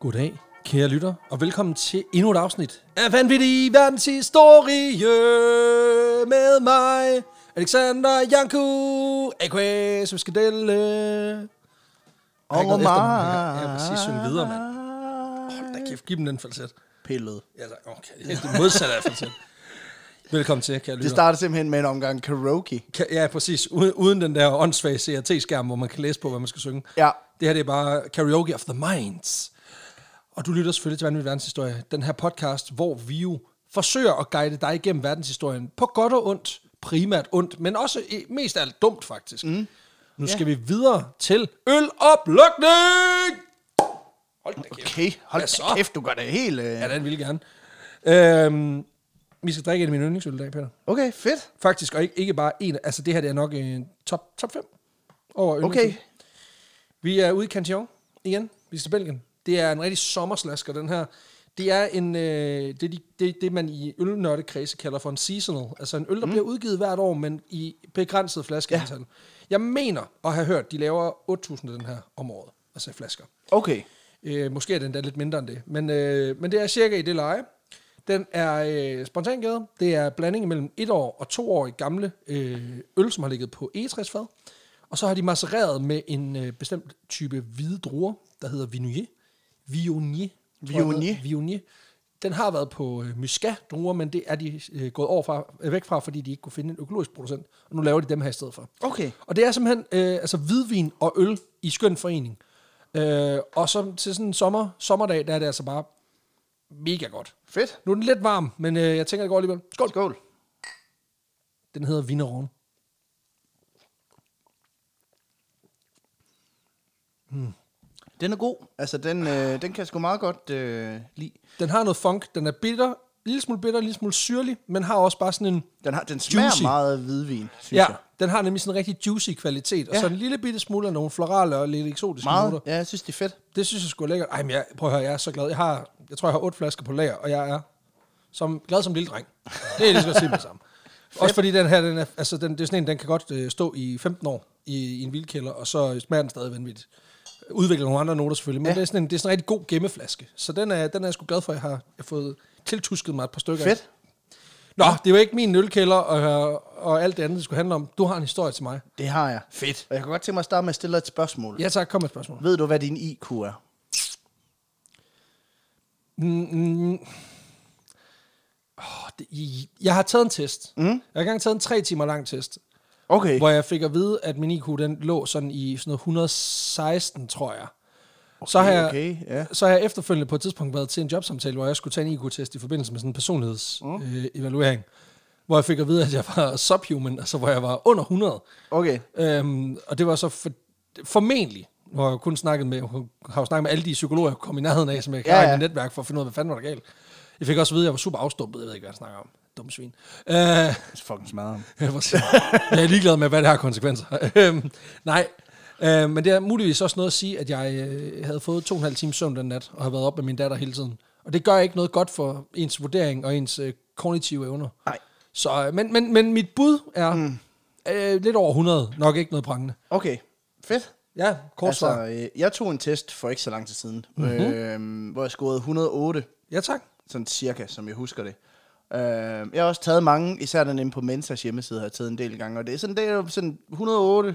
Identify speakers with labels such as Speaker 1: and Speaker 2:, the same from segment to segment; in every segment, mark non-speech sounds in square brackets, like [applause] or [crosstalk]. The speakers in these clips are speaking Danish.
Speaker 1: Goddag, kære lytter, og velkommen til endnu et afsnit af Vanvittig Verdenshistorie med mig, Alexander Janku, a.k.a. Søskadelle.
Speaker 2: Og
Speaker 1: gået efter den.
Speaker 2: mig.
Speaker 1: Jeg vil sige, synge videre, mand. Hold da kæft, giv dem den falset.
Speaker 2: Pillet.
Speaker 1: Ja, tak. okay, det er det modsatte af falset. Velkommen til, kære lytter.
Speaker 2: Det starter simpelthen med en omgang karaoke.
Speaker 1: Kan- Ja, præcis. Uden, uden den der åndssvage CRT-skærm, hvor man kan læse på, hvad man skal synge.
Speaker 2: Ja.
Speaker 1: Det her det er bare karaoke of the minds. Og du lytter selvfølgelig til Vanvittig Verdenshistorie, den her podcast, hvor vi jo forsøger at guide dig igennem verdenshistorien på godt og ondt, primært ondt, men også i- mest af alt dumt faktisk. Mm. Nu skal vi videre til øloplukning! Hold da kæft.
Speaker 2: Okay,
Speaker 1: Hvad
Speaker 2: hold da
Speaker 1: så?
Speaker 2: kæft, du gør det helt... Øh...
Speaker 1: Ja, den vil jeg gerne. Øhm, vi skal drikke en af mine yndlingsøl i dag, Peter.
Speaker 2: Okay, fedt.
Speaker 1: Faktisk, og ikke, ikke bare en. Altså, det her det er nok øh, top, top 5 over yndlingsøl.
Speaker 2: Okay.
Speaker 1: Vi er ude i Cantillon igen. Vi skal til Belgien. Det er en rigtig sommerslasker, den her. Det er en, øh, det, er de- det, er det, man i ølnørdekredse kalder for en seasonal. Altså en øl, der mm. bliver udgivet hvert år, men i begrænset flaskeantal. Ja. Jeg mener at have hørt, de laver 8.000 af den her om året. Altså i flasker.
Speaker 2: Okay.
Speaker 1: Øh, måske er den da lidt mindre end det. Men, øh, men det er cirka i det leje. Den er øh, spontangade. Det er blanding mellem et år og to år gamle øh, øl, som har ligget på egetræsfad. Og så har de macereret med en øh, bestemt type hvide druer, der hedder Viognier. Viognier. tror jeg, den hedder.
Speaker 2: Viognier.
Speaker 1: Viognier. Den har været på øh, Muscat-druer, men det er de øh, gået over fra, øh, væk fra, fordi de ikke kunne finde en økologisk producent. Og nu laver de dem her i stedet for.
Speaker 2: Okay.
Speaker 1: Og det er simpelthen øh, altså hvidvin og øl i skøn forening. Øh, og så til sådan en sommer, sommerdag, der er det altså bare mega godt.
Speaker 2: Fedt.
Speaker 1: Nu er den lidt varm, men øh, jeg tænker, det går alligevel. Skål.
Speaker 2: Skål.
Speaker 1: Den hedder Vineron.
Speaker 2: Den er god. Altså, den, øh, den kan jeg sgu meget godt øh, lide.
Speaker 1: Den har noget funk. Den er bitter, en lille smule bitter, en lille smule syrlig, men har også bare sådan en...
Speaker 2: Den, har, den smager
Speaker 1: Juicy.
Speaker 2: Juicy. meget af hvidvin, synes
Speaker 1: Ja,
Speaker 2: jeg.
Speaker 1: den har nemlig sådan en rigtig juicy kvalitet. Og
Speaker 2: Ja.
Speaker 1: så en lille bitte smule af nogle florale og lidt eksotiske
Speaker 2: Meget.
Speaker 1: noter.
Speaker 2: Ja, jeg synes, det er fedt.
Speaker 1: Det synes jeg skulle lækkert. Ej, men jeg, prøv at høre, jeg er så glad. Jeg, har, jeg tror, jeg har otte flasker på lager, og jeg er som, glad som en lille dreng. Det er lige så godt sige med det samme. Også fordi den her, den er, altså, den, det er sådan en, den kan godt øh, stå i 15 år i, i en vildkælder, og så smager den stadig vanvittigt. Udvikler nogle andre noter selvfølgelig, men ja. det, er sådan en, det er sådan en rigtig god gemmeflaske. Så den er, den er jeg sgu glad for, at jeg har, jeg har fået tiltusket mig et par stykker af.
Speaker 2: Fedt.
Speaker 1: Nå, det var ikke min ølkælder og, og alt det andet, det skulle handle om. Du har en historie til mig.
Speaker 2: Det har jeg.
Speaker 1: Fedt.
Speaker 2: Og jeg kunne godt tænke mig at starte med at stille dig et spørgsmål.
Speaker 1: Ja tak, kom med et spørgsmål.
Speaker 2: Ved du, hvad din IQ er?
Speaker 1: Mm, Åh, det- i- Jeg har taget en test. Mm. Jeg har engang taget en tre timer lang test,
Speaker 2: Okay.
Speaker 1: hvor jeg fik at vide, at min IQ den lå sådan i sådan noget 116, tror jeg. Okay, så, har jeg,
Speaker 2: okay, ja.
Speaker 1: så har jeg efterfølgende på et tidspunkt været til en jobsamtale, hvor jeg skulle tage en IQ-test i forbindelse med sådan en personlighedsevaluering, mm. øh, evaluering, hvor jeg fik at vide, at jeg var subhuman, altså hvor jeg var under 100.
Speaker 2: Okay.
Speaker 1: Øhm, og det var så for, formentlig, hvor jeg kun snakket med, har jo snakket med alle de psykologer, jeg kom i nærheden af, som jeg kan
Speaker 2: Ja,
Speaker 1: ja, ja.
Speaker 2: ja.
Speaker 1: i mit netværk for at finde ud af, hvad fanden var der galt. Jeg fik også at vide, at jeg var super afstumpet. Jeg ved ikke, hvad jeg snakker om. Dum svin. Øh,
Speaker 2: Fucking smadret. ham.
Speaker 1: Ja, præcis. jeg er ligeglad med, hvad det har konsekvenser. Øhm, Nej, øh, men det er muligvis også noget at sige, at jeg øh, havde fået to og en halv time søvn den nat, og har været op med min datter hele tiden. Og det gør ikke noget godt for ens vurdering og ens øh, kognitive evner.
Speaker 2: Nej.
Speaker 1: Så, øh, men, men, men mit bud er mm. øh, lidt over 100, nok ikke noget prangende.
Speaker 2: Okay. Fedt.
Speaker 1: Ja, kort altså, svar. Mhm.
Speaker 2: Altså, øh, jeg tog en test for ikke så lang tid siden, mm-hmm. øh, hvor jeg scorede 108,
Speaker 1: Ja, tak.
Speaker 2: sådan cirka, som jeg husker det. Øh, jeg har også taget mange, især den inde på Mensas hjemmeside, har jeg taget en del gange, og det er sådan, det er jo sådan 108,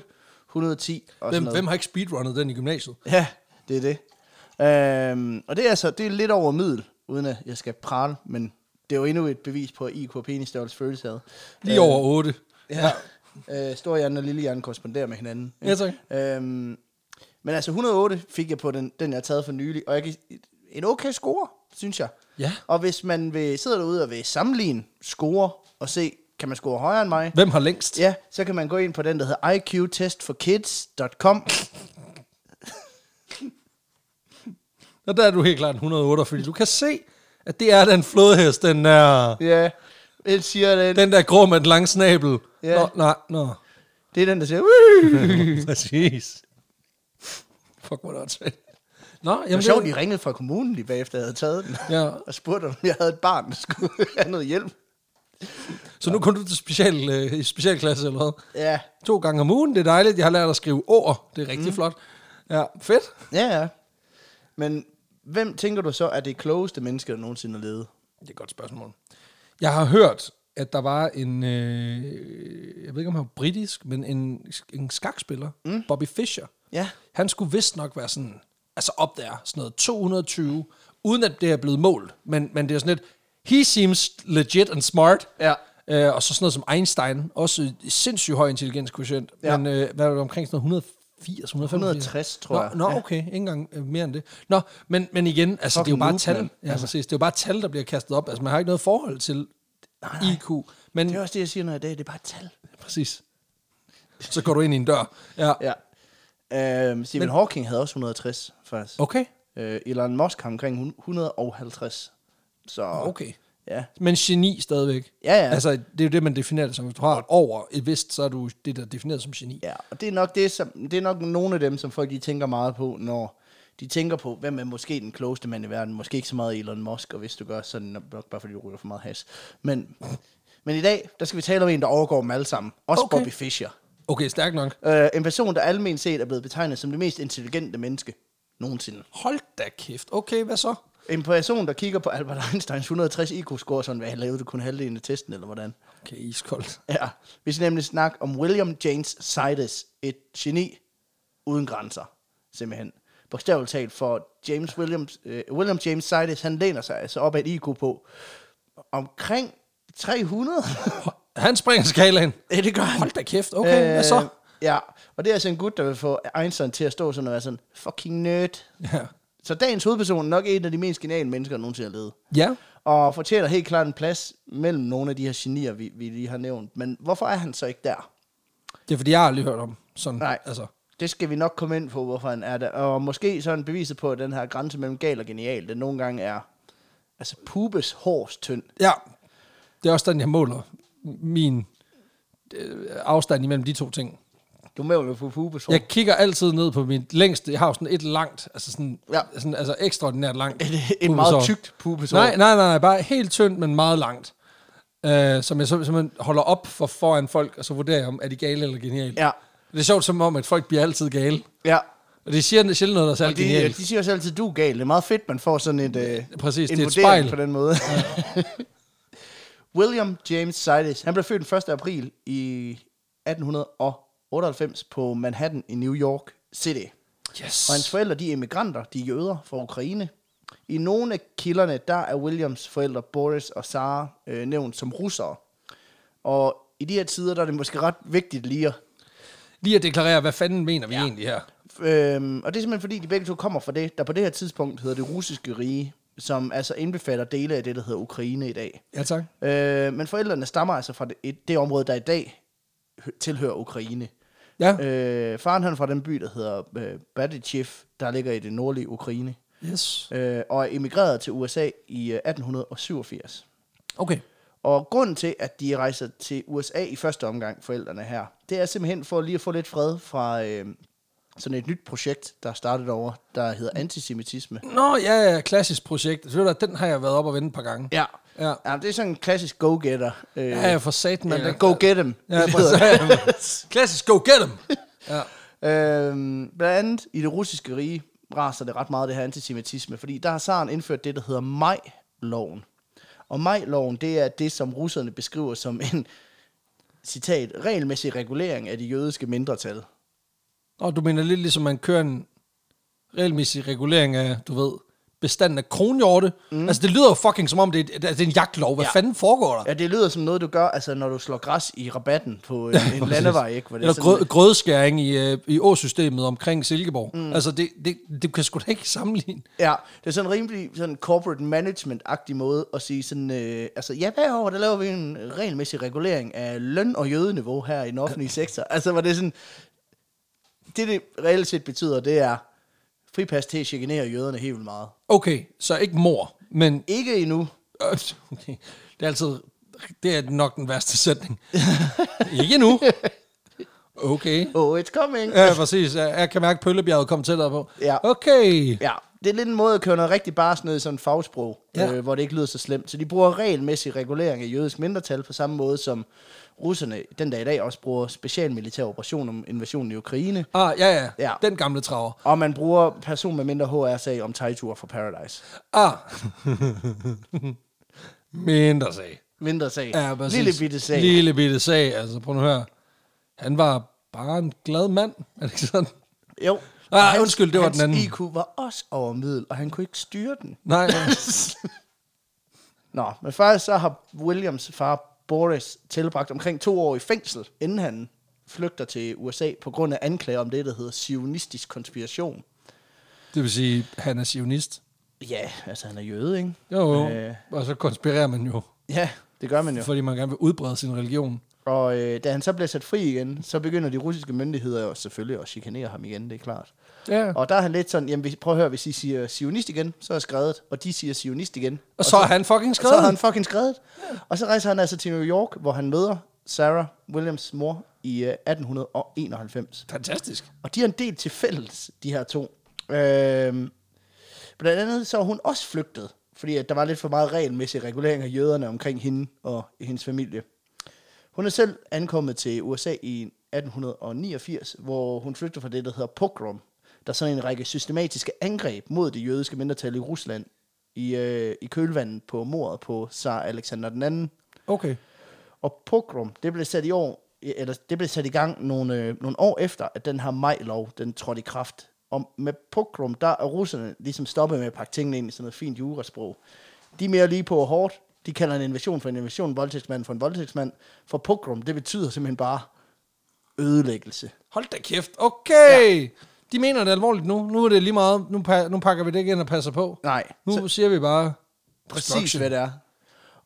Speaker 2: 110 og sådan
Speaker 1: Hvem,
Speaker 2: noget.
Speaker 1: hvem har ikke speedrunnet den i gymnasiet?
Speaker 2: Ja, det er det. Øh, og det er altså, det er lidt over middel, uden at jeg skal prale, men det er jo endnu et bevis på, at IQ og penisstørrelse føles ad.
Speaker 1: Lige
Speaker 2: Øh.
Speaker 1: over 8.
Speaker 2: Ja. Øh, Storhjernen og Lillehjernen korresponderer med hinanden.
Speaker 1: Ja, tak.
Speaker 2: Øhm, men altså 108 fik jeg på den, den jeg har taget for nylig, og jeg gik en okay score, synes jeg.
Speaker 1: Ja.
Speaker 2: Og hvis man vil, sidder derude og vil sammenligne score og se, kan man score højere end mig?
Speaker 1: Hvem har længst?
Speaker 2: Ja, så kan man gå ind på den, der hedder iqtestforkids.com.
Speaker 1: Og der er du helt klart en 108, fordi du kan se, at det er den flodhest, den er...
Speaker 2: [laughs] Ja, den siger den.
Speaker 1: Den der grå med den lange snabel.
Speaker 2: Ja.
Speaker 1: Nå, nej, nå. [laughs]
Speaker 2: Det er den, der siger, "Woo!"
Speaker 1: Præcis. Fuck, hvor er det åndssvagt. Nå, jamen,
Speaker 2: Det var sjovt, de ringede fra kommunen lige bagefter, jeg havde taget den.
Speaker 1: Ja.
Speaker 2: Og spurgte, om jeg havde et barn, der skulle have noget hjælp.
Speaker 1: Så nu kom du til special, øh, i specialklasse eller hvad?
Speaker 2: Ja,
Speaker 1: To gange om ugen, det er
Speaker 2: Mhm.
Speaker 1: dejligt. Jeg har lært at skrive ord. Det er rigtig mm. flot. Ja, fedt.
Speaker 2: Ja, ja. Men Hvem tænker du så er det klogeste menneske, der nogensinde har levet?
Speaker 1: Det er et godt spørgsmål. Jeg har hørt, at der var en, øh, jeg ved ikke om han var britisk, men en, en skakspiller, mm. Bobby Fischer.
Speaker 2: Ja.
Speaker 1: Han skulle vist nok være sådan, altså op der, sådan noget 220, uden at det er blevet målt. Men, men det er sådan lidt, he seems legit and smart.
Speaker 2: Ja.
Speaker 1: Øh, og så sådan noget som Einstein, også sindssygt høj intelligenskoefficient.
Speaker 2: Ja.
Speaker 1: Ja. Men øh, hvad var det omkring sådan noget 180, 185?
Speaker 2: 160, tror jeg.
Speaker 1: Nå, nå
Speaker 2: Ja.
Speaker 1: okay, ikke engang øh, mere end det. Nå, men, men igen, altså det er jo
Speaker 2: Fucking
Speaker 1: bare
Speaker 2: noob,
Speaker 1: tal.
Speaker 2: mand.
Speaker 1: Ja, altså. præcis. Det er jo bare tal, der bliver kastet op. Altså man har ikke noget forhold til IQ. Men
Speaker 2: Det er også det, jeg siger, når jeg er i dag. Det er bare et tal.
Speaker 1: præcis. Så går du ind i en dør. Ja.
Speaker 2: Ja. Øhm, Stephen Men... Hawking havde også 160, faktisk.
Speaker 1: Okay.
Speaker 2: Øh, Elon Musk har omkring hun- 150. Så,
Speaker 1: Okay.
Speaker 2: Ja.
Speaker 1: Men geni stadigvæk.
Speaker 2: Ja, ja.
Speaker 1: Altså, det er jo det, man definerer det som. Hvis du har et over et vist, så er du det, der er defineret som geni.
Speaker 2: ja, og det er, nok det, som, det er nok nogle af dem, som folk de tænker meget på, når de tænker på, hvem er måske den klogeste mand i verden. Måske ikke så meget Elon Musk, og hvis du gør sådan, er det nok bare fordi du ryger for meget has. Men, men i dag, der skal vi tale om en, der overgår dem alle sammen. Også
Speaker 1: Okay.
Speaker 2: okay. Bobby Fischer.
Speaker 1: Okay, stærkt nok.
Speaker 2: Øh, en person, der almindeligt set er blevet betegnet som det mest intelligente menneske nogensinde.
Speaker 1: Hold da kæft. Okay, hvad så?
Speaker 2: En person, der kigger på Albert Einsteins 160 IQ-score, sådan, hvad lavede du kun halvdelen af testen, eller hvordan?
Speaker 1: Okay, iskoldt.
Speaker 2: Ja, vi skal nemlig snakke om William James Sidis, et geni uden grænser, simpelthen. Bogstaveligt talt for James Williams, øh, William James Sidis, han læner sig altså op af et IQ på omkring 300.
Speaker 1: Han springer skalaen.
Speaker 2: ja, det gør han.
Speaker 1: Hold da kæft. Okay, øh... hvad så?
Speaker 2: Ja, og det er altså en gut, der vil få Einstein til at stå sådan og være sådan, fucking nerd.
Speaker 1: Ja.
Speaker 2: Så dagens hovedperson er nok en af de mest geniale mennesker, der nogensinde har levet.
Speaker 1: ja.
Speaker 2: Og fortjener helt klart en plads mellem nogle af de her genier, vi, vi lige har nævnt. Men hvorfor er han så ikke der?
Speaker 1: Det er fordi, jeg har aldrig hørt om sådan.
Speaker 2: Nej.
Speaker 1: Altså,
Speaker 2: Det skal vi nok komme ind på, hvorfor han er der. Og måske sådan beviset på, at den her grænse mellem gal og genial, den nogle gange er altså pubes hårs tynd.
Speaker 1: ja. Det er også den, jeg måler min øh, afstand imellem de to ting.
Speaker 2: Du må jo på pubes hårs.
Speaker 1: Jeg kigger altid ned på mit længste. Jeg har jo sådan et langt, altså sådan,
Speaker 2: Ja.
Speaker 1: ja. sådan altså ekstraordinært langt.
Speaker 2: Et, et
Speaker 1: pubesår.
Speaker 2: meget tykt pubesår.
Speaker 1: Nej, nej, nej, nej, bare helt tyndt, men meget langt. Øh, som jeg så- simpelthen holder op for foran folk, og så vurderer jeg, om er de gale eller geniale.
Speaker 2: Ja.
Speaker 1: Det er sjovt som om, at folk bliver altid gale.
Speaker 2: Ja.
Speaker 1: Og det siger sjældent noget, der er
Speaker 2: Og
Speaker 1: særlig
Speaker 2: de,
Speaker 1: genialt.
Speaker 2: de siger også altid, du er gal. Det er meget fedt, man får sådan et, øh,
Speaker 1: Præcis,
Speaker 2: en
Speaker 1: det er et
Speaker 2: vurdering
Speaker 1: spejl.
Speaker 2: på den måde. [laughs] William James Sidis, han blev født den 1. april i 1898 på Manhattan i New York City.
Speaker 1: Yes.
Speaker 2: Og hans forældre, de er emigranter, de er jøder fra Ukraine. I nogle af kilderne, der er Williams forældre, Boris og Sara, øh, nævnt som russere. Og i de her tider, der er det måske ret vigtigt lige at...
Speaker 1: Lige at deklarere, hvad fanden mener vi ja. egentlig her?
Speaker 2: Øhm, og det er simpelthen fordi, de begge to kommer fra det, der på det her tidspunkt hedder det russiske rige, som altså indbefatter dele af det, der hedder Ukraine i dag.
Speaker 1: Ja, tak.
Speaker 2: Øh, men forældrene stammer altså fra det, et- det område, der i dag hø- tilhører Ukraine.
Speaker 1: Ja.
Speaker 2: Øh, faren han er fra den by, der hedder øh, Badichev, der ligger i det nordlige Ukraine.
Speaker 1: Yes.
Speaker 2: øh, og er emigreret til USA i øh, 1887.
Speaker 1: Okay.
Speaker 2: Og grunden til, at de rejser til USA i første omgang, forældrene her, det er simpelthen for lige at få lidt fred fra øh, sådan et nyt projekt, der er startet over, der hedder antisemitisme.
Speaker 1: Nå, ja, ja, klassisk projekt. Så ved du, hvad, den har jeg været op og vende et par gange.
Speaker 2: Ja.
Speaker 1: Ja.
Speaker 2: ja det er sådan en klassisk go-getter. Øh,
Speaker 1: Ja, ja, for satan, man.
Speaker 2: eller
Speaker 1: den-
Speaker 2: go get em.
Speaker 1: Ja, præcis. klassisk, go get them. Ja.
Speaker 2: Øhm, blandt andet i det russiske rige raser det ret meget det her antisemitisme, fordi der har zaren indført det, der hedder Maj-loven. Og Maj-loven, det er det, som russerne beskriver som en, citat, regelmæssig regulering af de jødiske mindretal.
Speaker 1: Og du mener lidt ligesom, man kører en regelmæssig regulering af, du ved, bestanden af kronhjorte. Mm. Altså, det lyder jo fucking som om, det er, det er en jagtlov. Hvad
Speaker 2: Ja.
Speaker 1: ja. fanden foregår der?
Speaker 2: Ja, det lyder som noget, du gør, altså når du slår græs i rabatten på
Speaker 1: [laughs]
Speaker 2: en, en landevej, ikke? Hvor det er
Speaker 1: Eller
Speaker 2: sådan,
Speaker 1: grød, grødskæring i, øh, i åsystemet omkring Silkeborg. Mm. Altså, det, det, det kan sgu da ikke sammenligne.
Speaker 2: Ja, det er sådan en rimelig sådan corporate management-agtig måde at sige sådan, øh, altså ja, hver år, der laver vi en regelmæssig regulering af løn- og jødeniveau her i den
Speaker 1: [laughs]
Speaker 2: offentlige sektor. Altså, hvor det er sådan, det det reelt set betyder, det er fripas til at chikanere jøderne helt vildt meget.
Speaker 1: Okay, så ikke mor, men... [laughs]
Speaker 2: Ikke endnu.
Speaker 1: Øh, okay. Det er altid... Det er nok den værste
Speaker 2: [laughs]
Speaker 1: sætning. ikke nu. Okay.
Speaker 2: Oh, it's coming.
Speaker 1: Ja, præcis. Jeg, jeg kan mærke, at Pøllebjerget kom tættere på.
Speaker 2: Ja.
Speaker 1: Okay.
Speaker 2: Ja, det er lidt en måde at køre noget rigtig bars ned i sådan en fagsprog,
Speaker 1: Ja.
Speaker 2: ja. øh, hvor det ikke lyder så slemt. Så de bruger regelmæssig regulering af jødisk mindretal på samme måde, som russerne den dag i dag også bruger specialmilitære operationer om invasionen i Ukraine.
Speaker 1: Ah, ja, ja, ja.
Speaker 2: Ja.
Speaker 1: Den gamle traver.
Speaker 2: Og man bruger person med mindre HR-sag om Taito for Paradise.
Speaker 1: Ah. Mindre sag.
Speaker 2: Mindre sag.
Speaker 1: Ja, præcis.
Speaker 2: Lille bitte sag.
Speaker 1: Lille bitte sag, altså prøv nu at høre. Han var bare en glad mand, er det ikke sådan?
Speaker 2: Jo.
Speaker 1: Ah,
Speaker 2: Og hans-
Speaker 1: undskyld, det var den anden.
Speaker 2: Hans IQ var også over middel, og han kunne ikke styre den.
Speaker 1: Nej,
Speaker 2: [laughs] Nå, men faktisk så har Williams far Boris tilbragt omkring to år i fængsel, inden han flygter til USA på grund af anklager om det, der hedder sionistisk konspiration.
Speaker 1: det vil sige, han er sionist.
Speaker 2: Ja, altså han er jøde, ikke?
Speaker 1: Jo,
Speaker 2: Øh.
Speaker 1: øh. og så konspirerer man jo,
Speaker 2: Ja, det gør man
Speaker 1: jo,
Speaker 2: jo.
Speaker 1: fordi man gerne vil udbrede sin religion.
Speaker 2: Og øh, da han så bliver sat fri igen, så begynder de russiske myndigheder jo selvfølgelig at chikanere ham igen, det er klart.
Speaker 1: Ja.
Speaker 2: Og der er han lidt sådan, jamen vi- prøv at høre, hvis I siger sionist igen, så er jeg skrevet, og de siger sionist igen.
Speaker 1: Og så er han fucking
Speaker 2: Og så har han
Speaker 1: skrevet.
Speaker 2: fucking skrevet. Og så rejser han altså til New York, hvor han møder Sarah Williams mor i øh, 1891.
Speaker 1: Fantastisk.
Speaker 2: Og de har en del til fælles, de her to. Øhm, blandt andet så er hun også flygtet, fordi at der var lidt for meget regelmæssig regulering af jøderne omkring hende og hendes familie. Hun er selv ankommet til USA i 1889, hvor hun flygtede fra det, der hedder pogrom, der er sådan en række systematiske angreb mod det jødiske mindretal i Rusland i, øh, i kølvandet på mordet på zar Alexander den anden.
Speaker 1: Okay.
Speaker 2: Og pogrom, det blev sat i år, eller det blev sat i gang nogle, øh, nogle år efter, at den her majlov, den trådte i kraft. Og med pogrom, der er russerne ligesom stoppet med at pakke tingene ind i sådan noget fint jurasprog. De er mere lige på og hårdt. De kalder en invasion for en invasion, en voldtægtsmand for en voldtægtsmand. For pogrom, det betyder simpelthen bare ødelæggelse.
Speaker 1: Hold da kæft. Okay. Ja. De mener det alvorligt nu. Nu er det lige meget. Nu, pa- nu pakker vi det ikke ind og passer på.
Speaker 2: Nej,
Speaker 1: Nu
Speaker 2: så-
Speaker 1: siger vi bare...
Speaker 2: Præcis,
Speaker 1: destruction.
Speaker 2: hvad det er.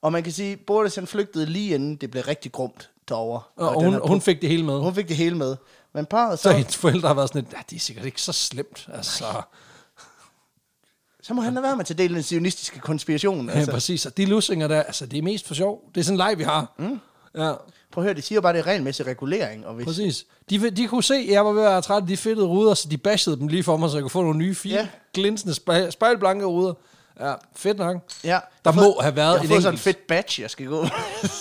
Speaker 2: Og man kan sige, Boris han flygtede lige inden det blev rigtig grumt derovre.
Speaker 1: Og, og
Speaker 2: den
Speaker 1: hun,
Speaker 2: her
Speaker 1: og hun fik det hele med.
Speaker 2: Pogrom- hun fik det hele med. Men parret
Speaker 1: Så
Speaker 2: så,
Speaker 1: hendes forældre har været sådan lidt, "Nej, det er sikkert ikke så slemt. Altså, [laughs]
Speaker 2: så må han lade være med at tage del i den sionistiske konspiration. Altså,
Speaker 1: ja, præcis. Og de lussinger der, altså, det er mest for sjov. Det er sådan en leg, vi har. Mm. Ja,
Speaker 2: Prøv at høre, de siger jo bare, det er regelmæssig regulering. Og hvis,
Speaker 1: præcis. De, de kunne se, at jeg var ved at være træt af de fedtede ruder, så de bashede dem lige for mig, så jeg kunne få nogle nye, fine,
Speaker 2: Ja.
Speaker 1: glinsende, spej- spejlblanke ruder. Ja, fedt nok.
Speaker 2: ja,
Speaker 1: Der
Speaker 2: jeg har
Speaker 1: må
Speaker 2: fået-
Speaker 1: have været
Speaker 2: jeg har
Speaker 1: en
Speaker 2: fået sådan
Speaker 1: enkelt.
Speaker 2: en fedt batch, jeg skal gå. [laughs]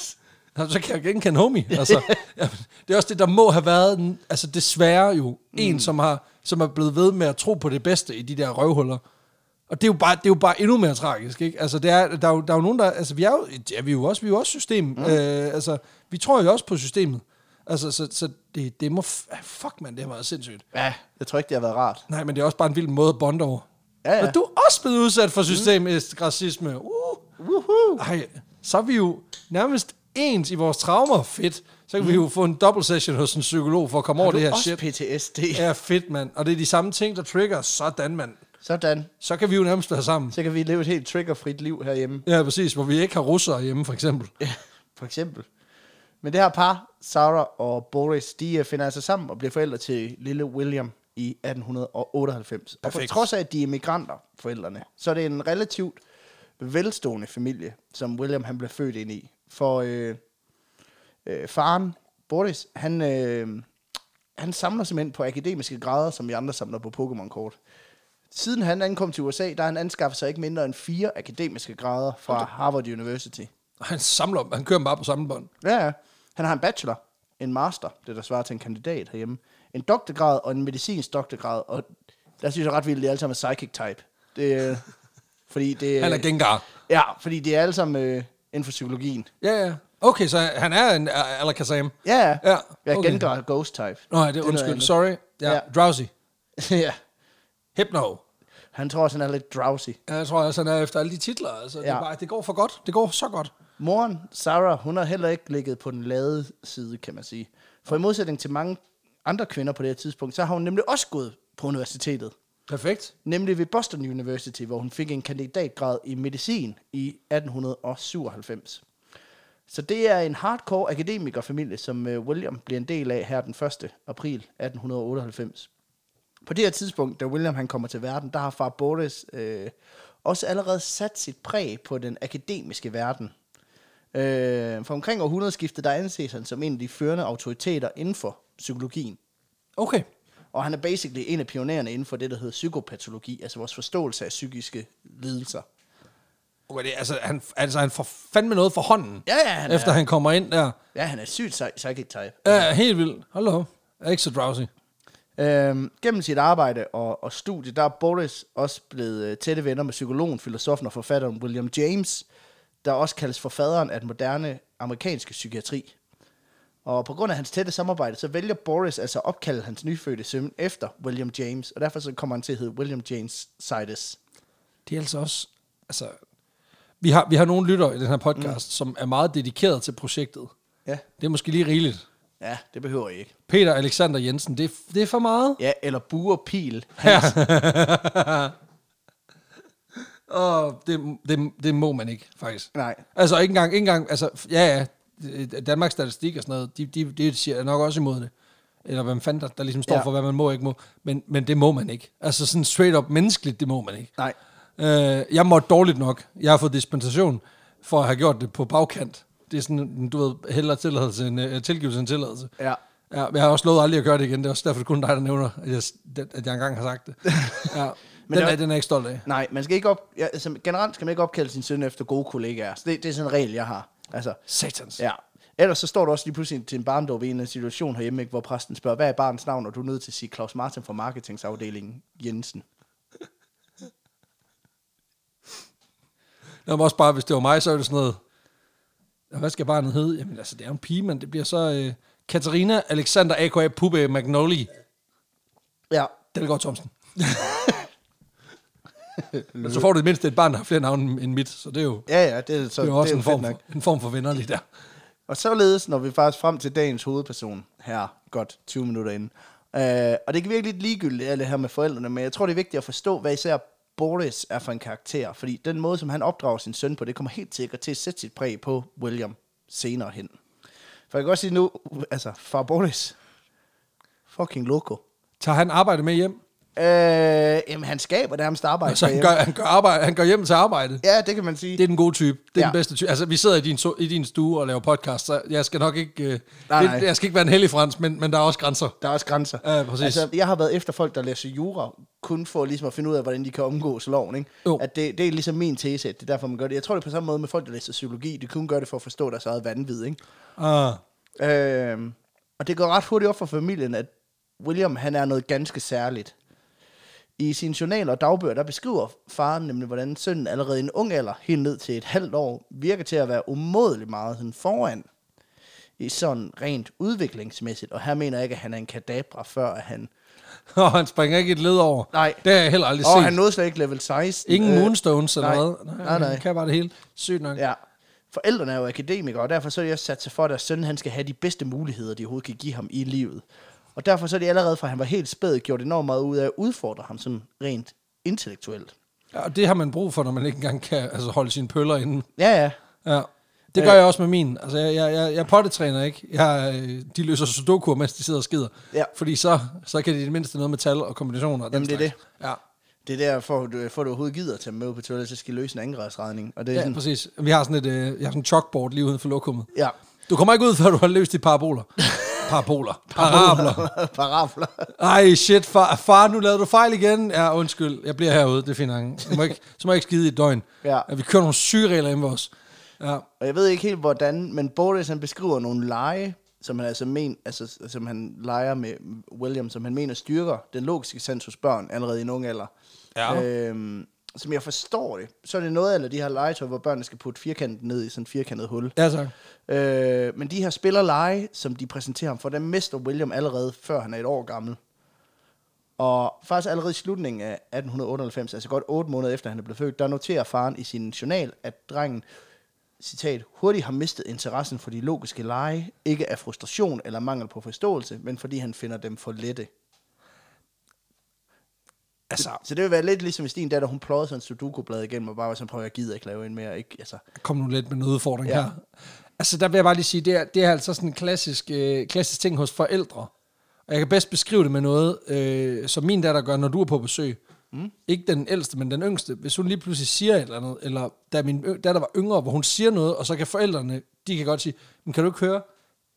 Speaker 1: Nå, Så kan jeg genkende homie. [laughs] Altså, ja, det er også det, der må have været, en- altså desværre jo, mm. en, som, har, som er blevet ved med at tro på det bedste i de der røvhuller. Og det er jo bare, det er jo bare endnu mere tragisk, ikke? Altså, det er, der, er jo, der er jo nogen, der... Altså, vi er jo, ja, vi er jo også, vi er jo også system. Mm. Øh, altså, vi tror jo også på systemet. Altså, så, så det, det må... f- ah, Fuck, man, det har været sindssygt.
Speaker 2: ja, jeg tror ikke, det har været rart.
Speaker 1: Nej, men det er også bare en vild måde at bonde over.
Speaker 2: Ja, ja.
Speaker 1: Og du er også blevet udsat for systemisk mm. racisme. Uh.
Speaker 2: Woohoo!
Speaker 1: Ej, så er vi jo nærmest ens i vores traumer. Fedt. Så kan mm. vi jo få en double session hos en psykolog for at komme over
Speaker 2: Du
Speaker 1: det her
Speaker 2: også
Speaker 1: shit.
Speaker 2: PTSD.
Speaker 1: Ja, fedt, mand. Og det er de samme ting, der trigger os. Sådan, mand.
Speaker 2: Sådan.
Speaker 1: Så kan vi jo nærmest være sammen.
Speaker 2: Så kan vi leve et helt triggerfrit liv herhjemme.
Speaker 1: Ja, præcis. Hvor vi ikke har russere hjemme, for eksempel.
Speaker 2: Ja, [laughs] for eksempel. Men det her par, Sarah og Boris, de øh, finder altså sammen og bliver forældre til lille William i 1898. Og på
Speaker 1: Perfekt.
Speaker 2: trods af, at de er migranter, forældrene, så er det en relativt velstående familie, som William han blev født ind i. For øh, øh, faren, Boris, han, øh, han samler simpelthen på akademiske grader, som vi andre samler på Pokémon-kort. Siden han ankom til USA, der har han anskaffet sig ikke mindre end fire akademiske grader fra Harvard University.
Speaker 1: Og han samler dem. Han kører dem bare på samme bånd.
Speaker 2: Ja, ja. Han har en bachelor, en master, det der svarer til en kandidat herhjemme, en doktorgrad og en medicinsk doktorgrad, og der synes jeg ret vildt, det er alle sammen psychic type.
Speaker 1: [laughs]
Speaker 2: Det, øh, fordi det, øh,
Speaker 1: Han er gengar.
Speaker 2: Ja, fordi det er alle sammen øh, inden for psykologien.
Speaker 1: Ja, ja. Okay, så han er en uh, Alakazam.
Speaker 2: Ja,
Speaker 1: Ja,
Speaker 2: ja. Jeg
Speaker 1: okay.
Speaker 2: gengar er ghost type.
Speaker 1: Nå, ja, det
Speaker 2: Det
Speaker 1: er
Speaker 2: er
Speaker 1: undskyld.
Speaker 2: noget
Speaker 1: Sorry. Ja,
Speaker 2: Ja.
Speaker 1: drowsy.
Speaker 2: [laughs] ja.
Speaker 1: Hypno.
Speaker 2: Han tror også, han er lidt drowsy.
Speaker 1: Ja, Jeg tror også, han er efter alle de titler. Altså, ja. det, er
Speaker 2: Ja.
Speaker 1: bare, det går for godt. Det går så godt.
Speaker 2: Moren, Sarah, hun har heller ikke ligget på den lade side, kan man sige. For i modsætning til mange andre kvinder på det her tidspunkt, så har hun nemlig også gået på universitetet.
Speaker 1: Perfekt.
Speaker 2: nemlig ved Boston University, hvor hun fik en kandidatgrad i medicin i 1897. Så det er en hardcore akademikerfamilie, som øh, William bliver en del af her den 1. april 1898. På det her tidspunkt, da William han kommer til verden, der har far Boris øh, også allerede sat sit præg på den akademiske verden. Øh, for omkring århundredeskiftet, der anses han som en af de førende autoriteter inden for psykologien.
Speaker 1: Okay.
Speaker 2: Og han er basically en af pionererne inden for det, der hedder psykopatologi, altså vores forståelse af psykiske lidelser.
Speaker 1: Okay, det, altså, han, altså, han får fandme noget for hånden,
Speaker 2: Ja, ja, han
Speaker 1: efter
Speaker 2: er,
Speaker 1: han kommer ind der.
Speaker 2: ja, han er sygt psy- psychic type.
Speaker 1: Ja, helt vildt. Hold da op. Jeg er ikke så drowsy.
Speaker 2: Øhm, gennem sit arbejde og, og studie, der er Boris også blevet øh, tætte venner med psykologen, filosofen og forfatteren William James, der også kaldes for faderen af den moderne amerikanske psykiatri. Og på grund af hans tætte samarbejde, så vælger Boris altså at opkalde hans nyfødte søn efter William James, og derfor så kommer han til at hedde William James Sidus.
Speaker 1: Det er altså også... Altså, vi har, vi har nogle lytter i den her podcast, mm. som er meget dedikeret til projektet.
Speaker 2: Ja.
Speaker 1: Det er måske lige rigeligt.
Speaker 2: Ja, det behøver I ikke.
Speaker 1: Peter Alexander Jensen, det, er- det er for meget.
Speaker 2: Ja, eller buer
Speaker 1: [laughs]
Speaker 2: pil.
Speaker 1: Og det, det, det må man ikke, faktisk.
Speaker 2: Nej.
Speaker 1: Altså, ikke engang... Ikke engang altså, f- ja, ja. øh, Danmarks Statistik og sådan noget, de, de, de siger nok også imod det. Eller hvem fanden der, der ligesom står
Speaker 2: Ja.
Speaker 1: ja. for, hvad man må og ikke må. Men, men det må man ikke. Altså sådan straight up menneskeligt, det må man ikke.
Speaker 2: Nej.
Speaker 1: Øh, jeg måtte dårligt nok. Jeg har fået dispensation for at have gjort det på bagkant. Det er sådan, du ved, hellere tilladelse end uh, tilgivelse end tilladelse.
Speaker 2: Ja.
Speaker 1: ja. men Jeg har også lovet aldrig at gøre det igen. Det er også derfor, det kun dig, der nævner, at jeg, det- at jeg engang har
Speaker 2: [laughs]
Speaker 1: sagt det. Ja. men
Speaker 2: Men
Speaker 1: den,
Speaker 2: det
Speaker 1: er,
Speaker 2: var-
Speaker 1: den er jeg ikke stolt af.
Speaker 2: Nej, man skal ikke op... Ja, altså, generelt skal man ikke opkalde sin søn efter gode kollegaer. Så det, det er sådan en regel, jeg har. Altså,
Speaker 1: Satans.
Speaker 2: Ja. Ellers så står du også lige pludselig til en barndom i en situation herhjemme, ikke, hvor præsten spørger, hvad er barnets navn, og du er nødt til at sige Claus Martin fra marketingsafdelingen Jensen.
Speaker 1: Nå, men også bare, hvis det var mig, så er det sådan noget... "Nå, Hvad skal barnet hedde? Jamen altså, det er jo en pige, men det bliver så... Øh, Katarina Alexander A.K.A. Pube Magnoli.
Speaker 2: Ja.
Speaker 1: Delgaard Thomsen. Men så får du det mindste et barn, der har flere navne end mit, så det er jo...
Speaker 2: Ja, ja, det er, så,
Speaker 1: det er jo også
Speaker 2: det
Speaker 1: en,
Speaker 2: fedt
Speaker 1: form for, en form for venner lige der.
Speaker 2: Og således når vi faktisk frem til dagens hovedperson her, godt 20 minutter inden. Øh, og det kan virke lidt ligegyldigt, alt det her med forældrene, men jeg tror, det er vigtigt at forstå, hvad især Boris er for en karakter. Fordi den måde, som han opdrager sin søn på, det kommer helt sikkert til at sætte sit præg på William senere hen. For jeg kan også sige nu, altså, far Boris, fucking loco.
Speaker 1: Tager han arbejde med hjem?
Speaker 2: Øh, jamen, han skaber nærmest arbejde.
Speaker 1: Altså, han
Speaker 2: derhjemme.
Speaker 1: gør, han, gør arbejde, han gør hjem til arbejde.
Speaker 2: Ja, det kan man sige.
Speaker 1: Det er den gode type. Det er ja.
Speaker 2: Ja.
Speaker 1: den bedste type. Altså, vi sidder i din, so- i din stue og laver podcast, så jeg skal nok ikke... Øh,
Speaker 2: Nej,
Speaker 1: det,
Speaker 2: nej.
Speaker 1: Jeg skal ikke være en heldig frans, men, men der er også grænser.
Speaker 2: Der er også grænser.
Speaker 1: Ja, præcis.
Speaker 2: Altså, jeg har været efter folk, der læser jura, kun for ligesom at finde ud af, hvordan de kan omgås loven. Ikke?
Speaker 1: Jo.
Speaker 2: At det, det er ligesom min tese, at det er derfor, man gør det. Jeg tror, det er på samme måde med folk, der læser psykologi. De kun gør det for at forstå deres eget vanvid. Ikke?
Speaker 1: Ah,
Speaker 2: Øhm, og det går ret hurtigt op for familien, at William han er noget ganske særligt. I sine journaler og dagbøger, der beskriver faren nemlig, hvordan sønnen allerede i en ung alder, helt ned til et halvt år, virker til at være umådelig meget sådan foran. I sådan rent udviklingsmæssigt. Og her mener jeg ikke, at han er en kadabra, før at han...
Speaker 1: [laughs] og han springer ikke et led over.
Speaker 2: Nej.
Speaker 1: Det har jeg heller aldrig
Speaker 2: Og
Speaker 1: set.
Speaker 2: han nåede slet ikke level 16.
Speaker 1: Ingen
Speaker 2: Øh,
Speaker 1: moonstones eller
Speaker 2: nej.
Speaker 1: noget.
Speaker 2: Nej, nej.
Speaker 1: Han kan bare det hele. Sygt nok.
Speaker 2: Ja. Forældrene er jo akademikere, og derfor så er de også sat sig for, at deres søn han skal have de bedste muligheder, de overhovedet kan give ham i livet. Og derfor så er de allerede fra, han var helt spæd, gjort enormt meget ud af at udfordre ham sådan rent intellektuelt.
Speaker 1: Ja, og det har man brug for, når man ikke engang kan altså, holde sine pøller inde.
Speaker 2: Ja, ja.
Speaker 1: Ja. Det gør jeg også med min. Altså, jeg, jeg, jeg, jeg pottetræner ikke. Jeg, øh, de løser sudoku, mens de sidder og skider.
Speaker 2: Ja.
Speaker 1: Fordi så, så kan de i det mindste noget med tal og kombinationer. Og den
Speaker 2: Jamen, det er
Speaker 1: slags. Ja.
Speaker 2: Det er derfor, du, for at du overhovedet gider at tage dem med ud på toilettet, så skal I løse en angrebsredning. Og det er
Speaker 1: ja,
Speaker 2: sådan,
Speaker 1: præcis. Vi har sådan et, øh, jeg har sådan et chalkboard lige uden for lokummet.
Speaker 2: ja, [laughs]
Speaker 1: Du kommer ikke ud, før du har løst de paraboler. Paraboler. Parabler.
Speaker 2: parafler.
Speaker 1: Ej, shit, far, far, nu lavede du fejl igen. Ja, undskyld, jeg bliver herude, det finder han. Så må jeg ikke, så må jeg ikke skide i et døgn.
Speaker 2: Ja.
Speaker 1: Vi kører nogle syge regler hjemme ved os. Ja.
Speaker 2: Og jeg ved ikke helt, hvordan, men Boris han beskriver nogle lege, som han altså men, altså, som han leger med William, som han mener styrker den logiske sans hos børn allerede i en ung alder.
Speaker 1: Ja.
Speaker 2: Øhm, som jeg forstår det, så er det noget af de her legetøj, hvor børnene skal putte firkanten ned i sådan et firkantet hul.
Speaker 1: ja, tak.
Speaker 2: Øh, men de her spillerlege, som de præsenterer ham for, dem mister William allerede, før han er et år gammel. Og faktisk allerede i slutningen af 1898, altså godt otte måneder efter han er blevet født, der noterer faren i sin journal, at drengen, citat, hurtigt har mistet interessen for de logiske lege, ikke af frustration eller mangel på forståelse, men fordi han finder dem for lette.
Speaker 1: Altså,
Speaker 2: Så det vil være lidt ligesom hvis din datter, hun pløjede sådan en sudoku-blad igennem, og bare var sådan, prøv jeg gider ikke lave en mere. Ikke? Altså,
Speaker 1: kom nu lidt med en udfordring
Speaker 2: Ja.
Speaker 1: ja. her. Altså, der vil jeg bare lige sige, det er, det er altså sådan en klassisk, øh, klassisk ting hos forældre. Og jeg kan bedst beskrive det med noget, øh, som min datter gør, når du er på besøg. Mm. Ikke den ældste, men den yngste. Hvis hun lige pludselig siger et eller andet, eller da min yng- datter var yngre, hvor hun siger noget, og så kan forældrene, de kan godt sige, men kan du ikke høre?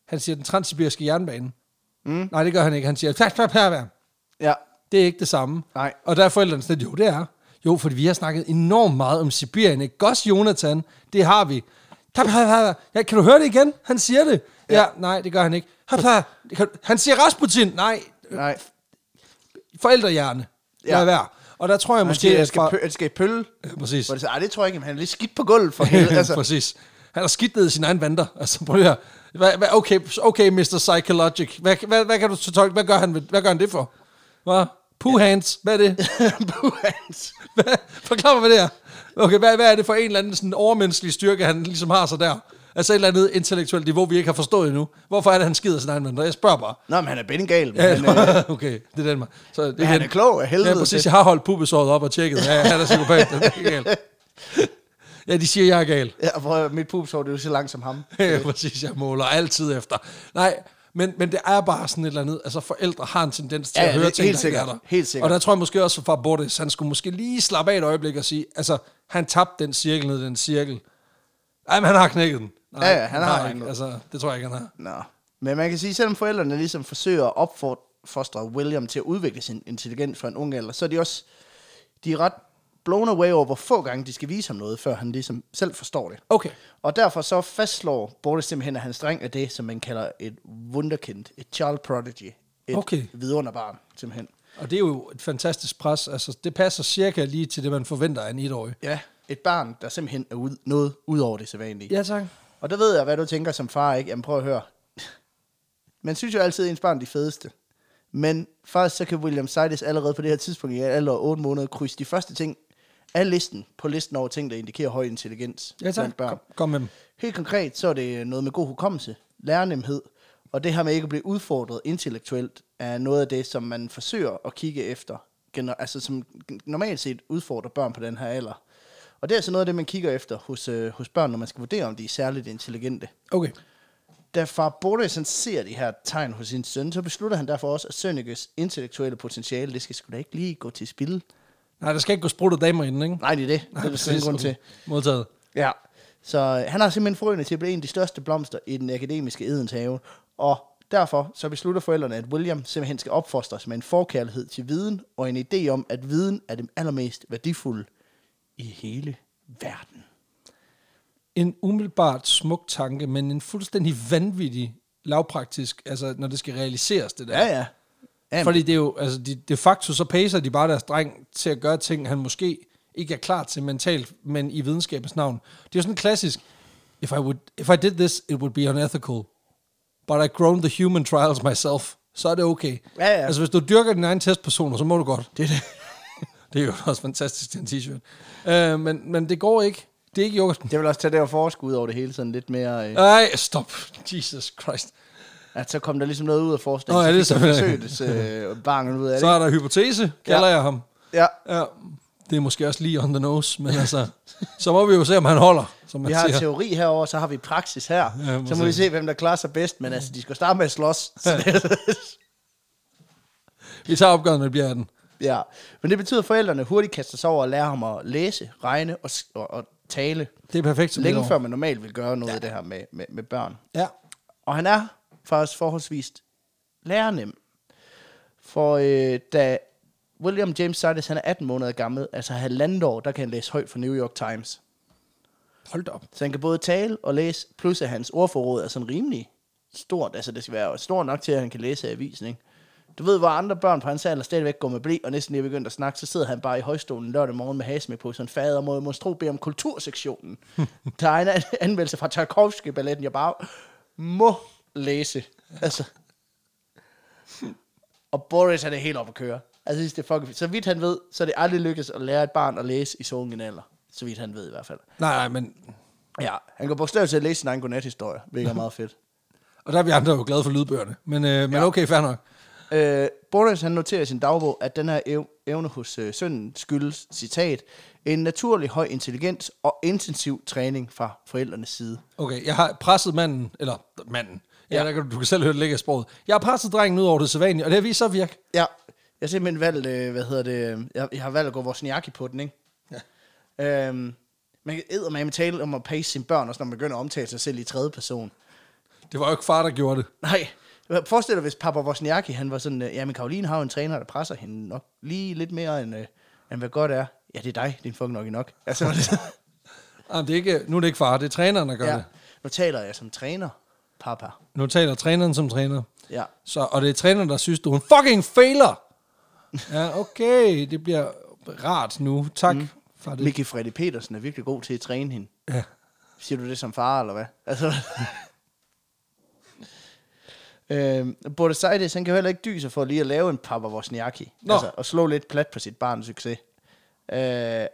Speaker 1: Han siger, den transsibiriske jernbane. Mm. Nej, det gør han ikke. Han siger, tak, tak, tak, tak.
Speaker 2: Ja.
Speaker 1: Det er ikke det samme.
Speaker 2: Nej.
Speaker 1: Og der er forældrene sådan, lidt, jo det er. Jo, fordi vi har snakket enormt meget om Sibirien, ikke? Også Jonathan, det har vi. Hap, hap, hap. Ja, kan du høre det igen? Han siger det. Ja, ja nej, det gør han ikke. Hap, hap. Kan du- Han siger Rasputin. Nej,
Speaker 2: Nej.
Speaker 1: forældrehjerne.
Speaker 2: Ja.
Speaker 1: Ja. Lad være. Og der tror jeg
Speaker 2: Han
Speaker 1: måske...
Speaker 2: siger, jeg
Speaker 1: at
Speaker 2: skal,
Speaker 1: fra-
Speaker 2: pø- jeg skal i pølle.
Speaker 1: Ja, præcis.
Speaker 2: Hvor det så, Ej, det tror jeg ikke, men han er lidt skidt på gulvet
Speaker 1: [laughs]
Speaker 2: for helvede.
Speaker 1: altså.
Speaker 2: [laughs] Altså,
Speaker 1: Præcis. Han har skidt ned i sin egen vandter. Altså, prøv lige at- hvad, hvad, okay, okay, Mr. Psychologic. Hvad, hvad, hvad kan du tolke? Hvad gør han, ved, hvad gør han det for? Hvad? Poo hands. Hvad er det?
Speaker 2: Buhans.
Speaker 1: Hvad? Forklar mig, hvad det er. Okay, hvad, hvad er det for en eller anden sådan overmenneskelig styrke, han ligesom har sig der? Altså et eller andet intellektuelt niveau, vi ikke har forstået endnu. Hvorfor er det, han skider sin egen vandter? Jeg spørger bare.
Speaker 2: Nå, men han er bengal. Men, han, øh,
Speaker 1: Ja, [laughs] okay, det er den mig. Så det
Speaker 2: men han
Speaker 1: den.
Speaker 2: er klog af helvede.
Speaker 1: Ja, præcis. Jeg har holdt pubesåret op og tjekket. Ja, han er psykopat. Det er
Speaker 2: [laughs]
Speaker 1: galt. Ja, de siger, jeg er gal.
Speaker 2: Ja, og prøv, at høre, mit pubsår, det er jo så langt som ham.
Speaker 1: Ja, [laughs] præcis. Jeg måler altid efter. Nej, men, men det er bare sådan et eller andet. Altså, forældre har en tendens til
Speaker 2: Ja,
Speaker 1: ja,
Speaker 2: ja,
Speaker 1: at høre
Speaker 2: det-
Speaker 1: ting,
Speaker 2: helt
Speaker 1: der ikke er
Speaker 2: sikkert.
Speaker 1: der.
Speaker 2: Helt sikkert.
Speaker 1: Og der tror jeg måske også, at far Bortes, han skulle måske lige slappe af et øjeblik og sige, altså, han tabte den cirkel ned i den cirkel. Nej, men han har knækket den. Nej,
Speaker 2: Ja, ja, han har
Speaker 1: ikke.
Speaker 2: den.
Speaker 1: Altså, det tror jeg ikke, han har.
Speaker 2: Nå. Men man kan sige, selvom forældrene ligesom forsøger at opfostre William til at udvikle sin intelligens fra en ung alder, så er de også de er ret blown away over, hvor få gange de skal vise ham noget, før han ligesom selv forstår det.
Speaker 1: Okay.
Speaker 2: Og derfor så fastslår Boris simpelthen, at hans dreng er det, som man kalder et wunderkind, et child prodigy, et
Speaker 1: Okay.
Speaker 2: vidunderbarn, simpelthen.
Speaker 1: Og det er jo et fantastisk pres. Altså, det passer cirka lige til det, man forventer af en etårig.
Speaker 2: Ja, et barn, der simpelthen er ud, noget ud over det sædvanlige.
Speaker 1: Ja, tak.
Speaker 2: Og der ved jeg, hvad du tænker som far, ikke? Jamen prøv at høre. Man synes jo altid, at ens barn er de fedeste. Men faktisk så kan William Seides allerede på det her tidspunkt i en alder af 8 måneder krydse de første ting af listen på listen over ting, der indikerer høj intelligens
Speaker 1: Ja, tak.
Speaker 2: blandt børn.
Speaker 1: Kom, kom med dem.
Speaker 2: Helt konkret, så er det noget med god hukommelse, lærenemhed, og det her med ikke at blive udfordret intellektuelt, er noget af det, som man forsøger at kigge efter, gener- altså som g- normalt set udfordrer børn på den her alder. Og det er altså noget af det, man kigger efter hos, øh, hos børn, når man skal vurdere, om de er særligt intelligente.
Speaker 1: Okay.
Speaker 2: Da far Boris han ser de her tegn hos sin søn, så beslutter han derfor også, at Sønnekes intellektuelle potentiale, det skal sgu da ikke lige gå til spil.
Speaker 1: Nej, der skal ikke gå sprudt damer inden, ikke?
Speaker 2: Nej, det er det. Det er der slet ingen grund til.
Speaker 1: Modtaget.
Speaker 2: Ja. Så øh, han har simpelthen frøene til at blive en af de største blomster i den akademiske edens have. Og derfor så beslutter forældrene, at William simpelthen skal opfostres med en forkærlighed til viden og en idé om, at viden er det allermest værdifulde i hele verden.
Speaker 1: en umiddelbart smuk tanke, men en fuldstændig vanvittig lavpraktisk, altså når det skal realiseres det der.
Speaker 2: Ja, ja. Jamen,
Speaker 1: Fordi det er jo, altså de, de facto så pacer de bare deres dreng til at gøre ting, han måske ikke er klar til mentalt, men i videnskabens navn. Det er jo sådan klassisk, if I, would, if I did this, it would be unethical, but I grown the human trials myself, så er det okay.
Speaker 2: Ja, ja.
Speaker 1: Altså hvis du dyrker din egen testpersoner, så må du godt.
Speaker 2: det er det. [laughs]
Speaker 1: Det er jo også fantastisk, den t-shirt. Øh, men, men det går ikke. Det er ikke yoghurt.
Speaker 2: Det vil også tage det at forske ud over det hele sådan lidt mere... Øh,
Speaker 1: Nej, stop. Jesus Christ.
Speaker 2: at så kom der ligesom noget ud af
Speaker 1: Nå,
Speaker 2: forskningen.
Speaker 1: ja, det er
Speaker 2: så
Speaker 1: selvfølgelig-
Speaker 2: forsøgt øh, barnet ud af
Speaker 1: Så
Speaker 2: det.
Speaker 1: er der hypotese, kalder ja. jeg ham.
Speaker 2: Ja.
Speaker 1: Ja, det er måske også lige on the nose, men altså, så må vi jo se, om han holder, som man
Speaker 2: Vi har
Speaker 1: siger.
Speaker 2: teori herover, så har vi praksis her. Ja, så må
Speaker 1: præcis.
Speaker 2: vi se, hvem der klarer sig bedst. Men altså, de skal starte med at slås.
Speaker 1: [laughs]
Speaker 2: Så det,
Speaker 1: Vi tager opgøret, når det bliver 18.
Speaker 2: Ja, men det betyder, at forældrene hurtigt kaster sig over og lærer ham at læse, regne og, s- og, og tale.
Speaker 1: Det er perfekt som
Speaker 2: Længe
Speaker 1: et år.
Speaker 2: før man normalt vil gøre noget ja. af det her med, med, med børn.
Speaker 1: Ja,
Speaker 2: Og han er faktisk forholdsvis lærernem. For øh, da William James Sidis, han er 18 måneder gammel, altså halvandet år, der kan han læse højt for New York Times.
Speaker 1: hold da op.
Speaker 2: Så han kan både tale og læse, plus at hans ordforråd er sådan rimelig stort. Altså det skal være stort nok til, at han kan læse af avisen, ikke? Du ved, hvor andre børn på hans alder stadigvæk går med blæ, og næsten lige er begyndt at snakke, så sidder han bare i højstolen lørdag morgen med hasmæk på, sådan fader mod monstro beder om kultursektionen. Der er en an- anmeldelse fra Tchaikovsky-balletten, jeg bare må læse. Altså. Og Boris, han er helt oppe at køre. Altså, jeg synes, det er fucking... fedt. Så vidt han ved, så er det aldrig lykkedes at lære et barn at læse i sådan en alder. Så vidt han ved i hvert fald.
Speaker 1: Nej, nej, men...
Speaker 2: Ja, han går bogstaveligt til at læse sin egen godnathistorie, hvilket er meget [laughs] fedt.
Speaker 1: Og der er vi andre jo glade for lydbøgerne. Men, øh, men okay, fair nok.
Speaker 2: Øh, Boris han noterer i sin dagbog, at den her ev- evne hos øh, sønnen skyldes, citat, en naturlig høj intelligens og intensiv træning fra forældrenes side.
Speaker 1: Okay, jeg har presset manden, eller manden. Ja, ja. Der kan, du- du kan selv høre det ligge i sproget. Jeg har presset drengen ud over det sædvanlige, og det har vist så virke.
Speaker 2: Ja, jeg har simpelthen valgt, øh, hvad hedder det, øh, jeg, jeg har valgt at gå vores njaki på den, ikke? Ja. Øhm, man kan eddermame tale om at pace sine børn, også når man begynder at omtale sig selv i tredje person.
Speaker 1: Det var jo ikke far, der gjorde det.
Speaker 2: Nej, Forestil dig, hvis Papa Wozniacki, han var sådan, øh, jamen Karoline har jo en træner, der presser hende nok lige lidt mere, end, øh, end hvad godt er. Ja, det er dig, din fucking nok nok. Altså, [laughs] var det sådan,
Speaker 1: Jamen, det er ikke, nu er det ikke far, det er træneren, der gør ja.
Speaker 2: ja.
Speaker 1: det.
Speaker 2: Nu taler jeg som træner, Papa.
Speaker 1: Nu taler træneren som træner.
Speaker 2: Ja.
Speaker 1: Så, og det er træneren, der synes, du er en fucking failer. Ja, okay, det bliver rart nu. Tak mm. for det.
Speaker 2: Mickey Freddy Petersen er virkelig god til at træne hende.
Speaker 1: Ja.
Speaker 2: Siger du det som far, eller hvad?
Speaker 1: [laughs]
Speaker 2: Altså... øhm, Bordesidis, han kan jo heller ikke dyse for lige at lave en Papa Wozniacki.
Speaker 1: Nå.
Speaker 2: Altså, og slå lidt plat på sit barns succes. Øh,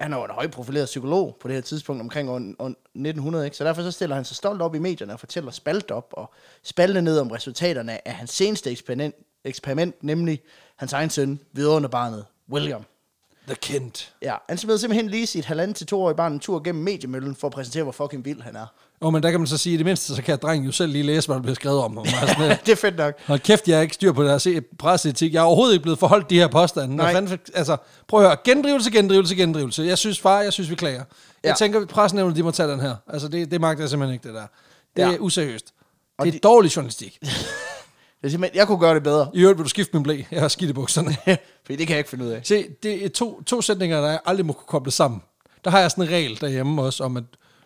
Speaker 2: han er jo en højprofileret psykolog på det her tidspunkt omkring år, år 1900, ikke? så derfor så stiller han sig stolt op i medierne og fortæller spalt op og spalte ned om resultaterne af hans seneste eksperiment, eksperiment nemlig hans egen søn, vidunderbarnet William.
Speaker 1: The Kent.
Speaker 2: Ja, han smed simpelthen lige sit halvanden til to år i barn en tur gennem mediemøllen for at præsentere, hvor fucking vild han er.
Speaker 1: Og men der kan man så sige, at i det mindste, så kan drengen jo selv lige læse, hvad der bliver skrevet
Speaker 2: [laughs]
Speaker 1: om ham. Altså, det-
Speaker 2: det er fedt nok.
Speaker 1: Hold kæft, jeg er ikke styr på deres e- presseetik. Jeg er overhovedet ikke blevet forholdt de her påstande. Hvad
Speaker 2: Nej.
Speaker 1: Fanden, altså, prøv at høre. Gendrivelse, gendrivelse, gendrivelse. Jeg synes, far, jeg synes, vi klager. Jeg
Speaker 2: Ja.
Speaker 1: tænker, pressenævnet, de må tage den her. Altså, det, det magter jeg simpelthen ikke, det der. Det er
Speaker 2: Ja.
Speaker 1: useriøst.
Speaker 2: Og
Speaker 1: det er
Speaker 2: de-
Speaker 1: dårlig journalistik.
Speaker 2: Det er simpelthen, jeg kunne gøre det bedre,
Speaker 1: I øvrigt vil du skifte min blæ. Jeg har skidt i bukserne.
Speaker 2: [laughs] fordi det kan jeg ikke finde ud af.
Speaker 1: Se, det er to, to sætninger, der jeg aldrig må kunne koble sammen. Der har jeg sådan en regel derhjemme også, om at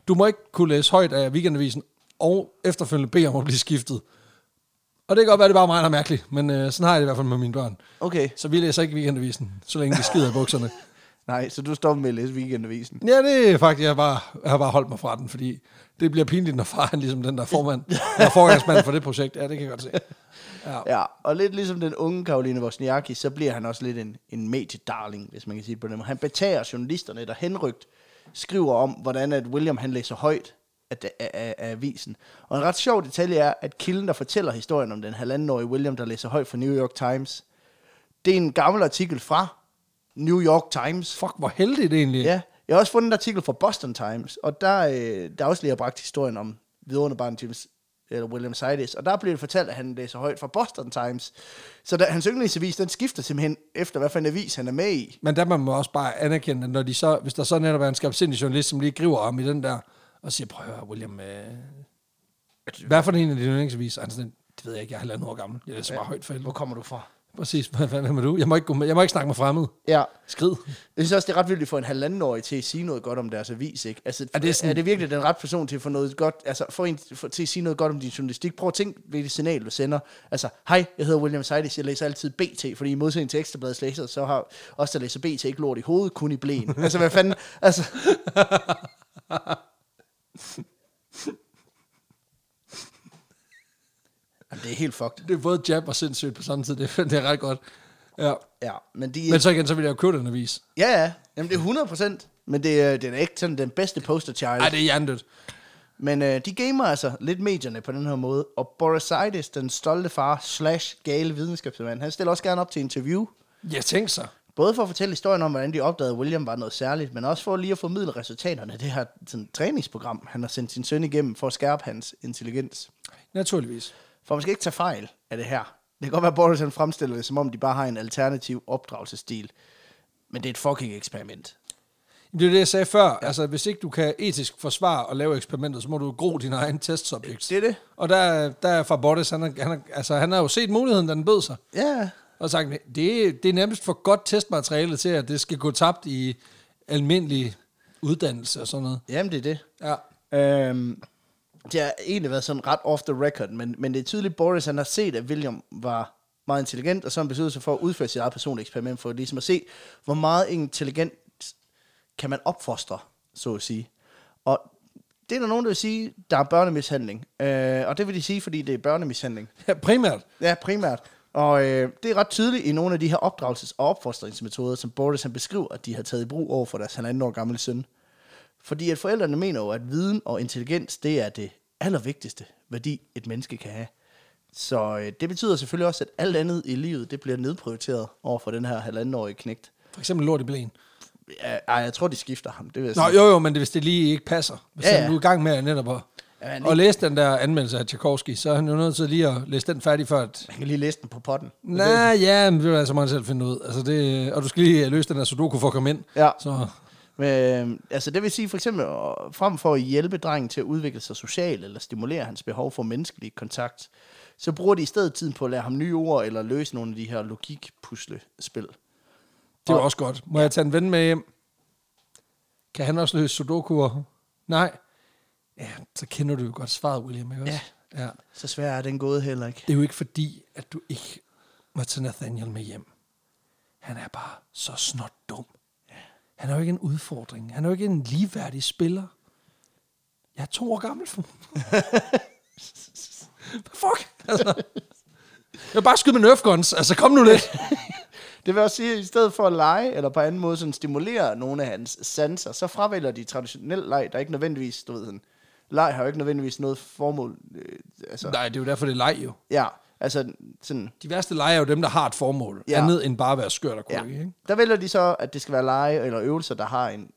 Speaker 1: du må ikke kunne læse højt af weekendavisen, og efterfølgende bede om at blive skiftet. Og det kan godt være, det er bare mig, der er mærkeligt, men øh, sådan har jeg det i hvert fald med mine børn.
Speaker 2: Okay,
Speaker 1: Så vi læser ikke weekendavisen, så længe de skider i bukserne.
Speaker 2: nej, så du stopper med at læse weekendavisen.
Speaker 1: Ja, det er faktisk, jeg, bare, jeg har bare holdt mig fra den, fordi det bliver pinligt, når far han ligesom den der formand, der er forgangsmand for det projekt. Ja, det kan jeg godt se.
Speaker 2: Ja, og lidt ligesom den unge Karoline Wozniacki, så bliver han også lidt en, en mediedarling, hvis man kan sige det på den måde. Han betager journalisterne, der henrygt skriver om, hvordan at William han læser højt af, af, af, af avisen. Og en ret sjov detalje er, at kilden, der fortæller historien om den halvandenårige William, der læser højt for New York Times, det er en gammel artikel fra New York Times.
Speaker 1: Fuck, hvor heldigt det egentlig.
Speaker 2: Ja, jeg har også fundet en artikel fra Boston Times, og der, øh, der er også lige har bragt historien om vidunderbaren James, eller William Sidis, og der blev det fortalt, at han læser højt fra Boston Times. Så der, hans yndlingsavis, den skifter simpelthen efter, hvad for en avis han er med i.
Speaker 1: Men der må man også bare anerkende, at når de så, hvis der så netop er en skarpsindig journalist, som lige griber om i den der, og siger, prøv at høre, William, øh, hvad for en af dine yndlingsaviser? Og Han er sådan, det ved jeg ikke, jeg er halvandet år gammel. Jeg læser bare højt for helvede.
Speaker 2: kommer du fra?
Speaker 1: Præcis, hvad fanden er du? Jeg må ikke, gå med, jeg må ikke snakke med fremmede.
Speaker 2: Ja,
Speaker 1: Skrid.
Speaker 2: jeg synes også, det er ret vildt at få en halvandenårig til at sige noget godt om deres avis, ikke? Altså, er
Speaker 1: det
Speaker 2: det,
Speaker 1: sådan-
Speaker 2: sådan... er det virkelig den ret person til at få noget godt, altså, få en, for, til at sige noget godt om din journalistik? Prøv at tænke, hvilket signal du sender. Altså, hej, jeg hedder William Seidis, jeg læser altid BT, fordi i modsætning til Ekstrabladets læser, så har os, der læser BT, ikke lort i hovedet, kun i [laughs] blæen. altså, hvad fanden? Altså, Jamen, det er helt fucked.
Speaker 1: Det er både jab og sindssygt på samme tid. Det, er- det er ret godt. Ja.
Speaker 2: Ja, men de...
Speaker 1: Men så igen, så vil jeg jo købe den avis.
Speaker 2: Ja, ja. Jamen, det er 100 procent. Men det er, den er ikke sådan den bedste poster child.
Speaker 1: Ej, det er hjernedødt.
Speaker 2: Men øh, de gamer altså lidt medierne på den her måde, og Borosides, den stolte far slash gale videnskabsmand, han stiller også gerne op til interview.
Speaker 1: Jeg tænkte så.
Speaker 2: Både for at fortælle historien om, hvordan de opdagede, at William var noget særligt, men også for lige at formidle resultaterne af det her sådan, træningsprogram, han har sendt sin søn igennem for at skærpe hans intelligens.
Speaker 1: Naturligvis.
Speaker 2: For man skal ikke tage fejl af det her. Det kan godt være, at Boris han fremstiller det, som om de bare har en alternativ opdragelsesstil. Men det er et fucking eksperiment.
Speaker 1: Det er det, jeg sagde før. Ja. Altså, hvis ikke du kan etisk forsvare og lave eksperimentet, så må du gro din egen testsubjekt.
Speaker 2: Det er det.
Speaker 1: Og der, der er fra Bottas, han, er- han, er- altså, han har jo set muligheden, da den bød sig.
Speaker 2: Ja,
Speaker 1: Og sagt, det, det er nærmest for godt testmateriale til, at det skal gå tabt i almindelig uddannelse og sådan noget.
Speaker 2: jamen det er det.
Speaker 1: Ja.
Speaker 2: Øhm, det har egentlig været sådan ret off the record, men, men det er tydeligt, Boris han har set, at William var meget intelligent, og så har han besluttet sig for at udføre sit eget personlige eksperiment, for ligesom at se, hvor meget intelligent kan man opfostre, så at sige. Og det er der nogen, der vil sige, der er børnemishandling. Øh, og det vil de sige, fordi det er børnemishandling.
Speaker 1: ja primært.
Speaker 2: Ja, primært. Og øh, det er ret tydeligt i nogle af de her opdragelses- og opfostringsmetoder, som Boris han beskriver, at de har taget i brug over for deres halvanden år gamle søn. Fordi at forældrene mener jo, at viden og intelligens, det er det allervigtigste værdi, et menneske kan have. Så øh, det betyder selvfølgelig også, at alt andet i livet, det bliver nedprioriteret over for den her halvandenårige knægt.
Speaker 1: For eksempel lort i blæen.
Speaker 2: Ja, Ej, jeg tror, de skifter ham. Det vil jeg
Speaker 1: Nå,
Speaker 2: sige.
Speaker 1: jo, jo, men det, hvis det lige ikke passer. Hvis
Speaker 2: Ja,
Speaker 1: ja,
Speaker 2: ja.
Speaker 1: du er i gang med at netop at,
Speaker 2: Ja, han
Speaker 1: ja,
Speaker 2: lige-
Speaker 1: at læse den der anmeldelse af Tchaikovsky, så er han jo nødt til lige at læse den færdig, før at
Speaker 2: Jeg kan lige læse den på potten.
Speaker 1: Nej, ja, men det vil altså man selv finde ud. Altså det, og du skal lige løse den her sudoku for at komme ind.
Speaker 2: Ja.
Speaker 1: Så
Speaker 2: Men, øhm, altså det vil sige for eksempel, øh, frem for at hjælpe drengen til at udvikle sig socialt, eller stimulere hans behov for menneskelig kontakt, så bruger de i stedet tiden på at lære ham nye ord, eller løse nogle af de her logik-puslespil.
Speaker 1: Det var også godt. Må jeg tage en ven med hjem? Kan han også løse sudokuer? Nej. Ja, så kender du jo godt svaret, William, ikke også? ja.
Speaker 2: Så svær er den gået heller ikke.
Speaker 1: Det er jo ikke fordi, at du ikke må tage Nathaniel med hjem. Han er bare så snot dum. Han er jo ikke en udfordring. Han er jo ikke en ligeværdig spiller. Jeg er to år gammel for Fuck! Altså, jeg vil bare skyde med Nerf guns. Altså, kom nu lidt.
Speaker 2: Det vil også sige, at i stedet for at lege, eller på anden måde sådan stimulere nogle af hans sanser, så fravælger de traditionel leg, der ikke nødvendigvis, du ved sådan, leg har jo ikke nødvendigvis noget formål, øh, altså,
Speaker 1: Nej, det er jo derfor, det er leg jo.
Speaker 2: ja, altså sådan,
Speaker 1: De værste lege er jo dem, der har et formål. Ja.
Speaker 2: Ja.
Speaker 1: Andet end bare at være skørt og
Speaker 2: ja.
Speaker 1: krukke, ja. ikke?
Speaker 2: Der vælger de så, at det skal være lege eller øvelser, der har en,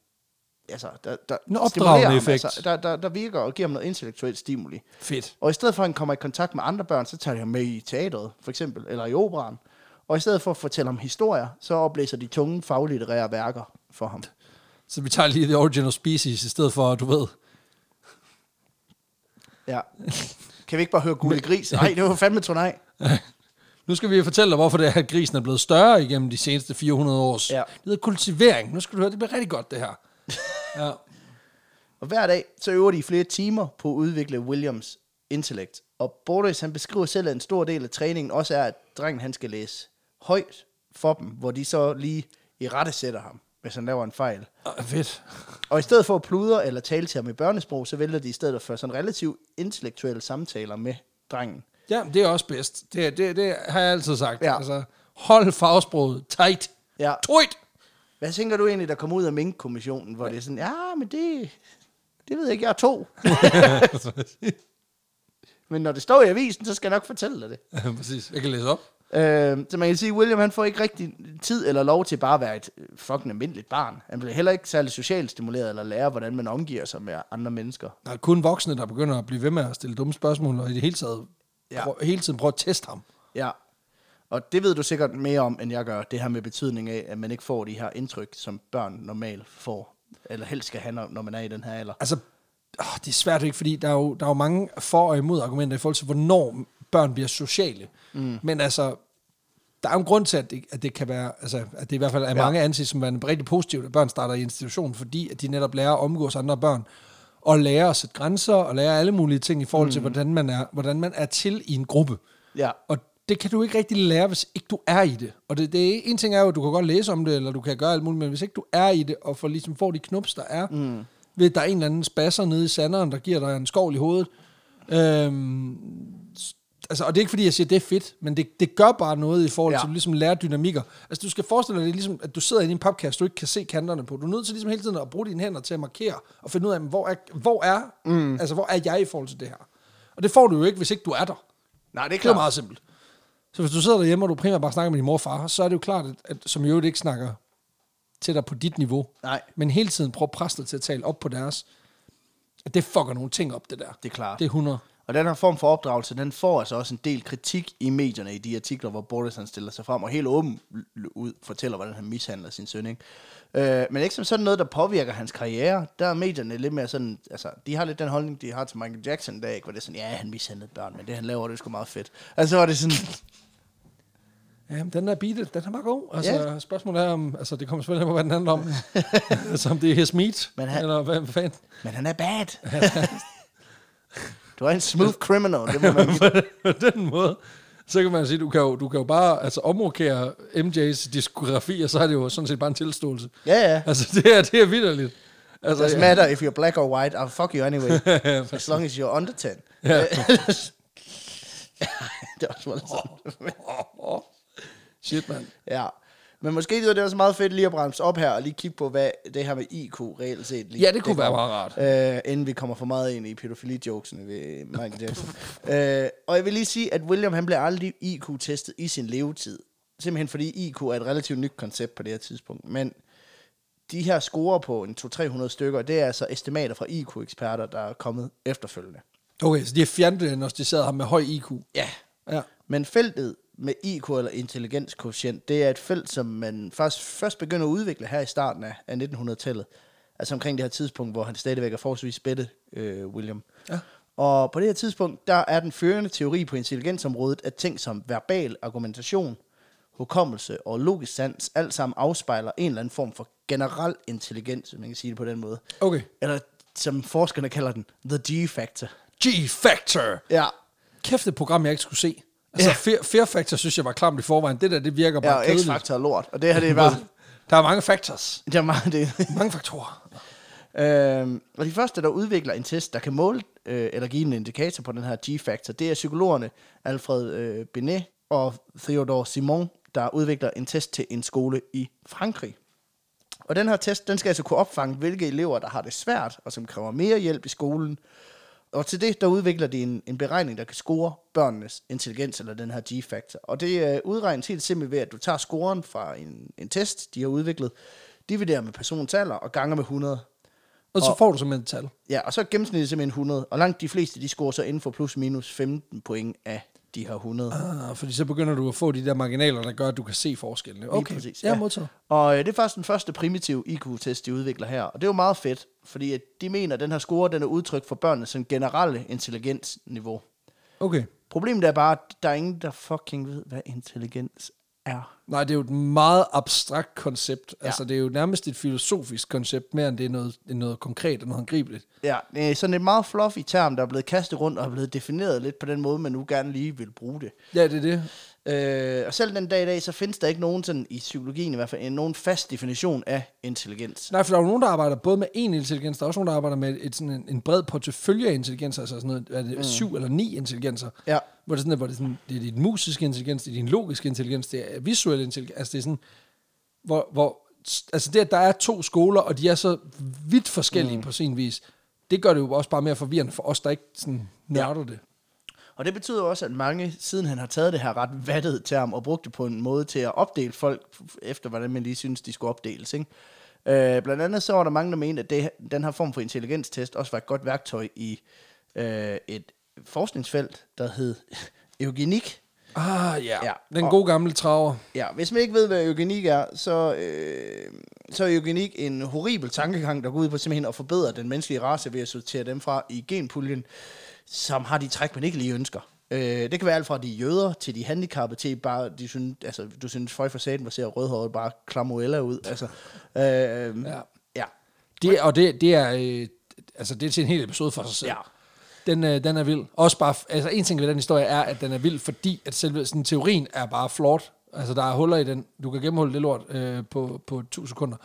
Speaker 2: altså, der, der
Speaker 1: En
Speaker 2: stimulerer
Speaker 1: opdragende
Speaker 2: ham,
Speaker 1: effekt.
Speaker 2: Altså, der, der, der virker og giver ham noget intellektuelt stimuli.
Speaker 1: Fedt.
Speaker 2: Og i stedet for, at han kommer i kontakt med andre børn, så tager de ham med i teateret, for eksempel, eller i operan. Og i stedet for at fortælle ham historier, så oplæser de tunge faglitterære værker for ham.
Speaker 1: Så vi tager lige The Original Species, i stedet for, du ved... [laughs]
Speaker 2: Ja. Kan vi ikke bare høre gule gris? Nej, det var fandme turnaj.
Speaker 1: Nu skal vi fortælle dig, hvorfor det er, at grisen er blevet større igennem de seneste 400 års.
Speaker 2: Ja.
Speaker 1: Det hedder kultivering. Nu skal du høre, det bliver rigtig godt, det
Speaker 2: [laughs]
Speaker 1: her. ja.
Speaker 2: Og hver dag, så øver de i flere timer på at udvikle Williams intellekt. Og Boris, han beskriver selv, at en stor del af træningen også er, at drengen han skal læse højt for dem, hvor de så lige i rette sætter ham, hvis han laver en fejl.
Speaker 1: Ah, fedt.
Speaker 2: Og i stedet for at pludre eller tale til ham i børnesprog, så vælger de i stedet at føre sådan relativt intellektuelle samtaler med drengen.
Speaker 1: Ja, det er også bedst. Det, er- det, det har jeg altid sagt.
Speaker 2: Ja.
Speaker 1: Altså, hold fagsproget tight.
Speaker 2: Ja. [laughs]
Speaker 1: Tight.
Speaker 2: Hvad tænker du egentlig, der kommer ud af Mink-kommissionen, hvor det er sådan, ja, men det, det ved jeg ikke, jeg er to. men når det står i avisen, så skal jeg nok fortælle dig det.
Speaker 1: Ja, Præcis. Jeg kan læse op.
Speaker 2: Øh, så man kan sige, at William han får ikke rigtig tid eller lov til bare at være et øh, fucking almindeligt barn. Han bliver heller ikke særlig socialt stimuleret eller lærer, hvordan man omgiver sig med andre mennesker.
Speaker 1: Der er kun voksne, der begynder at blive ved med at stille dumme spørgsmål, og i det hele, taget, ja.
Speaker 2: Ja.
Speaker 1: prøv, hele tiden prøve at teste ham.
Speaker 2: Ja. Og det ved du sikkert mere om, end jeg gør, det her med betydning af, at man ikke får de her indtryk, som børn normalt får. Eller helst skal have, når når man er i den her alder.
Speaker 1: altså, åh, det er svært ikke, fordi der er, jo, der er jo mange for- og imod argumenter i forhold til, hvornår børn bliver sociale. Mm. Men altså, der er jo en grund til, at det, at det kan være, altså, at det i hvert fald er ja.
Speaker 2: Ja.
Speaker 1: mange anset som værende rigtig positivt, at børn starter i institutionen, fordi at de netop lærer at omgås andre børn, og lærer at sætte grænser, og lærer alle mulige ting i forhold til, hvordan man er, hvordan man er til i en gruppe.
Speaker 2: Ja.
Speaker 1: Og det kan du ikke rigtig lære, hvis ikke du er i det. Og det, det er, en ting er jo, at du kan godt læse om det, eller du kan gøre alt muligt, men hvis ikke du er i det, og for, ligesom får de knups, der er, mm. ved at der er en eller anden spasser nede i sanderen, der giver dig en skovl i hovedet. Øhm, s- altså, og det er ikke, fordi jeg siger, at det er fedt, men det, det gør bare noget i forhold ja.
Speaker 2: Ja.
Speaker 1: til, at du ligesom lærer dynamikker. Altså, du skal forestille dig, det er ligesom, at du sidder inde i en papkasse, du ikke kan se kanterne på. Du er nødt til ligesom hele tiden at bruge dine hænder til at markere, og finde ud af, jamen, hvor er, hvor er, mm. altså, hvor er jeg i forhold til det her? Og det får du jo ikke, hvis ikke du er der.
Speaker 2: Nej,
Speaker 1: Det er jo meget simpelt. Så hvis du sidder derhjemme, og du primært bare snakker med din mor og far, så er det jo klart, at, at som i øvrigt ikke snakker til dig på dit niveau,
Speaker 2: Nej.
Speaker 1: men hele tiden prøver at presse dig til at tale op på deres, at det fucker nogle ting op, det der.
Speaker 2: Det er klart.
Speaker 1: Det er 100.
Speaker 2: Og den her form for opdragelse, den får altså også en del kritik i medierne i de artikler, hvor Boris han stiller sig frem og helt åben l- ud fortæller, hvordan han mishandler sin søn. Ikke? Øh, men ikke som sådan noget, der påvirker hans karriere. Der er medierne lidt mere sådan, altså, de har lidt den holdning, de har til Michael Jackson i dag, ikke? hvor det er sådan, ja, han mishandlede børn, men det han laver, det er sgu meget fedt. Altså, var det sådan,
Speaker 1: Ja, men den der beat, den er meget god. Altså,
Speaker 2: Ja.
Speaker 1: spørgsmålet er om, altså det kommer selvfølgelig an på, hvad den
Speaker 2: [laughs]
Speaker 1: handler om. altså om det er his meat,
Speaker 2: Men han-
Speaker 1: eller hvad, hvad fanden. [laughs]
Speaker 2: men han er bad. [laughs] du er en smooth criminal, det må man give.
Speaker 1: på den måde, så kan man sige, du kan jo, du kan jo bare altså, omrokere MJ's diskografi, og så er det jo sådan set bare en tilståelse.
Speaker 2: Ja, ja.
Speaker 1: Altså, det er, det er vidderligt. Altså,
Speaker 2: Doesn't matter if you're black or white, I'll fuck you anyway. as long as you're under 10.
Speaker 1: Ja.
Speaker 2: [laughs] det var sådan.
Speaker 1: Åh, Shit, mand.
Speaker 2: Ja. Men måske det var det også meget fedt lige at bremse op her, og lige kigge på, hvad det her med IQ reelt set lige
Speaker 1: Ja, det kunne være meget rart.
Speaker 2: Øh, inden vi kommer for meget ind i pædofili-jokesene ved Michael
Speaker 1: [laughs]
Speaker 2: Jackson. øh, og jeg vil lige sige, at William han blev aldrig IQ-testet i sin levetid. Simpelthen fordi IQ er et relativt nyt koncept på det her tidspunkt. Men de her scorer på en 200-300 stykker, det er altså estimater fra IQ-eksperter, der er kommet efterfølgende.
Speaker 1: Okay, så de har fjerndiagnostiseret ham med høj IQ.
Speaker 2: Ja.
Speaker 1: Ja.
Speaker 2: Men feltet med IQ eller intelligenskoefficient, det er et felt, som man faktisk først begynder at udvikle her i starten af af 1900-tallet. altså omkring det her tidspunkt, hvor han stadigvæk er forholdsvis spættet, øh, William.
Speaker 1: Ja.
Speaker 2: Og på det her tidspunkt, der er den førende teori på intelligensområdet, at ting som verbal argumentation, hukommelse og logisk sans, alt sammen afspejler en eller anden form for generel intelligens, hvis man kan sige det på den måde.
Speaker 1: Okay.
Speaker 2: Eller som forskerne kalder den, the G-factor.
Speaker 1: G-Factor!
Speaker 2: Ja,
Speaker 1: Kæft et program, jeg ikke skulle se. Altså,
Speaker 2: Ja.
Speaker 1: yeah. Fear Factor synes jeg var klamt i forvejen. Det der, det virker bare
Speaker 2: ja
Speaker 1: ja,
Speaker 2: og
Speaker 1: kedeligt.
Speaker 2: X-factor er lort, og det her det er [laughs] bare,
Speaker 1: Der er mange factors.
Speaker 2: det er meget det.
Speaker 1: Mange faktorer.
Speaker 2: Øhm, og de første, der udvikler en test, der kan måle øh, eller give en indikator på den her G-faktor, det er psykologerne Alfred øh, Binet og Theodore Simon, der udvikler en test til en skole i Frankrig. Og den her test, den skal altså kunne opfange, hvilke elever, der har det svært, og som kræver mere hjælp i skolen. Og til det, der udvikler de en, en beregning, der kan score børnenes intelligens, eller den her G-faktor. Og det øh, udregnes helt simpelt ved, at du tager scoren fra en, en test, de har udviklet, dividerer med personens alder og ganger med 100.
Speaker 1: Og så får du simpelthen et tal.
Speaker 2: Ja, og så er gennemsnittet simpelthen 100, og langt de fleste, de scorer så inden for plus minus 15 point af de her 100.
Speaker 1: Ah, fordi så begynder du at få de der marginaler, der gør, at du kan se forskellene.
Speaker 2: Lige
Speaker 1: Okay,
Speaker 2: præcis,
Speaker 1: ja.
Speaker 2: ja.
Speaker 1: jeg modtaget.
Speaker 2: Og øh, det er faktisk den første primitive IQ-test, de udvikler her, og det er jo meget fedt, fordi at de mener, at den her score, den er udtryk for børnenes sådan generelle intelligensniveau.
Speaker 1: Okay.
Speaker 2: Problemet er bare, at der er ingen, der fucking ved, hvad intelligens er.
Speaker 1: Nej, det er jo et meget abstrakt koncept. Ja. Altså, det er jo nærmest et filosofisk koncept, mere end det er noget, det er noget konkret og noget angribeligt.
Speaker 2: Ja, det er sådan et meget fluffy term, der er blevet kastet rundt og er blevet defineret lidt på den måde, man nu gerne lige vil bruge det.
Speaker 1: Ja, det er det.
Speaker 2: Øh, og selv den dag i dag, så findes der ikke nogen sådan, i psykologien i hvert fald, en- nogen fast definition af intelligens.
Speaker 1: Nej, for der er jo nogen, der arbejder både med én intelligens, der er også nogen, der arbejder med et, sådan en, en bred portefølje af intelligenser, altså sådan noget, er det mm. syv eller ni intelligenser.
Speaker 2: Ja.
Speaker 1: Hvor det er sådan, hvor det er, sådan, det er din musiske intelligens, det er din logiske intelligens, det er visuel intelligens, altså det er sådan, hvor, hvor altså det, at der er to skoler, og de er så vidt forskellige mm. på sin vis, det gør det jo også bare mere forvirrende for os, der ikke sådan nørder ja. det.
Speaker 2: Og det betyder også, at mange, siden han har taget det her ret vattede term og brugt det på en måde til at opdele folk, f- efter hvordan man lige synes, de skulle opdeles. Ikke? Øh, blandt andet så var der mange, der mente, at det, den her form for intelligenstest også var et godt værktøj i øh, et forskningsfelt, der hed [laughs] eugenik.
Speaker 1: Ah, ja.
Speaker 2: Ja,
Speaker 1: ja. Den
Speaker 2: og-
Speaker 1: gode gamle traver.
Speaker 2: Ja, hvis man ikke ved, hvad eugenik er, så, øh, så er eugenik en horribel tankegang, der går ud på simpelthen at forbedre den menneskelige race ved at sortere dem fra i genpuljen, som har de træk, man ikke lige ønsker. Øh, det kan være alt fra de jøder til de handicappede til bare, de synes, altså, du synes, føj for saten, hvor ser rødhåret bare klamuella ud. Altså, øh, ja.
Speaker 1: Ja.
Speaker 2: ja.
Speaker 1: Det, og det, det er... Øh, altså, det er til en hel episode for sig selv.
Speaker 2: Ja.
Speaker 1: Den, øh, den er vild. Også bare, f- altså, en ting ved den historie er, at den er vild, fordi at selve sådan, teorien er bare flot. Altså, der er huller i den. Du kan gennemholde det lort øh, på, på 1000 sekunder.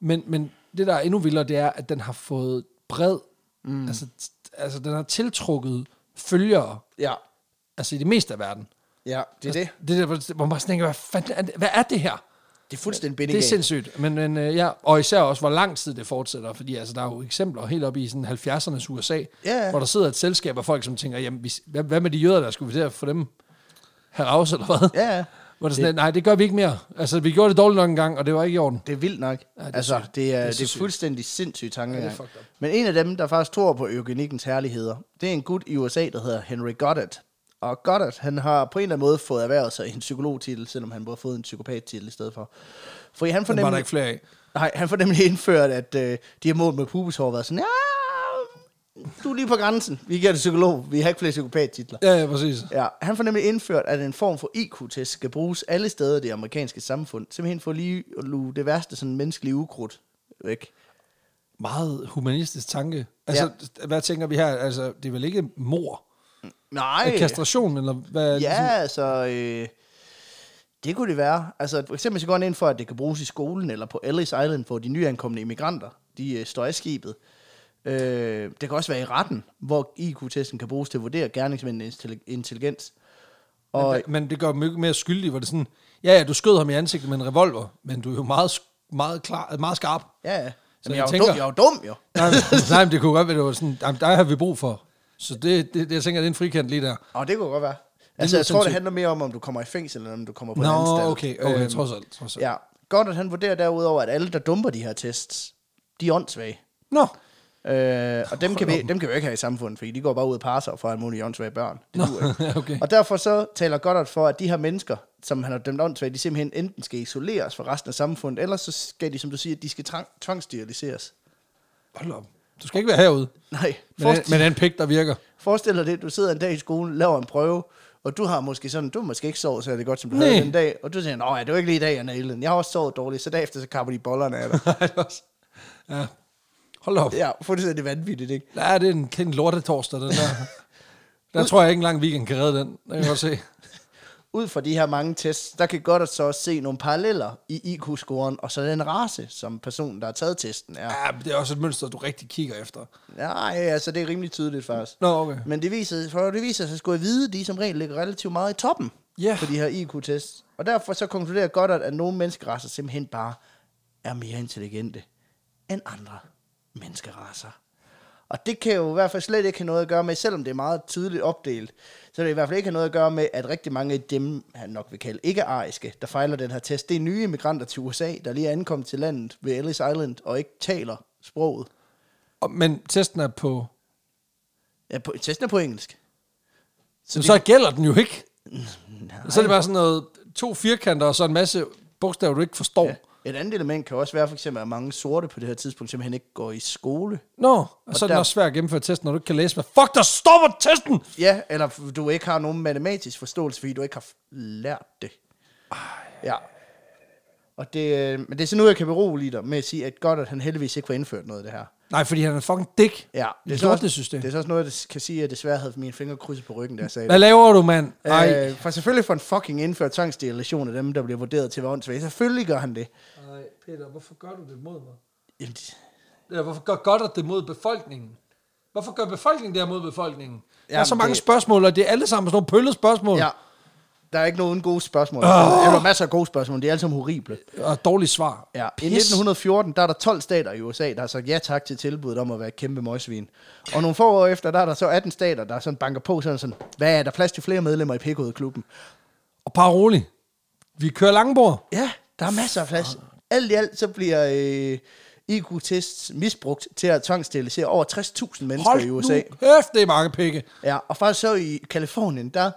Speaker 1: Men, men det, der er endnu vildere, det er, at den har fået bred... Mm. Altså, t- altså, den har tiltrukket følgere,
Speaker 2: Ja,
Speaker 1: altså i det meste af verden.
Speaker 2: ja, det er det.
Speaker 1: Altså, det der, hvor- hvor man bare sådan tænker, hvad, fanden er det, hvad er det her?
Speaker 2: Det er fuldstændig
Speaker 1: Det er
Speaker 2: bindegalt.
Speaker 1: sindssygt, men, men øh, ja, og især også, hvor lang tid det fortsætter, fordi altså, der er jo eksempler helt op i sådan 70'ernes USA,
Speaker 2: Ja.
Speaker 1: hvor der sidder et selskab af folk, som tænker, jamen, vi, hvad, hvad med de jøder, der skulle vi til at få dem heraus, eller hvad?
Speaker 2: Ja, ja.
Speaker 1: Hvor det sådan, at, nej, det gør vi ikke mere. Altså, vi gjorde det dårligt nok en gang, og det var ikke i orden.
Speaker 2: Det er vildt nok.
Speaker 1: det
Speaker 2: Ja, det
Speaker 1: er
Speaker 2: er altså,
Speaker 1: sygt.
Speaker 2: det er,
Speaker 1: Det er
Speaker 2: det
Speaker 1: så
Speaker 2: er
Speaker 1: sygt.
Speaker 2: fuldstændig sindssyg tankegang.
Speaker 1: fucked up.
Speaker 2: Men en af dem, der faktisk tror på eugenikkens herligheder, det er en gut i USA, der hedder Henry Goddard. Og Goddard, han har på en eller anden måde fået erhvervet sig en psykologtitel, selvom han burde have fået en psykopattitel i stedet for. Fordi han
Speaker 1: Det var der
Speaker 2: fornemmer,
Speaker 1: ikke flere af.
Speaker 2: nej, han får nemlig indført, at øh, de her mål med pubeshår har været sådan, ja, du er lige på grænsen. Vi giver dig psykolog. Vi har ikke flere psykopattitler.
Speaker 1: Ja, ja, præcis.
Speaker 2: Ja, han får nemlig indført, at en form for IQ-test skal bruges alle steder i det amerikanske samfund, simpelthen for lige at luge det værste sådan menneskelige ukrudt væk.
Speaker 1: Meget humanistisk tanke. Altså, ja. hvad tænker vi her? Altså, det er vel ikke mor?
Speaker 2: Nej,
Speaker 1: Er kastration, eller hvad?
Speaker 2: ja, altså, øh, det kunne det være. Altså, for eksempel så går han ind for, at det kan bruges i skolen eller på Ellis Island, hvor de nyankomne immigranter, de øh, står af skibet. Øh, det kan også være i retten, hvor IQ-testen kan bruges til at vurdere gerningsmændenes intelli- intelligens.
Speaker 1: Men, og, men det gør dem jo ikke mere skyldige, hvor det er sådan, ja, ja, du skød ham i ansigtet med en revolver, men du er jo meget, sk- meget, klar, meget skarp.
Speaker 2: Ja, ja.
Speaker 1: Så
Speaker 2: Jamen,
Speaker 1: jeg
Speaker 2: jeg, jeg, er
Speaker 1: tænker-
Speaker 2: jo dum, jeg er jo
Speaker 1: Nej,
Speaker 2: dum, jo.
Speaker 1: men, [laughs] nej, men det kunne godt være, det var sådan, jamen, der har vi brug for. Så det, det, det jeg tænker, det er en frikant lige der.
Speaker 2: Og det kunne godt være. Altså,
Speaker 1: lyder
Speaker 2: jeg tror, det
Speaker 1: sindssygt.
Speaker 2: handler mere om, om du kommer i fængsel, eller om du kommer på en
Speaker 1: Nå,
Speaker 2: anstalt.
Speaker 1: okay, okay,
Speaker 2: Øhm,
Speaker 1: trods alt. Trods alt. Ja.
Speaker 2: Ja, godt, at han vurderer derudover, at alle, der dumper de her tests, de er åndssvage.
Speaker 1: Nå,
Speaker 2: Øh, og dem kan, vi,
Speaker 1: Hold op.
Speaker 2: dem kan vi jo ikke have i samfundet, fordi de går bare ud og passer og får alle mulige åndssvage børn. Det duer ikke.
Speaker 1: [laughs] okay.
Speaker 2: Og derfor så taler Goddard for, at de her mennesker, som han har dømt åndssvage, de simpelthen enten skal isoleres fra resten af samfundet, eller så skal de, som du siger, de skal trang- tvangssteriliseres.
Speaker 1: Hold op. Du skal ikke være herude.
Speaker 2: Nej,
Speaker 1: Men, den, men den pik, der virker.
Speaker 2: Forestil dig det, du sidder en dag i skolen, laver en prøve, og du har måske sådan, du har måske ikke sovet så det godt, som du
Speaker 1: Nej.
Speaker 2: Nej. havde den dag, og du siger, nej, det var ikke lige i dag, jeg nailede den. Jeg har også sovet dårligt, så derefter så kapper de bollerne
Speaker 1: [laughs]
Speaker 2: af dig.
Speaker 1: [laughs] Nej, det er også- ja. Hold op.
Speaker 2: ja, fuldstændig vanvittigt, ikke?
Speaker 1: Ja, det er en, det er en lortetorsdag, den [laughs] der. Der tror jeg ikke engang, weekend kan redde den. Det kan jeg godt se.
Speaker 2: Ud fra de her mange tests, der kan godt så også se nogle paralleller i IQ-scoren, og så den race, som personen, der har taget testen, er.
Speaker 1: Ja, men det er også et mønster, du rigtig kigger efter.
Speaker 2: Nej, altså det er rimelig tydeligt faktisk.
Speaker 1: Nå, okay.
Speaker 2: Men det viser, for det viser sig skulle jeg vide, de som regel ligger relativt meget i toppen
Speaker 1: Ja.
Speaker 2: på de her IQ-tests. Og derfor så konkluderer Goddard, at nogle menneskeraser simpelthen bare er mere intelligente end andre menneskeraser. Og det kan jo i hvert fald slet ikke have noget at gøre med, selvom det er meget tydeligt opdelt, så vil det i hvert fald ikke have noget at gøre med, at rigtig mange af dem, han nok vil kalde ikke-ariske, der fejler den her test, det er nye immigranter til USA, der lige er ankommet til landet ved Ellis Island og ikke taler sproget.
Speaker 1: Og, men testen er på...
Speaker 2: Ja, på, testen er på engelsk.
Speaker 1: Så, så gælder den jo ikke.
Speaker 2: Nej.
Speaker 1: Så er det bare sådan noget... To firkanter og så en masse bogstaver, du ikke forstår.
Speaker 2: Ja.
Speaker 1: Ja.
Speaker 2: Et andet element kan også være for eksempel, at mange sorte på det her tidspunkt simpelthen ikke går i skole.
Speaker 1: Nå, og så er den
Speaker 2: der-
Speaker 1: også svær at gennemføre testen, når du ikke kan læse, hvad fuck der står på testen!
Speaker 2: Ja, eller f- du ikke har nogen matematisk forståelse, fordi du ikke har f- lært det. Ja. Og det, øh, men det er sådan noget, jeg kan berolige dig med at sige, at godt, at han heldigvis ikke får indført noget af det her.
Speaker 1: Nej, fordi han er en fucking dick.
Speaker 2: Ja,
Speaker 1: det er
Speaker 2: så også,
Speaker 1: lortesystem.
Speaker 2: det er så også noget, jeg kan sige, at jeg desværre havde mine fingre krydset på ryggen, da jeg sagde det.
Speaker 1: Hvad laver du, mand? Nej.
Speaker 2: Øh, for selvfølgelig får han fucking indført tvangsdelegation af dem, der bliver vurderet til at være åndssvage. Selvfølgelig gør han det.
Speaker 1: Nej, Peter, hvorfor gør du det mod mig?
Speaker 2: Jamen, det-
Speaker 1: Eller hvorfor gør Goddard det mod befolkningen? Hvorfor gør befolkningen det her mod befolkningen? der er
Speaker 2: Jamen,
Speaker 1: så mange det...
Speaker 2: det-
Speaker 1: spørgsmål, og det er alle sammen sådan nogle pøllede spørgsmål.
Speaker 2: Ja. Der er ikke nogen gode spørgsmål. Der er masser af gode spørgsmål, de er alle sammen horrible.
Speaker 1: Og dårlige svar.
Speaker 2: Ja. I
Speaker 1: Pis.
Speaker 2: 1914, der er der 12 stater i USA, der har sagt ja tak til tilbuddet om at være et kæmpe møgsvin. Og nogle få år efter, der er der så 18 stater, der sådan banker på sådan sådan, hvad er der plads til flere medlemmer i PK-klubben?
Speaker 1: Og bare rolig. Vi kører langbord.
Speaker 2: Ja, der er masser af plads. Ah. Alt i alt, så bliver øh, IQ-tests misbrugt til at tvangssterilisere over 60.000 mennesker
Speaker 1: Hold
Speaker 2: i
Speaker 1: nu
Speaker 2: USA.
Speaker 1: kæft, det er mange pikke.
Speaker 2: Ja, og faktisk så i Kalifornien, der,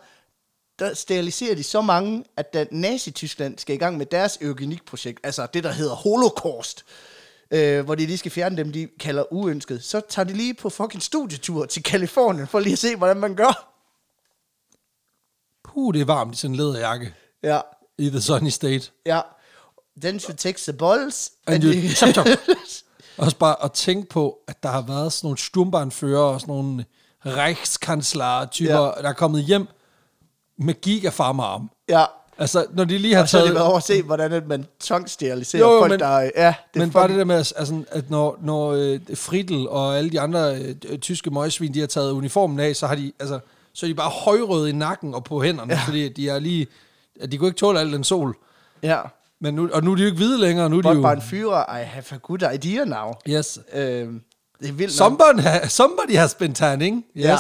Speaker 2: der steriliserer de så mange, at da Nazi-Tyskland skal i gang med deres eugenikprojekt, altså det, der hedder Holocaust, øh, hvor de lige skal fjerne dem, de kalder uønsket, så tager de lige på fucking studietur til Kalifornien, for lige at se, hvordan man gør.
Speaker 1: Puh, det er varmt i sådan en læderjakke.
Speaker 2: Ja,
Speaker 1: I the sunny state.
Speaker 2: ja. Then you take the balls.
Speaker 1: And you- Chop, chop.
Speaker 2: you...
Speaker 1: Også bare at tænke på, at der har været sådan nogle sturmbandfører og sådan nogle reichskanslarer-typer, ja. der er kommet hjem med gigafarmarm.
Speaker 2: [laughs] ja,
Speaker 1: Altså, når de lige har
Speaker 2: Og så har
Speaker 1: taget...
Speaker 2: det været over at se, hvordan at man tvangssteriliserer
Speaker 1: Jo, jo,
Speaker 2: folk,
Speaker 1: men-
Speaker 2: der... Ja,
Speaker 1: Det men bare det der med, at- altså, at når, når øh, Friedel og alle de andre øh, øh, tyske møgsvin, de har taget uniformen af, så har de, altså, så er de bare højrøde i nakken og på hænderne, ja. fordi de er lige, at de kunne ikke tåle al den sol.
Speaker 2: Ja,
Speaker 1: Men nu, og nu er de jo ikke hvide længere, nu er de
Speaker 2: but bare en
Speaker 1: jo...
Speaker 2: fyrer, I have a good idea now.
Speaker 1: Yes.
Speaker 2: Øhm, det er vildt nok.
Speaker 1: Somebody, ha, somebody has been tanning. Yes.
Speaker 2: Ja.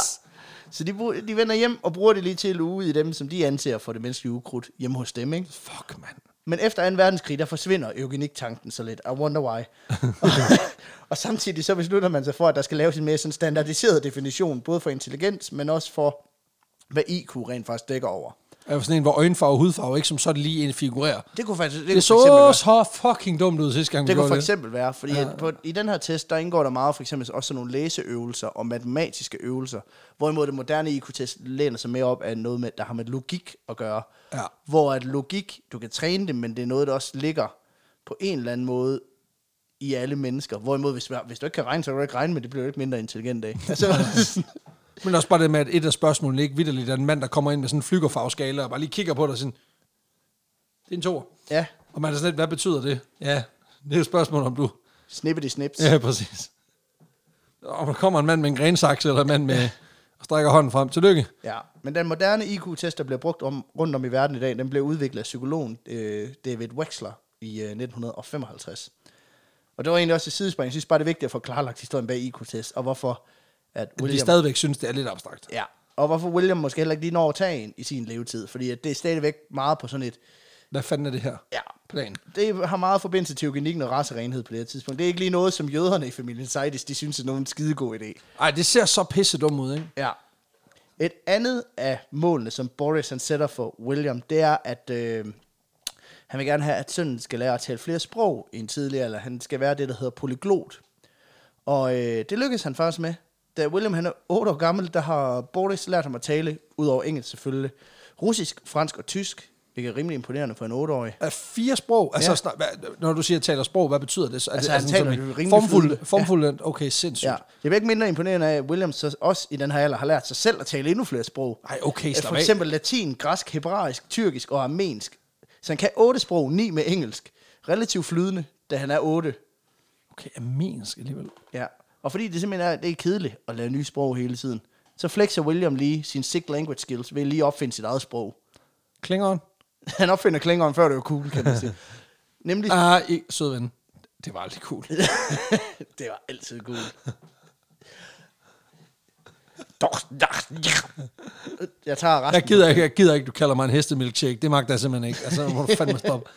Speaker 2: Så de, brug- de vender hjem og bruger det lige til at luge i dem, som de anser for det menneskelige ukrudt hjemme hos dem, ikke?
Speaker 1: Fuck, mand.
Speaker 2: Men efter 2. verdenskrig, der forsvinder eugeniktanken så lidt. I wonder [laughs] why. og samtidig så beslutter man sig for, at der skal laves en mere sådan standardiseret definition, både for intelligens, men også for, hvad IQ rent faktisk dækker over.
Speaker 1: Er jo sådan en, hvor øjenfarve og hudfarve ikke som sådan lige en figurerer.
Speaker 2: Det kunne faktisk...
Speaker 1: Det, det
Speaker 2: kunne for eksempel være-
Speaker 1: så så fucking dumt ud sidste gang, vi
Speaker 2: Det kunne
Speaker 1: gjorde
Speaker 2: for
Speaker 1: det.
Speaker 2: eksempel være, fordi ja. på, i den her test, der indgår der meget for eksempel også sådan nogle læseøvelser og matematiske øvelser, hvorimod det moderne IQ-test læner sig mere op af noget, med, der har med logik at gøre.
Speaker 1: Ja.
Speaker 2: Hvor at logik, du kan træne det, men det er noget, der også ligger på en eller anden måde i alle mennesker. Hvorimod, hvis, hvis du ikke kan regne, så kan du ikke regne, men det bliver du ikke mindre intelligent af. Altså,
Speaker 1: Men også bare det med, at et af spørgsmålene ikke vidderligt er en mand, der kommer ind med sådan en flygerfarveskala og bare lige kigger på dig og sådan, det er en toer.
Speaker 2: ja,
Speaker 1: Og man er sådan lidt, hvad betyder det? Ja, det er et spørgsmål om du.
Speaker 2: snippet i snips.
Speaker 1: Ja, præcis. Og der kommer en mand med en grensakse eller en mand med, og strækker hånden frem. Tillykke.
Speaker 2: Ja, men den moderne IQ-test, der bliver brugt om, rundt om i verden i dag, den blev udviklet af psykologen øh, David Wexler i øh, 1955. Og det var egentlig også et sidespring. Jeg synes bare, det er vigtigt at få klarlagt historien bag IQ-test, og hvorfor at
Speaker 1: William. Vi
Speaker 2: William,
Speaker 1: stadigvæk synes, det er lidt abstrakt.
Speaker 2: ja, og hvorfor William måske heller ikke lige når at tage en i sin levetid, fordi at det er stadigvæk meget på sådan et,
Speaker 1: Hvad fanden er det her?
Speaker 2: ja,
Speaker 1: Plan.
Speaker 2: det har meget forbindelse til eugenikken og racerenhed på det her tidspunkt. Det er ikke lige noget, som jøderne i familien Seidis, de synes er nogen skidegod idé.
Speaker 1: Ej, det ser så pisse dumt ud, ikke?
Speaker 2: Ja. Et andet af målene, som Boris han sætter for William, det er, at øh, han vil gerne have, at sønnen skal lære at tale flere sprog end tidligere, eller han skal være det, der hedder polyglot. Og øh, det lykkedes han faktisk med. Da William han er 8 år gammel, der har Boris lært ham at tale, udover engelsk selvfølgelig, russisk, fransk og tysk, hvilket er rimelig imponerende for en 8-årig.
Speaker 1: Er fire sprog? Altså,
Speaker 2: Ja.
Speaker 1: ja. snart, hvad, når du siger, taler sprog, hvad betyder det? så? Er
Speaker 2: Altså,
Speaker 1: det, er
Speaker 2: han
Speaker 1: sådan
Speaker 2: taler
Speaker 1: sådan
Speaker 2: jo
Speaker 1: en
Speaker 2: rimelig flydende.
Speaker 1: formfuld, formfuld, okay, sindssygt.
Speaker 2: Ja.
Speaker 1: Ja.
Speaker 2: Det er ikke mindre imponerende af, at Williams så også i den her alder har lært sig selv at tale endnu flere sprog.
Speaker 1: Ej, okay,
Speaker 2: For
Speaker 1: slap af.
Speaker 2: eksempel latin, græsk, hebraisk, tyrkisk og armensk. Så han kan otte sprog, ni med engelsk. Relativt flydende, da han er otte.
Speaker 1: Okay, armensk alligevel.
Speaker 2: Ja. Og fordi det simpelthen er, det er kedeligt at lære nye sprog hele tiden, så flexer William lige sin sick language skills ved lige at opfinde sit eget sprog. [laughs]
Speaker 1: Klingeren?
Speaker 2: Han opfinder klingeren, før det var cool, kan
Speaker 1: [laughs]
Speaker 2: man sige. Nemlig,
Speaker 1: Ah, [laughs] uh, sød ven. Det var aldrig
Speaker 2: [laughs]
Speaker 1: cool.
Speaker 2: det var altid cool. Jeg tager resten.
Speaker 1: Jeg gider, ikke, jeg gider ikke, du kalder mig en hestemilkshake. Det magter jeg simpelthen ikke. Altså, må du fandme stoppe.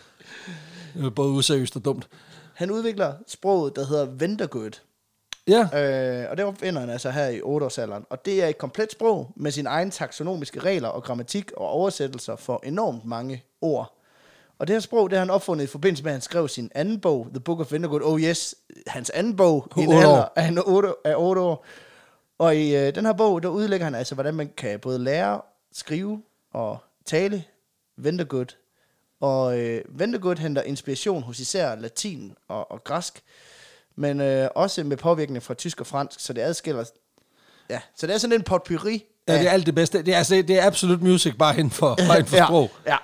Speaker 1: Det er både useriøst og dumt.
Speaker 2: Han udvikler sproget, der hedder Vendergood.
Speaker 1: Ja,
Speaker 2: Øh, og det opfinder han altså her i 8-årsalderen. Og det er et komplet sprog med sine egne taksonomiske regler og grammatik og oversættelser for enormt mange ord. Og det her sprog, det har han opfundet i forbindelse med, at han skrev sin anden bog, The Book of Wintergood. Oh yes, hans anden bog i en
Speaker 1: Otte
Speaker 2: alder
Speaker 1: år.
Speaker 2: af en otte- af 8 år. Og i øh, den her bog, der udlægger han altså, hvordan man kan både lære, skrive og tale Ventergood. Og øh, Ventergood henter inspiration hos især latin og, og græsk, men øh, også med påvirkning fra tysk og fransk, så det adskiller... Ja, så det er sådan en potpourri
Speaker 1: ja, det er alt det bedste. Det er, altså, det er absolut music, bare inden for, bare inden for
Speaker 2: [laughs] ja,
Speaker 1: sprog.
Speaker 2: Ja,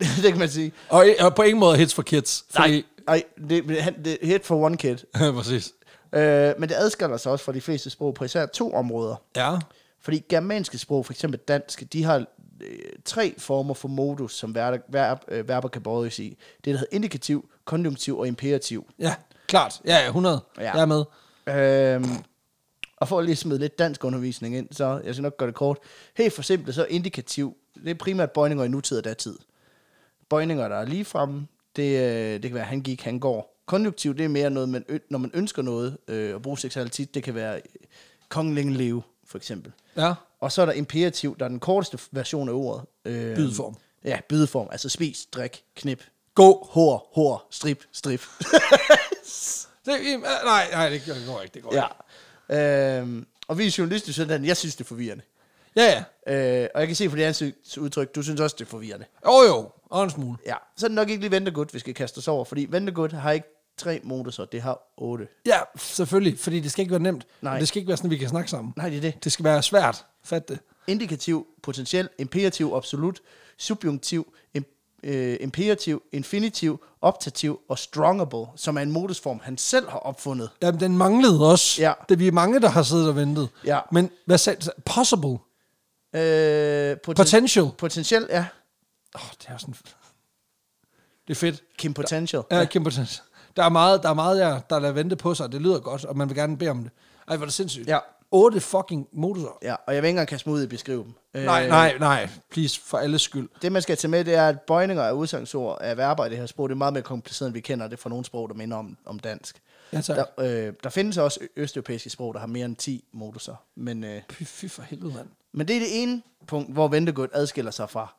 Speaker 2: det kan man sige.
Speaker 1: Og, og på ingen måde hits for kids. Fordi,
Speaker 2: Ej, det, han- det er hit for one kid.
Speaker 1: Nej. [laughs] præcis.
Speaker 2: Øh, men det adskiller sig også fra de fleste sprog på især to områder.
Speaker 1: Ja.
Speaker 2: Fordi germanske sprog, for eksempel dansk, de har øh, tre former for modus, som verb, verb, øh, verber kan bøjes i. Det, der hedder indikativ, konjunktiv og imperativ.
Speaker 1: Ja, klart. Ja, ja, 100.
Speaker 2: Ja.
Speaker 1: Ja. Jeg er med.
Speaker 2: Øhm, og for at lige smide lidt dansk undervisning ind, så jeg skal nok gøre det kort. Helt for simpelt, så indikativ. Det er primært bøjninger i nutid og datid. Bøjninger, der er lige fremme, det, øh, det kan være, han gik, han går. Konjunktiv, det er mere noget, man, ø- når man ønsker noget øh, at bruge seksualitet. Det kan være øh, kongeling leve, for eksempel.
Speaker 1: Ja.
Speaker 2: Og så er der imperativ, der er den korteste version af ordet. Øh,
Speaker 1: Bydeform.
Speaker 2: Ja, bydeform. Altså spis, drik, knip,
Speaker 1: Gå.
Speaker 2: hår, hår, strip,
Speaker 1: [laughs]
Speaker 2: strip.
Speaker 1: Det, øh, nej, nej, det går- det går ikke. Det går
Speaker 2: ja.
Speaker 1: ikke.
Speaker 2: Øhm, og vi er journalister, sådan, jeg synes, det er forvirrende.
Speaker 1: Ja, ja.
Speaker 2: Øh, og jeg kan se på dit ansigtsudtryk, du synes også, det er forvirrende.
Speaker 1: Jo, jo. Og en smule.
Speaker 2: Ja, så er det nok ikke lige Ventegut, vi skal kaste os over, fordi Ventegut har ikke tre moduser, det har otte.
Speaker 1: Ja, selvfølgelig. Fordi det skal ikke være nemt.
Speaker 2: Nej.
Speaker 1: Og Det skal ikke være sådan, at vi kan snakke sammen.
Speaker 2: Nej, det er det.
Speaker 1: Det skal være svært. Fat det.
Speaker 2: Indikativ, potentiel, imperativ, absolut, subjunktiv, im, øh, imperativ, infinitiv, optativ og strongable, som er en modusform, han selv har opfundet.
Speaker 1: Jamen, den manglede også.
Speaker 2: Ja.
Speaker 1: Det er vi er mange, der har siddet og ventet.
Speaker 2: Ja.
Speaker 1: Men hvad sagde du? Possible.
Speaker 2: Øh, poten-
Speaker 1: Potential.
Speaker 2: potentiel, ja.
Speaker 1: Åh, oh, det er sådan... Det er fedt.
Speaker 2: Kim Potential.
Speaker 1: Ja, kæmpe potential. Der er meget, der er meget der, der lader vente på sig, og det lyder godt, og man vil gerne bede om det. Ej, hvor er det sindssygt.
Speaker 2: Ja.
Speaker 1: Otte fucking motorer.
Speaker 2: Ja, og jeg vil ikke engang kaste mig ud i at beskrive dem. Øh,
Speaker 1: Nej, nej, nej. Please, for alles skyld.
Speaker 2: Det, man skal tage med, det er, at bøjninger af udsagnsord af verber i det her sprog, det er meget mere kompliceret, end vi kender det fra nogle sprog, der minder om, om dansk.
Speaker 1: Ja, tak.
Speaker 2: Der, øh, der findes også ø- østeuropæiske sprog, der har mere end 10 moduser. Men, øh,
Speaker 1: Fy, fy for helvede, mand.
Speaker 2: men det er det ene punkt, hvor ventegud adskiller sig fra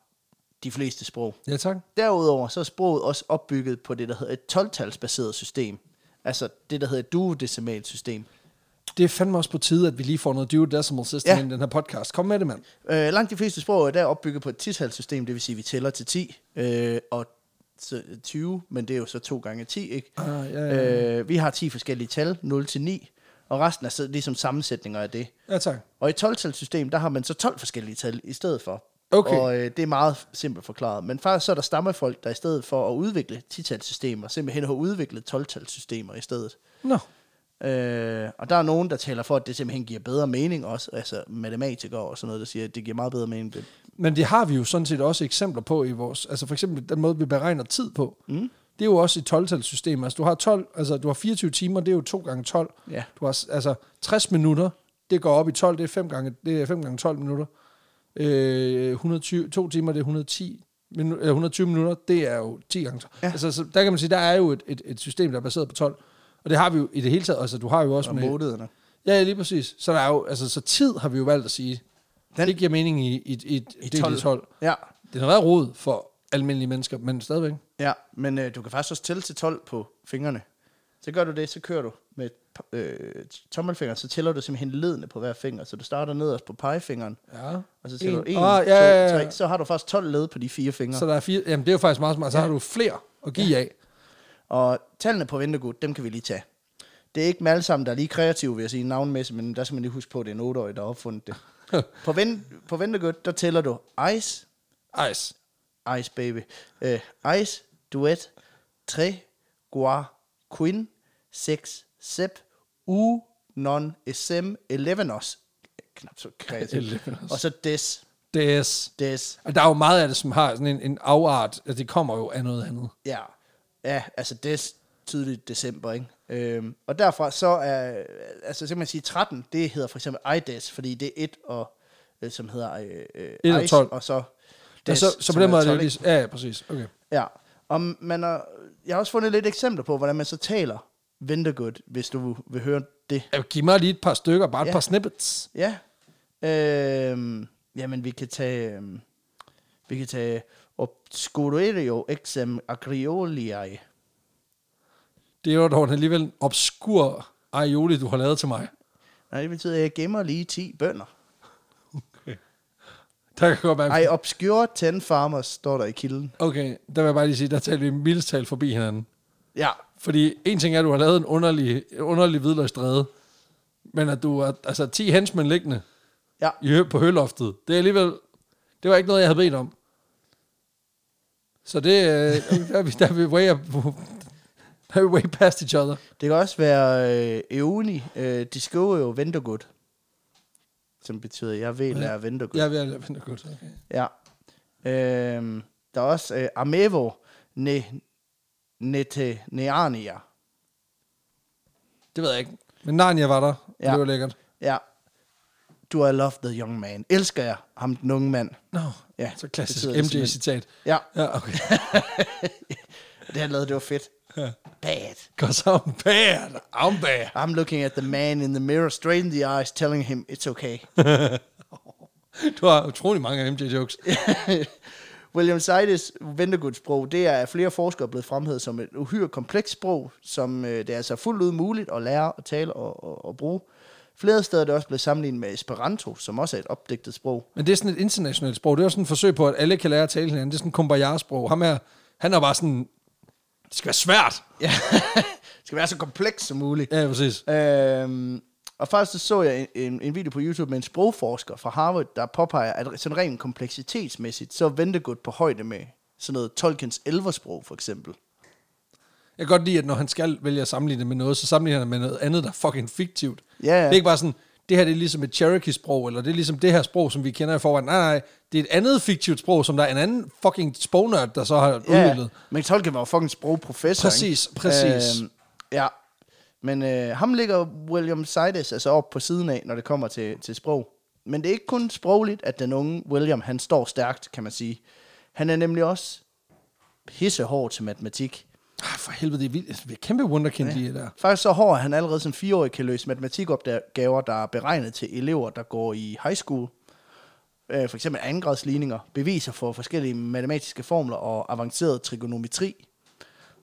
Speaker 2: de fleste sprog.
Speaker 1: Ja, tak.
Speaker 2: Derudover så er sproget også opbygget på det, der hedder et 12-talsbaseret system. Altså det, der hedder et duodecimalt system.
Speaker 1: Det er fandme også på tide, at vi lige får noget duodecimal system
Speaker 2: Ja.
Speaker 1: ja. ind i den her podcast. Kom med det, mand.
Speaker 2: Øh, langt de fleste sprog er der opbygget på et 10-talssystem, det vil sige, at vi tæller til 10 øh, og så 20, men det er jo så 2 gange 10, ikke?
Speaker 1: Ah, ja, ja.
Speaker 2: ja. Øh, vi har 10 forskellige tal, 0 til 9, og resten er så ligesom sammensætninger af det.
Speaker 1: ja, tak.
Speaker 2: Og i 12-talssystem, der har man så 12 forskellige tal i stedet for.
Speaker 1: Okay.
Speaker 2: Og øh, det er meget f- simpelt forklaret. Men faktisk så er der stammefolk, der i stedet for at udvikle 10-talssystemer, simpelthen har udviklet 12-talssystemer i stedet.
Speaker 1: Nå.
Speaker 2: Øh, og der er nogen, der taler for, at det simpelthen giver bedre mening også. Altså matematikere og sådan noget, der siger, at det giver meget bedre mening. Det.
Speaker 1: Men det har vi jo sådan set også eksempler på i vores... Altså for eksempel den måde, vi beregner tid på. Mm. Det er jo også et 12-talssystem. Altså du har, 12, altså du har 24 timer, det er jo 2 gange 12.
Speaker 2: Ja.
Speaker 1: Du har s- altså 60 minutter, det går op i 12, det er 5 gange, det er 5 gange 12 minutter. Øh, 120, 2 timer, det er 110 minu, øh, eller 120 minutter, det er jo 10 gange 12.
Speaker 2: Ja.
Speaker 1: Ja. Altså, så der kan man sige, der er jo et, et, et system, der er baseret på 12. Og det har vi jo i det hele taget. Altså, du har jo også
Speaker 2: Og månederne.
Speaker 1: Ja, ja, lige præcis. Så, der er jo, altså, så tid har vi jo valgt at sige.
Speaker 2: Den-
Speaker 1: Den, det giver mening i, i, i, i 12. 12.
Speaker 2: Ja,
Speaker 1: Det har været rod for almindelige mennesker, men stadigvæk.
Speaker 2: ja. men øh, du kan faktisk også tælle til 12 på fingrene. Så gør du det, så kører du med øh, tommelfingeren, så tæller du simpelthen ledene på hver finger. Så du starter nederst på pegefingeren,
Speaker 1: Ja.
Speaker 2: og så tæller
Speaker 1: En.
Speaker 2: du 1,
Speaker 1: Ah,
Speaker 2: 2,
Speaker 1: ja, ja, ja.
Speaker 2: 3. Så har du faktisk 12 led på de fire fingre.
Speaker 1: Så der er fire, jamen det er jo faktisk meget smart, så
Speaker 2: Ja.
Speaker 1: har du flere at give af.
Speaker 2: Og tallene på Ventegood, dem kan vi lige tage. Det er ikke dem alle sammen, der er lige kreative, vil jeg sige, navnmæssigt, men der skal man lige huske på, at det er en 8-årig, der har opfundet
Speaker 1: [laughs]
Speaker 2: det. på, ven, på Ventegood, der tæller du Ice,
Speaker 1: Ice.
Speaker 2: Ice Baby, øh, Ice, Duet, Tre, Gua, Queen, Sex, Sep, U, Non, SM, Elevenos. Knap så
Speaker 1: [laughs]
Speaker 2: kreativt.
Speaker 1: Elevenos.
Speaker 2: Og så Des,
Speaker 1: Des.
Speaker 2: Des,
Speaker 1: Og der er jo meget af det, som har sådan en, en afart, at det kommer jo af noget andet.
Speaker 2: Ja, ja altså det er tydeligt december, ikke? Øhm, og derfra så er, altså simpelthen sige 13, det hedder for eksempel IDES, fordi det er 1 og, øh, som hedder øh, øh,
Speaker 1: Et og
Speaker 2: Ice,
Speaker 1: 12.
Speaker 2: og så
Speaker 1: Ja,
Speaker 2: DES,
Speaker 1: Altså, så, så på
Speaker 2: som
Speaker 1: den måde er det jo
Speaker 2: 12, ikke?
Speaker 1: lige... Ja, ja, præcis. Okay.
Speaker 2: Ja, og man er, jeg har også fundet lidt eksempler på, hvordan man så taler Ventergood, hvis du vil høre det.
Speaker 1: Ja, Giv mig lige et par stykker, bare et
Speaker 2: Ja.
Speaker 1: par snippets.
Speaker 2: Ja, øhm, jamen vi kan tage, øhm, vi kan tage Obscurerio exem agrioliae.
Speaker 1: Det er jo dog alligevel en obskur aioli, du har lavet til mig.
Speaker 2: Nej, det betyder, at jeg gemmer lige 10 bønder.
Speaker 1: Der kan godt være...
Speaker 2: I obscure 10 farmers, står der i kilden.
Speaker 1: Okay, der vil jeg bare lige sige, der talte vi mildest talt forbi hinanden.
Speaker 2: Ja.
Speaker 1: Fordi en ting er, at du har lavet en underlig, en underlig hvidløgstræde, men at du har altså, 10 hensmænd liggende
Speaker 2: Ja.
Speaker 1: i, hø- på høloftet, det er alligevel, det var ikke noget, jeg havde bedt om. Så det, øh, der, er vi, der er vi way up, der er vi way past each other.
Speaker 2: Det kan også være øh, Eoni, øh, de skriver jo Ventergood. Som betyder, jeg vil lære Ventergood.
Speaker 1: Jeg er ved at lade godt. Okay.
Speaker 2: Ja. Øhm, der er også øh, Amevo ne, nete, Neania.
Speaker 1: Det ved jeg ikke. Men Narnia var der, og
Speaker 2: Ja.
Speaker 1: ja. det var lækkert.
Speaker 2: Ja. Do I love the young man? Elsker jeg ham, den unge mand?
Speaker 1: Nå,
Speaker 2: Ja,
Speaker 1: ja, så
Speaker 2: det
Speaker 1: klassisk
Speaker 2: sidder det simpelthen.
Speaker 1: MJ-citat.
Speaker 2: Ja,
Speaker 1: Ja, okay.
Speaker 2: det han lavede, det var fedt.
Speaker 1: Ja.
Speaker 2: Bad.
Speaker 1: Cause I'm bad, I'm bad.
Speaker 2: I'm looking at the man in the mirror straight in the eyes, telling him it's okay.
Speaker 1: [laughs] Du har utrolig mange MJ-jokes.
Speaker 2: [laughs] William Seides ventegudssprog, det er af flere forskere blevet fremhævet som et uhyre komplekst sprog, som øh, det er altså fuldt ud muligt at lære at tale og, og, og bruge. Flere steder er det også blevet sammenlignet med Esperanto, som også er et opdigtet sprog.
Speaker 1: Men det er sådan et internationalt sprog. Det er jo sådan et forsøg på, at alle kan lære at tale hinanden. Det er sådan et kumbaya-sprog. Ham her, han er bare sådan... Det skal være svært.
Speaker 2: [laughs] Ja. det skal være så komplekst som muligt.
Speaker 1: Ja, præcis.
Speaker 2: Øhm, og faktisk så, så jeg en, en video på YouTube med en sprogforsker fra Harvard, der påpeger, at sådan rent kompleksitetsmæssigt, så er ventegud på højde med sådan noget Tolkiens elversprog for eksempel.
Speaker 1: Jeg kan godt lide, at når han skal vælge at sammenligne det med noget, så sammenligner han det med noget andet, der er fucking fiktivt.
Speaker 2: Ja, ja.
Speaker 1: Det er ikke bare sådan, det her det er ligesom et Cherokee-sprog, eller det er ligesom det her sprog, som vi kender i forvejen. Nej, nej, det er et andet fiktivt sprog, som der er en anden fucking sprognørd, der så har udviklet.
Speaker 2: men Tolkien var jo fucking sprogprofessor.
Speaker 1: Præcis,
Speaker 2: ikke?
Speaker 1: præcis.
Speaker 2: Øhm, ja, men øh, ham ligger William Seides altså op på siden af, når det kommer til, til sprog. Men det er ikke kun sprogligt, at den unge William, han står stærkt, kan man sige. Han er nemlig også pissehård til matematik.
Speaker 1: Ah, for helvede, det er vildt. Det er kæmpe wunderkind, ja. de der.
Speaker 2: Faktisk så hård, at han allerede som fireårig kan løse matematikopgaver, der er beregnet til elever, der går i high school. Øh, for eksempel andengradsligninger, beviser for forskellige matematiske formler og avanceret trigonometri.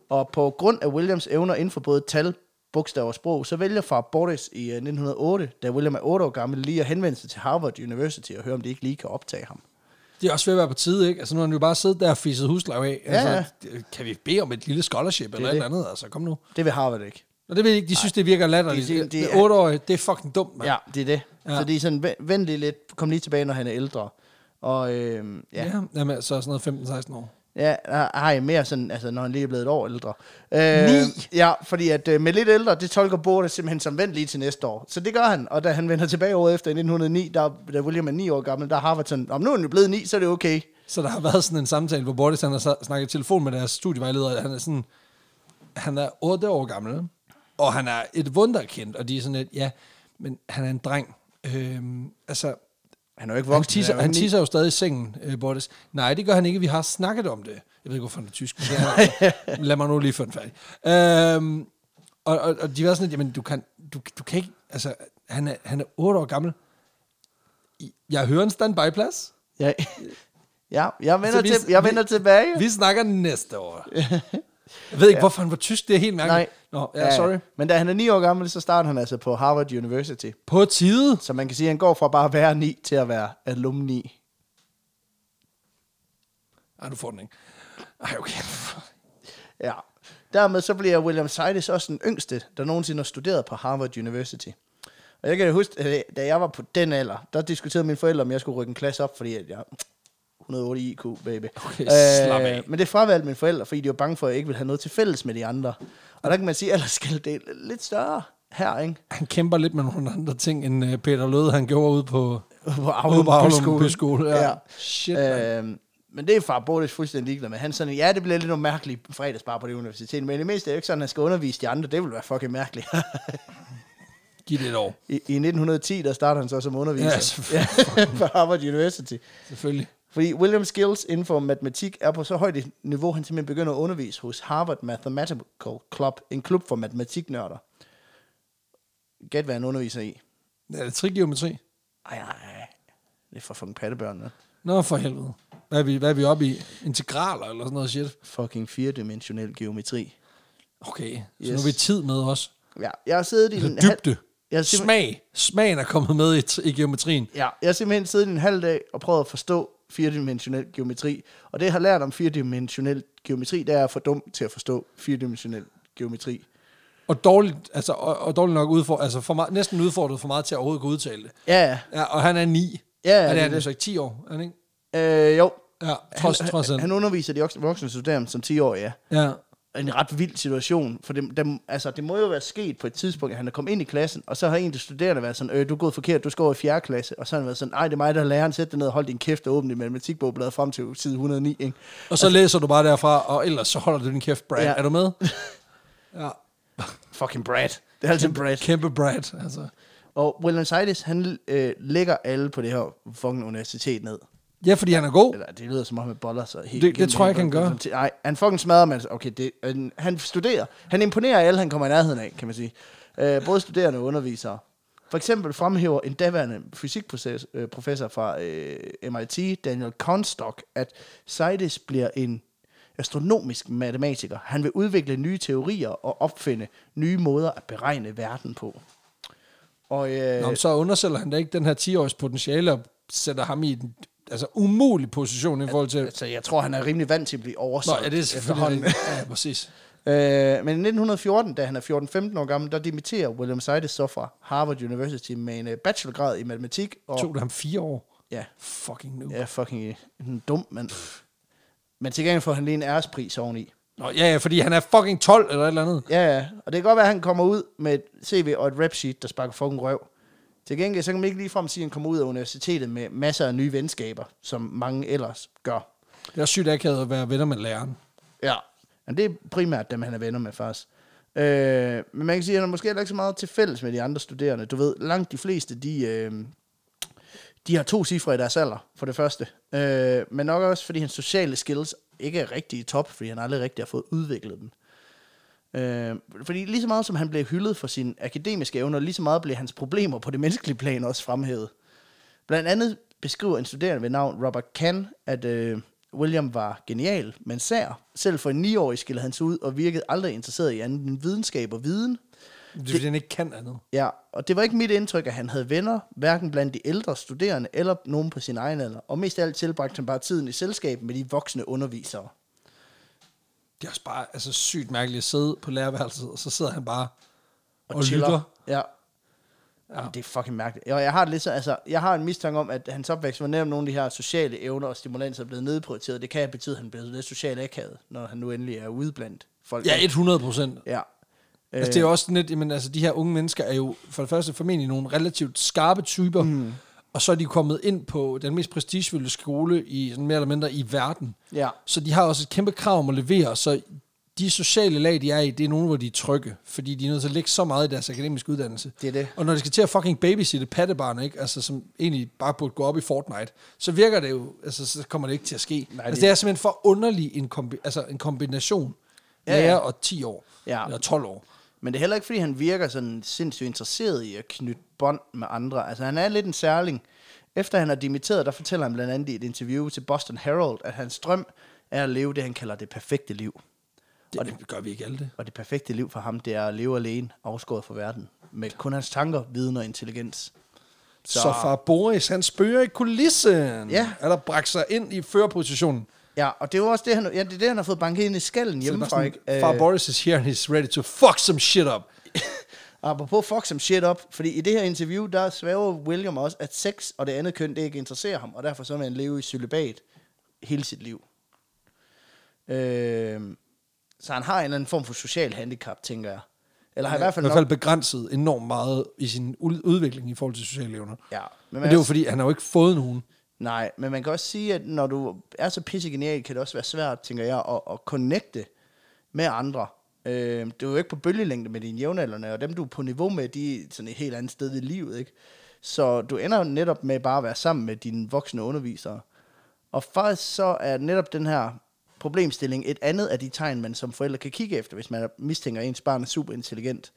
Speaker 2: Og på grund af Williams evner inden for både tal, bogstaver og sprog, så vælger far Borges i øh, 1908, da William er 8 år gammel, lige at henvende sig til Harvard University og høre, om de ikke lige kan optage ham.
Speaker 1: Det er også ved at være på tide, ikke? Altså, nu har han jo bare siddet der og fisset huslag af.
Speaker 2: Ja,
Speaker 1: Altså,
Speaker 2: ja.
Speaker 1: det- kan vi bede om et lille scholarship eller
Speaker 2: det.
Speaker 1: et eller andet? Altså, kom nu.
Speaker 2: Det vil Harvard ikke.
Speaker 1: Og det ved jeg ikke, de synes, det virker latterligt.
Speaker 2: Det-
Speaker 1: Det,
Speaker 2: det-
Speaker 1: det,
Speaker 2: det
Speaker 1: det,
Speaker 2: er-
Speaker 1: 8 år, det er fucking dumt, mand.
Speaker 2: Ja, det er det. Ja.
Speaker 1: Ja.
Speaker 2: Så det er sådan, "Vent- vent lige lidt, kom lige tilbage, når han er ældre. Og øhm, ja,
Speaker 1: ja. Jamen, så er sådan noget 15-16 år.
Speaker 2: Ja, nej, mere sådan, altså, når han lige er blevet et år ældre. Øh,
Speaker 1: Ni?
Speaker 2: Ja, fordi at øh, med lidt ældre, det tolker Borte simpelthen som vent lige til næste år. Så det gør han, og da han vender tilbage året efter i 1909, der, da William er 9 år gammel, der har Harvard sådan, om nu er han jo blevet 9, så er det okay.
Speaker 1: Så der har været sådan en samtale, hvor Bortis han har sa- snakket i telefon med deres studievejleder. Han er sådan, han er 8 år gammel, og han er et wunderkind, og de er sådan lidt, ja, men han er en dreng. Øhm, altså,
Speaker 2: Han er jo ikke
Speaker 1: han
Speaker 2: voksen.
Speaker 1: tisser,
Speaker 2: er jo
Speaker 1: han
Speaker 2: ni.
Speaker 1: tisser jo stadig i sengen, øh, Bortes. Nej, det gør han ikke. Vi har snakket om det. Jeg ved ikke, hvorfor han er tysk. Men det er, han altså, [laughs] lad mig nu lige få den færdig. Øhm, og, og, og de var sådan lidt, jamen, du kan, du, du kan ikke... Altså, han er, han er 8 år gammel. I- Jeg hører en standby-plads. [laughs]
Speaker 2: Ja, ja jeg vender,
Speaker 1: Så vi-
Speaker 2: til, jeg vender
Speaker 1: vi-
Speaker 2: tilbage. [laughs]
Speaker 1: Vi snakker næste år. Jeg ved ikke, ja. hvorfor han var tysk. Det er helt mærkeligt.
Speaker 2: Nej.
Speaker 1: Nej. Nå, ja, sorry.
Speaker 2: Men da han er 9 år gammel, så starter han altså på Harvard University.
Speaker 1: På tide.
Speaker 2: Så man kan sige, at han går fra bare at være 9 til at være alumni.
Speaker 1: Nej, du får den ikke. Ej, okay.
Speaker 2: Ja. Dermed så bliver William Sidis også den yngste, der nogensinde har studeret på Harvard University. Og jeg kan da huske, at da jeg var på den alder, der diskuterede mine forældre, om jeg skulle rykke en klasse op, fordi at jeg 108 IQ, baby. Øh,
Speaker 1: Okay, slap af.
Speaker 2: men det fravalgte mine forældre, fordi de var bange for, at jeg ikke ville have noget til fælles med de andre. Og der kan man sige, at aldersskillet det er lidt større her, ikke?
Speaker 1: Han kæmper lidt med nogle andre ting, end øh, Peter Løde, han gjorde ude på...
Speaker 2: på
Speaker 1: Ude
Speaker 2: Aulum
Speaker 1: på Aulum Byskole, ja. Shit,
Speaker 2: øhm, men det er far Boris fuldstændig ligeglad med. Han er sådan, ja, det bliver lidt nogle mærkelige fredagsbar på det universitet, men i det mindste er det jo ikke sådan, at han skal undervise de andre. Det vil være fucking mærkeligt. [laughs]
Speaker 1: Giv det et år.
Speaker 2: I, I 1910, der starter han så som underviser
Speaker 1: Ja, selvfølgelig.
Speaker 2: [laughs] på Harvard University.
Speaker 1: Selvfølgelig.
Speaker 2: Fordi Williams skills inden for matematik er på så højt et niveau, han simpelthen begynder at undervise hos Harvard Mathematical Club, en klub for matematiknørder. Gæt, hvad han underviser i.
Speaker 1: Er det trigeometri?
Speaker 2: Ej, ej, ej. Det er for fucking pattebørn, ja.
Speaker 1: Nå, for helvede. Hvad er vi, hvad er vi oppe i? Integraler eller sådan noget shit?
Speaker 2: Fucking firedimensionel geometri.
Speaker 1: Okay, yes. så nu
Speaker 2: Yes.
Speaker 1: er vi tid med også.
Speaker 2: Ja, jeg har siddet i en halv-
Speaker 1: Altså, Dybde.
Speaker 2: Jeg har simpelthen,
Speaker 1: Smag. Smagen er kommet med i, i geometrien.
Speaker 2: ja, jeg har simpelthen siddet i en halv dag og prøvet at forstå firedimensionel geometri. Og det, jeg har lært om firedimensionel geometri, det er, at jeg er for dum til at forstå firedimensionel geometri.
Speaker 1: Og dårligt, altså, og, og dårligt nok udfor, altså for meget, næsten udfordret for meget til at overhovedet kunne udtale det.
Speaker 2: Ja, ja.
Speaker 1: Ja, og han er 9. og
Speaker 2: Ja,
Speaker 1: det
Speaker 2: det er
Speaker 1: er han jo
Speaker 2: det.
Speaker 1: så ikke 10 år, er han ikke?
Speaker 2: Øh, jo,
Speaker 1: Ja, trods, han, trods
Speaker 2: han,
Speaker 1: han,
Speaker 2: han underviser de voksne- voksne studerende som 10-årige, ja.
Speaker 1: Ja.
Speaker 2: En ret vild situation, for det, dem, altså, det må jo være sket på et tidspunkt, at han er kommet ind i klassen, og så har en af de studerende været sådan, øh, du er gået forkert, du skal over i 4. klasse, og så har han været sådan, nej, det er mig, der er læreren, sæt dig ned og hold din kæft og åbn din matematikbog, bladet frem til side 109, ikke?
Speaker 1: Og så læser du bare derfra, og ellers så holder du din kæft, Brad. Ja.
Speaker 2: Ja.
Speaker 1: Er du med? Ja.
Speaker 2: Fucking Brad. Det er altid Altså, Brad.
Speaker 1: Kæmpe Brad, altså.
Speaker 2: Og William Sidis, han øh, lægger alle på det her fucking universitet ned.
Speaker 1: Ja, fordi han er god.
Speaker 2: Eller det lyder som om, han boller sig helt
Speaker 1: Det-
Speaker 2: igennem
Speaker 1: det tror jeg
Speaker 2: hele
Speaker 1: ikke, han
Speaker 2: bunden. Nej, han fucking smadrer man. Okay, det, han, han studerer. Han imponerer alle, han kommer i nærheden af, kan man sige. Øh, både studerende og undervisere. For eksempel fremhæver en daværende fysikprofessor fra øh, MIT, Daniel Comstock, at Sidis bliver en astronomisk matematiker. Han vil udvikle nye teorier og opfinde nye måder at beregne verden på. Og, øh,
Speaker 1: Nå, men så undersælger han da ikke den her 10-års potentiale og sætter ham i en altså, umulig position i forhold til...
Speaker 2: altså, jeg tror, han er rimelig vant til at blive
Speaker 1: Nå,
Speaker 2: oversat.
Speaker 1: ja, det er selvfølgelig... rigtigt. Ja,
Speaker 2: [laughs]
Speaker 1: præcis.
Speaker 2: Øh, men i 1914, da han er 14-15 år gammel, der dimitterer William Sidis så fra Harvard University med en øh, bachelorgrad i matematik. Og,
Speaker 1: Tog det ham fire år?
Speaker 2: Ja,
Speaker 1: Fucking nu.
Speaker 2: ja fucking øh, en dum mand. Men til gengæld får han lige en ærespris oveni.
Speaker 1: Nå, ja, ja, fordi han er fucking 12 eller et eller andet.
Speaker 2: Ja, ja. Og det kan godt være, at han kommer ud med et CV og et rap sheet, der sparker fucking røv. Til gengæld, så kan man ikke ligefrem sige, at han kommer ud af universitetet med masser af nye venskaber, som mange ellers gør.
Speaker 1: Det er sygt akavet at være venner med læreren.
Speaker 2: Ja. Men det er primært dem, han er venner med, faktisk. Øh, men man kan sige, at han er måske heller ikke så meget til fælles med de andre studerende. Du ved, langt de fleste, de, øh, de har to cifre i deres alder, for det første. Øh, men nok også, fordi hans sociale skills ikke er rigtig i top, fordi han aldrig rigtig har fået udviklet dem. Øh, fordi lige så meget som han blev hyldet for sine akademiske evner, lige så meget blev hans problemer på det menneskelige plan også fremhævet. Blandt andet beskriver en studerende ved navn Robert Kahn, at øh, William var genial, men sær. Selv for en 9-årig skillede han sig ud og virkede aldrig interesseret i andet end videnskab og viden.
Speaker 1: Det er, fordi han ikke kan andet.
Speaker 2: Ja, og det var ikke mit indtryk, at han havde venner, hverken blandt de ældre studerende eller nogen på sin egen alder. Og mest af alt tilbragte han bare tiden i selskab med de voksne undervisere.
Speaker 1: Det er også bare altså, sygt mærkeligt at sidde på lærerværelset, og så sidder han bare og, og
Speaker 2: chiller.
Speaker 1: lytter.
Speaker 2: Ja. ja. Det er fucking mærkeligt. Og jeg har, det lidt så, altså, jeg har en mistanke om, at hans opvækst var netop nogle af de her sociale evner og stimulanser er blevet nedprioriteret. Det kan betyde, at han bliver lidt socialt akavet, når han nu endelig er ude blandt folk.
Speaker 1: Ja, 100 procent.
Speaker 2: Ja.
Speaker 1: Altså, det er jo også sådan lidt, jamen, altså, de her unge mennesker er jo for det første formentlig nogle relativt skarpe typer, mm. og så er de kommet ind på den mest prestigefyldte skole i sådan mere eller mindre i verden.
Speaker 2: Ja.
Speaker 1: Så de har også et kæmpe krav om at levere, så de sociale lag, de er i, det er nogle, hvor de er trygge, fordi de er nødt til at lægge så meget i deres akademiske uddannelse.
Speaker 2: Det er det.
Speaker 1: Og når de skal til at fucking babysitte pattebarn, ikke? Altså, som egentlig bare burde gå op i Fortnite, så virker det jo, altså, så kommer det ikke til at ske. Nej,
Speaker 2: Nej,
Speaker 1: altså,
Speaker 2: det-
Speaker 1: det er simpelthen for underlig en, kombi- altså, en kombination.
Speaker 2: Ja, ja.
Speaker 1: Lærer og 10 år.
Speaker 2: Ja.
Speaker 1: Eller 12 år.
Speaker 2: Men det er heller ikke, fordi han virker sådan sindssygt interesseret i at knytte bånd med andre. Altså, han er lidt en særling. Efter han har dimitteret, der fortæller han blandt andet i et interview til Boston Herald, at hans drøm er at leve det, han kalder det perfekte liv.
Speaker 1: Det, og det gør vi ikke alle det.
Speaker 2: Og det perfekte liv for ham, det er at leve alene, afskåret fra verden, med kun hans tanker, viden og intelligens.
Speaker 1: Så, så far Boris, han spøger i kulissen.
Speaker 2: Ja.
Speaker 1: Eller bragt sig ind i førerpositionen.
Speaker 2: Ja, og det er jo også det, han, ja, det, er det, han har fået banket ind i skallen
Speaker 1: Så det er bare
Speaker 2: hjemmefra,
Speaker 1: sådan,
Speaker 2: ikke? Øh,
Speaker 1: Far Boris is here, and he's ready to fuck some shit up.
Speaker 2: Og apropos fuck some shit up, fordi i det her interview, der svæver William også, at sex og det andet køn, det ikke interesserer ham, og derfor så vil han leve i celibat hele sit liv. Øh, så han har en eller anden form for social handicap, tænker jeg. Eller har i hvert fald
Speaker 1: I hvert fald
Speaker 2: nok...
Speaker 1: begrænset enormt meget i sin ud- udvikling i forhold til sociale evner.
Speaker 2: Ja,
Speaker 1: Men,
Speaker 2: men
Speaker 1: men det er jo
Speaker 2: altså-
Speaker 1: fordi, han har jo ikke fået nogen.
Speaker 2: Nej, men man kan også sige, at når du er så pissegenial, kan det også være svært, tænker jeg, at, at connecte med andre. Øh, du er jo ikke på bølgelængde med dine jævnaldrende, og dem du er på niveau med, de er sådan et helt andet sted i livet, ikke? Så du ender jo netop med bare at være sammen med dine voksne undervisere. Og faktisk så er netop den her problemstilling et andet af de tegn, man som forældre kan kigge efter, hvis man mistænker, at ens barn er super intelligent.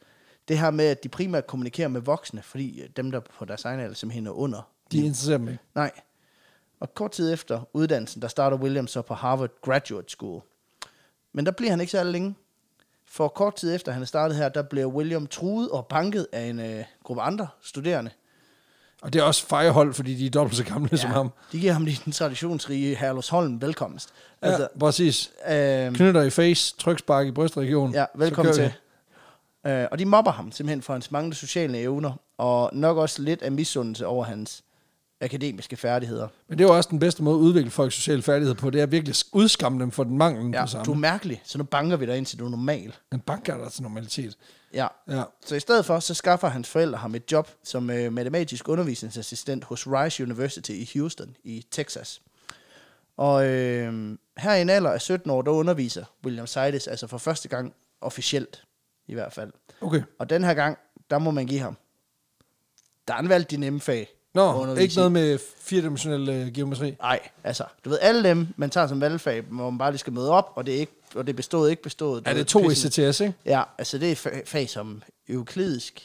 Speaker 2: Det her med, at de primært kommunikerer med voksne, fordi dem, der er på deres egen alder simpelthen er under
Speaker 1: De interesserer dem ikke.
Speaker 2: Nej. Og kort tid efter uddannelsen, der starter William så på Harvard Graduate School. Men der bliver han ikke særlig længe. For kort tid efter han er startet her, der bliver William truet og banket af en øh, gruppe andre studerende.
Speaker 1: Og det er også fejehold, fordi de er dobbelt så gamle ja. som ham.
Speaker 2: De giver ham lige den traditionsrige Herlus Holm velkomst.
Speaker 1: Ja, altså,
Speaker 2: Altså,
Speaker 1: præcis.
Speaker 2: ja. Øh,
Speaker 1: Knytter i face, trykspark i brystregionen.
Speaker 2: Ja,
Speaker 1: så
Speaker 2: velkommen
Speaker 1: kører vi.
Speaker 2: til. Øh, og de mobber ham simpelthen for hans manglende sociale evner, og nok også lidt af misundelse over hans akademiske færdigheder.
Speaker 1: Men det er jo også den bedste måde at udvikle folks sociale færdigheder på, det er at virkelig sk- udskamme dem for den mangel ja,
Speaker 2: Ja,
Speaker 1: på samme.
Speaker 2: du er
Speaker 1: Du...
Speaker 2: mærkelig, så nu banker vi dig ind til du er normal.
Speaker 1: Den banker dig til normalitet.
Speaker 2: Ja,
Speaker 1: Ja.
Speaker 2: Så i stedet for, så skaffer hans forældre ham et job som øh, matematisk undervisningsassistent hos Rice University i Houston i Texas. Og øh, her i en alder af 17 år, der underviser William Seides altså for første gang officielt i hvert fald.
Speaker 1: Okay.
Speaker 2: Og den her gang, der må man give ham. Der han valgt de nemme fag. at
Speaker 1: Nå,
Speaker 2: undervise
Speaker 1: ikke
Speaker 2: i.
Speaker 1: noget med firedimensionel øh, geometri.
Speaker 2: Nej, altså, du ved, alle dem, man tager som valgfag, hvor man bare lige skal møde op, og det er, ikke, og det er bestået, ikke bestået. Du
Speaker 1: Ja, det
Speaker 2: ved,
Speaker 1: er to
Speaker 2: pisse-
Speaker 1: ECTS, ikke?
Speaker 2: Ja, altså det er fa- fag som euklidisk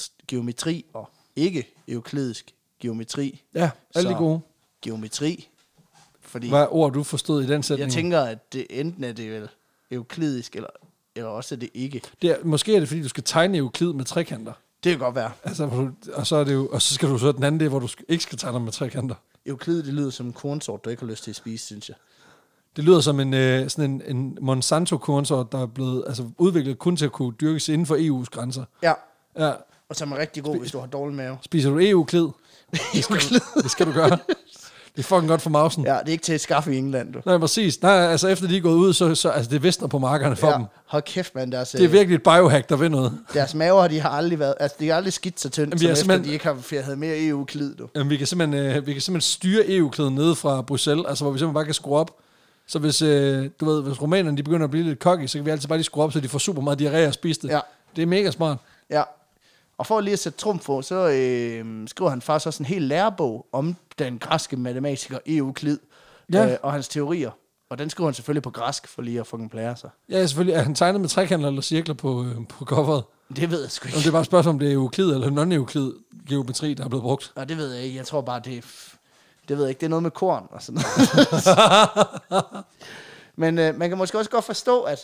Speaker 2: t- geometri og ikke euklidisk geometri.
Speaker 1: Ja, alle
Speaker 2: Så
Speaker 1: de gode.
Speaker 2: Geometri. Fordi
Speaker 1: Hvad er ord, du forstod i den sætning?
Speaker 2: jeg tænker, at det, enten er det vel euklidisk, eller, eller også er det ikke.
Speaker 1: Det er, måske er det, fordi du skal tegne euklid med trekanter.
Speaker 2: Det kan godt være.
Speaker 1: Altså, hvor du, og, så er det jo, og så skal du så den anden del, hvor du sk- ikke skal tegne med trekanter.
Speaker 2: Euklid, det lyder som en kornsort, du ikke har lyst til at spise, synes jeg.
Speaker 1: Det lyder som en, øh, sådan en, en Monsanto-kornsort, der er blevet altså, udviklet kun til at kunne dyrkes inden for EU's grænser.
Speaker 2: Ja,
Speaker 1: Ja,
Speaker 2: og som er rigtig god, hvis du har dårlig mave.
Speaker 1: spiser du [laughs] EU-klid?
Speaker 2: Euklid.
Speaker 1: Det skal du gøre. det er fucking godt for mausen. E Ja.
Speaker 2: Ja, det er ikke til at skaffe i England, du.
Speaker 1: Nej, præcis. Nej, altså efter de er gået ud, så, så altså, det visner på markerne for ja. dem.
Speaker 2: Ja, hold kæft, mand, deres, øh,
Speaker 1: Det er virkelig et biohack, der ved noget.
Speaker 2: deres maver, de har aldrig været, altså, de har aldrig skidt så tyndt,
Speaker 1: Jamen,
Speaker 2: som
Speaker 1: vi har
Speaker 2: efter,
Speaker 1: simpelthen-
Speaker 2: de ikke har, havde mere euklid, du.
Speaker 1: Jamen, vi, kan simpelthen, øh, vi kan simpelthen styre EU-klæden nede fra Bruxelles, altså hvor vi simpelthen bare kan skrue op. Så hvis, øh, du ved, hvis romanerne de begynder at blive lidt kokke, så kan vi altid bare lige skrue op, så de får super meget diarré og spise det.
Speaker 2: Ja.
Speaker 1: Det er mega smart.
Speaker 2: Ja. Og for lige at sætte trumf på, så øh, skriver han faktisk også en hel lærebog om den græske matematiker Euklid
Speaker 1: Ja.
Speaker 2: ja. øh, og hans teorier. Og den skriver han selvfølgelig på græsk, for lige at fucking plære sig.
Speaker 1: Ja, selvfølgelig. Er han tegnet med trekanter eller cirkler på, øh, på coveret?
Speaker 2: Det ved jeg sgu
Speaker 1: Jamen, det
Speaker 2: ikke.
Speaker 1: er bare et spørgsmål, om det er euklid eller non-euklid geometri, der er blevet brugt.
Speaker 2: Og det ved jeg ikke. Jeg tror bare, det er... f- Det ved jeg ikke. Det er noget med korn og sådan
Speaker 1: [laughs]
Speaker 2: Men øh, man kan måske også godt forstå, at,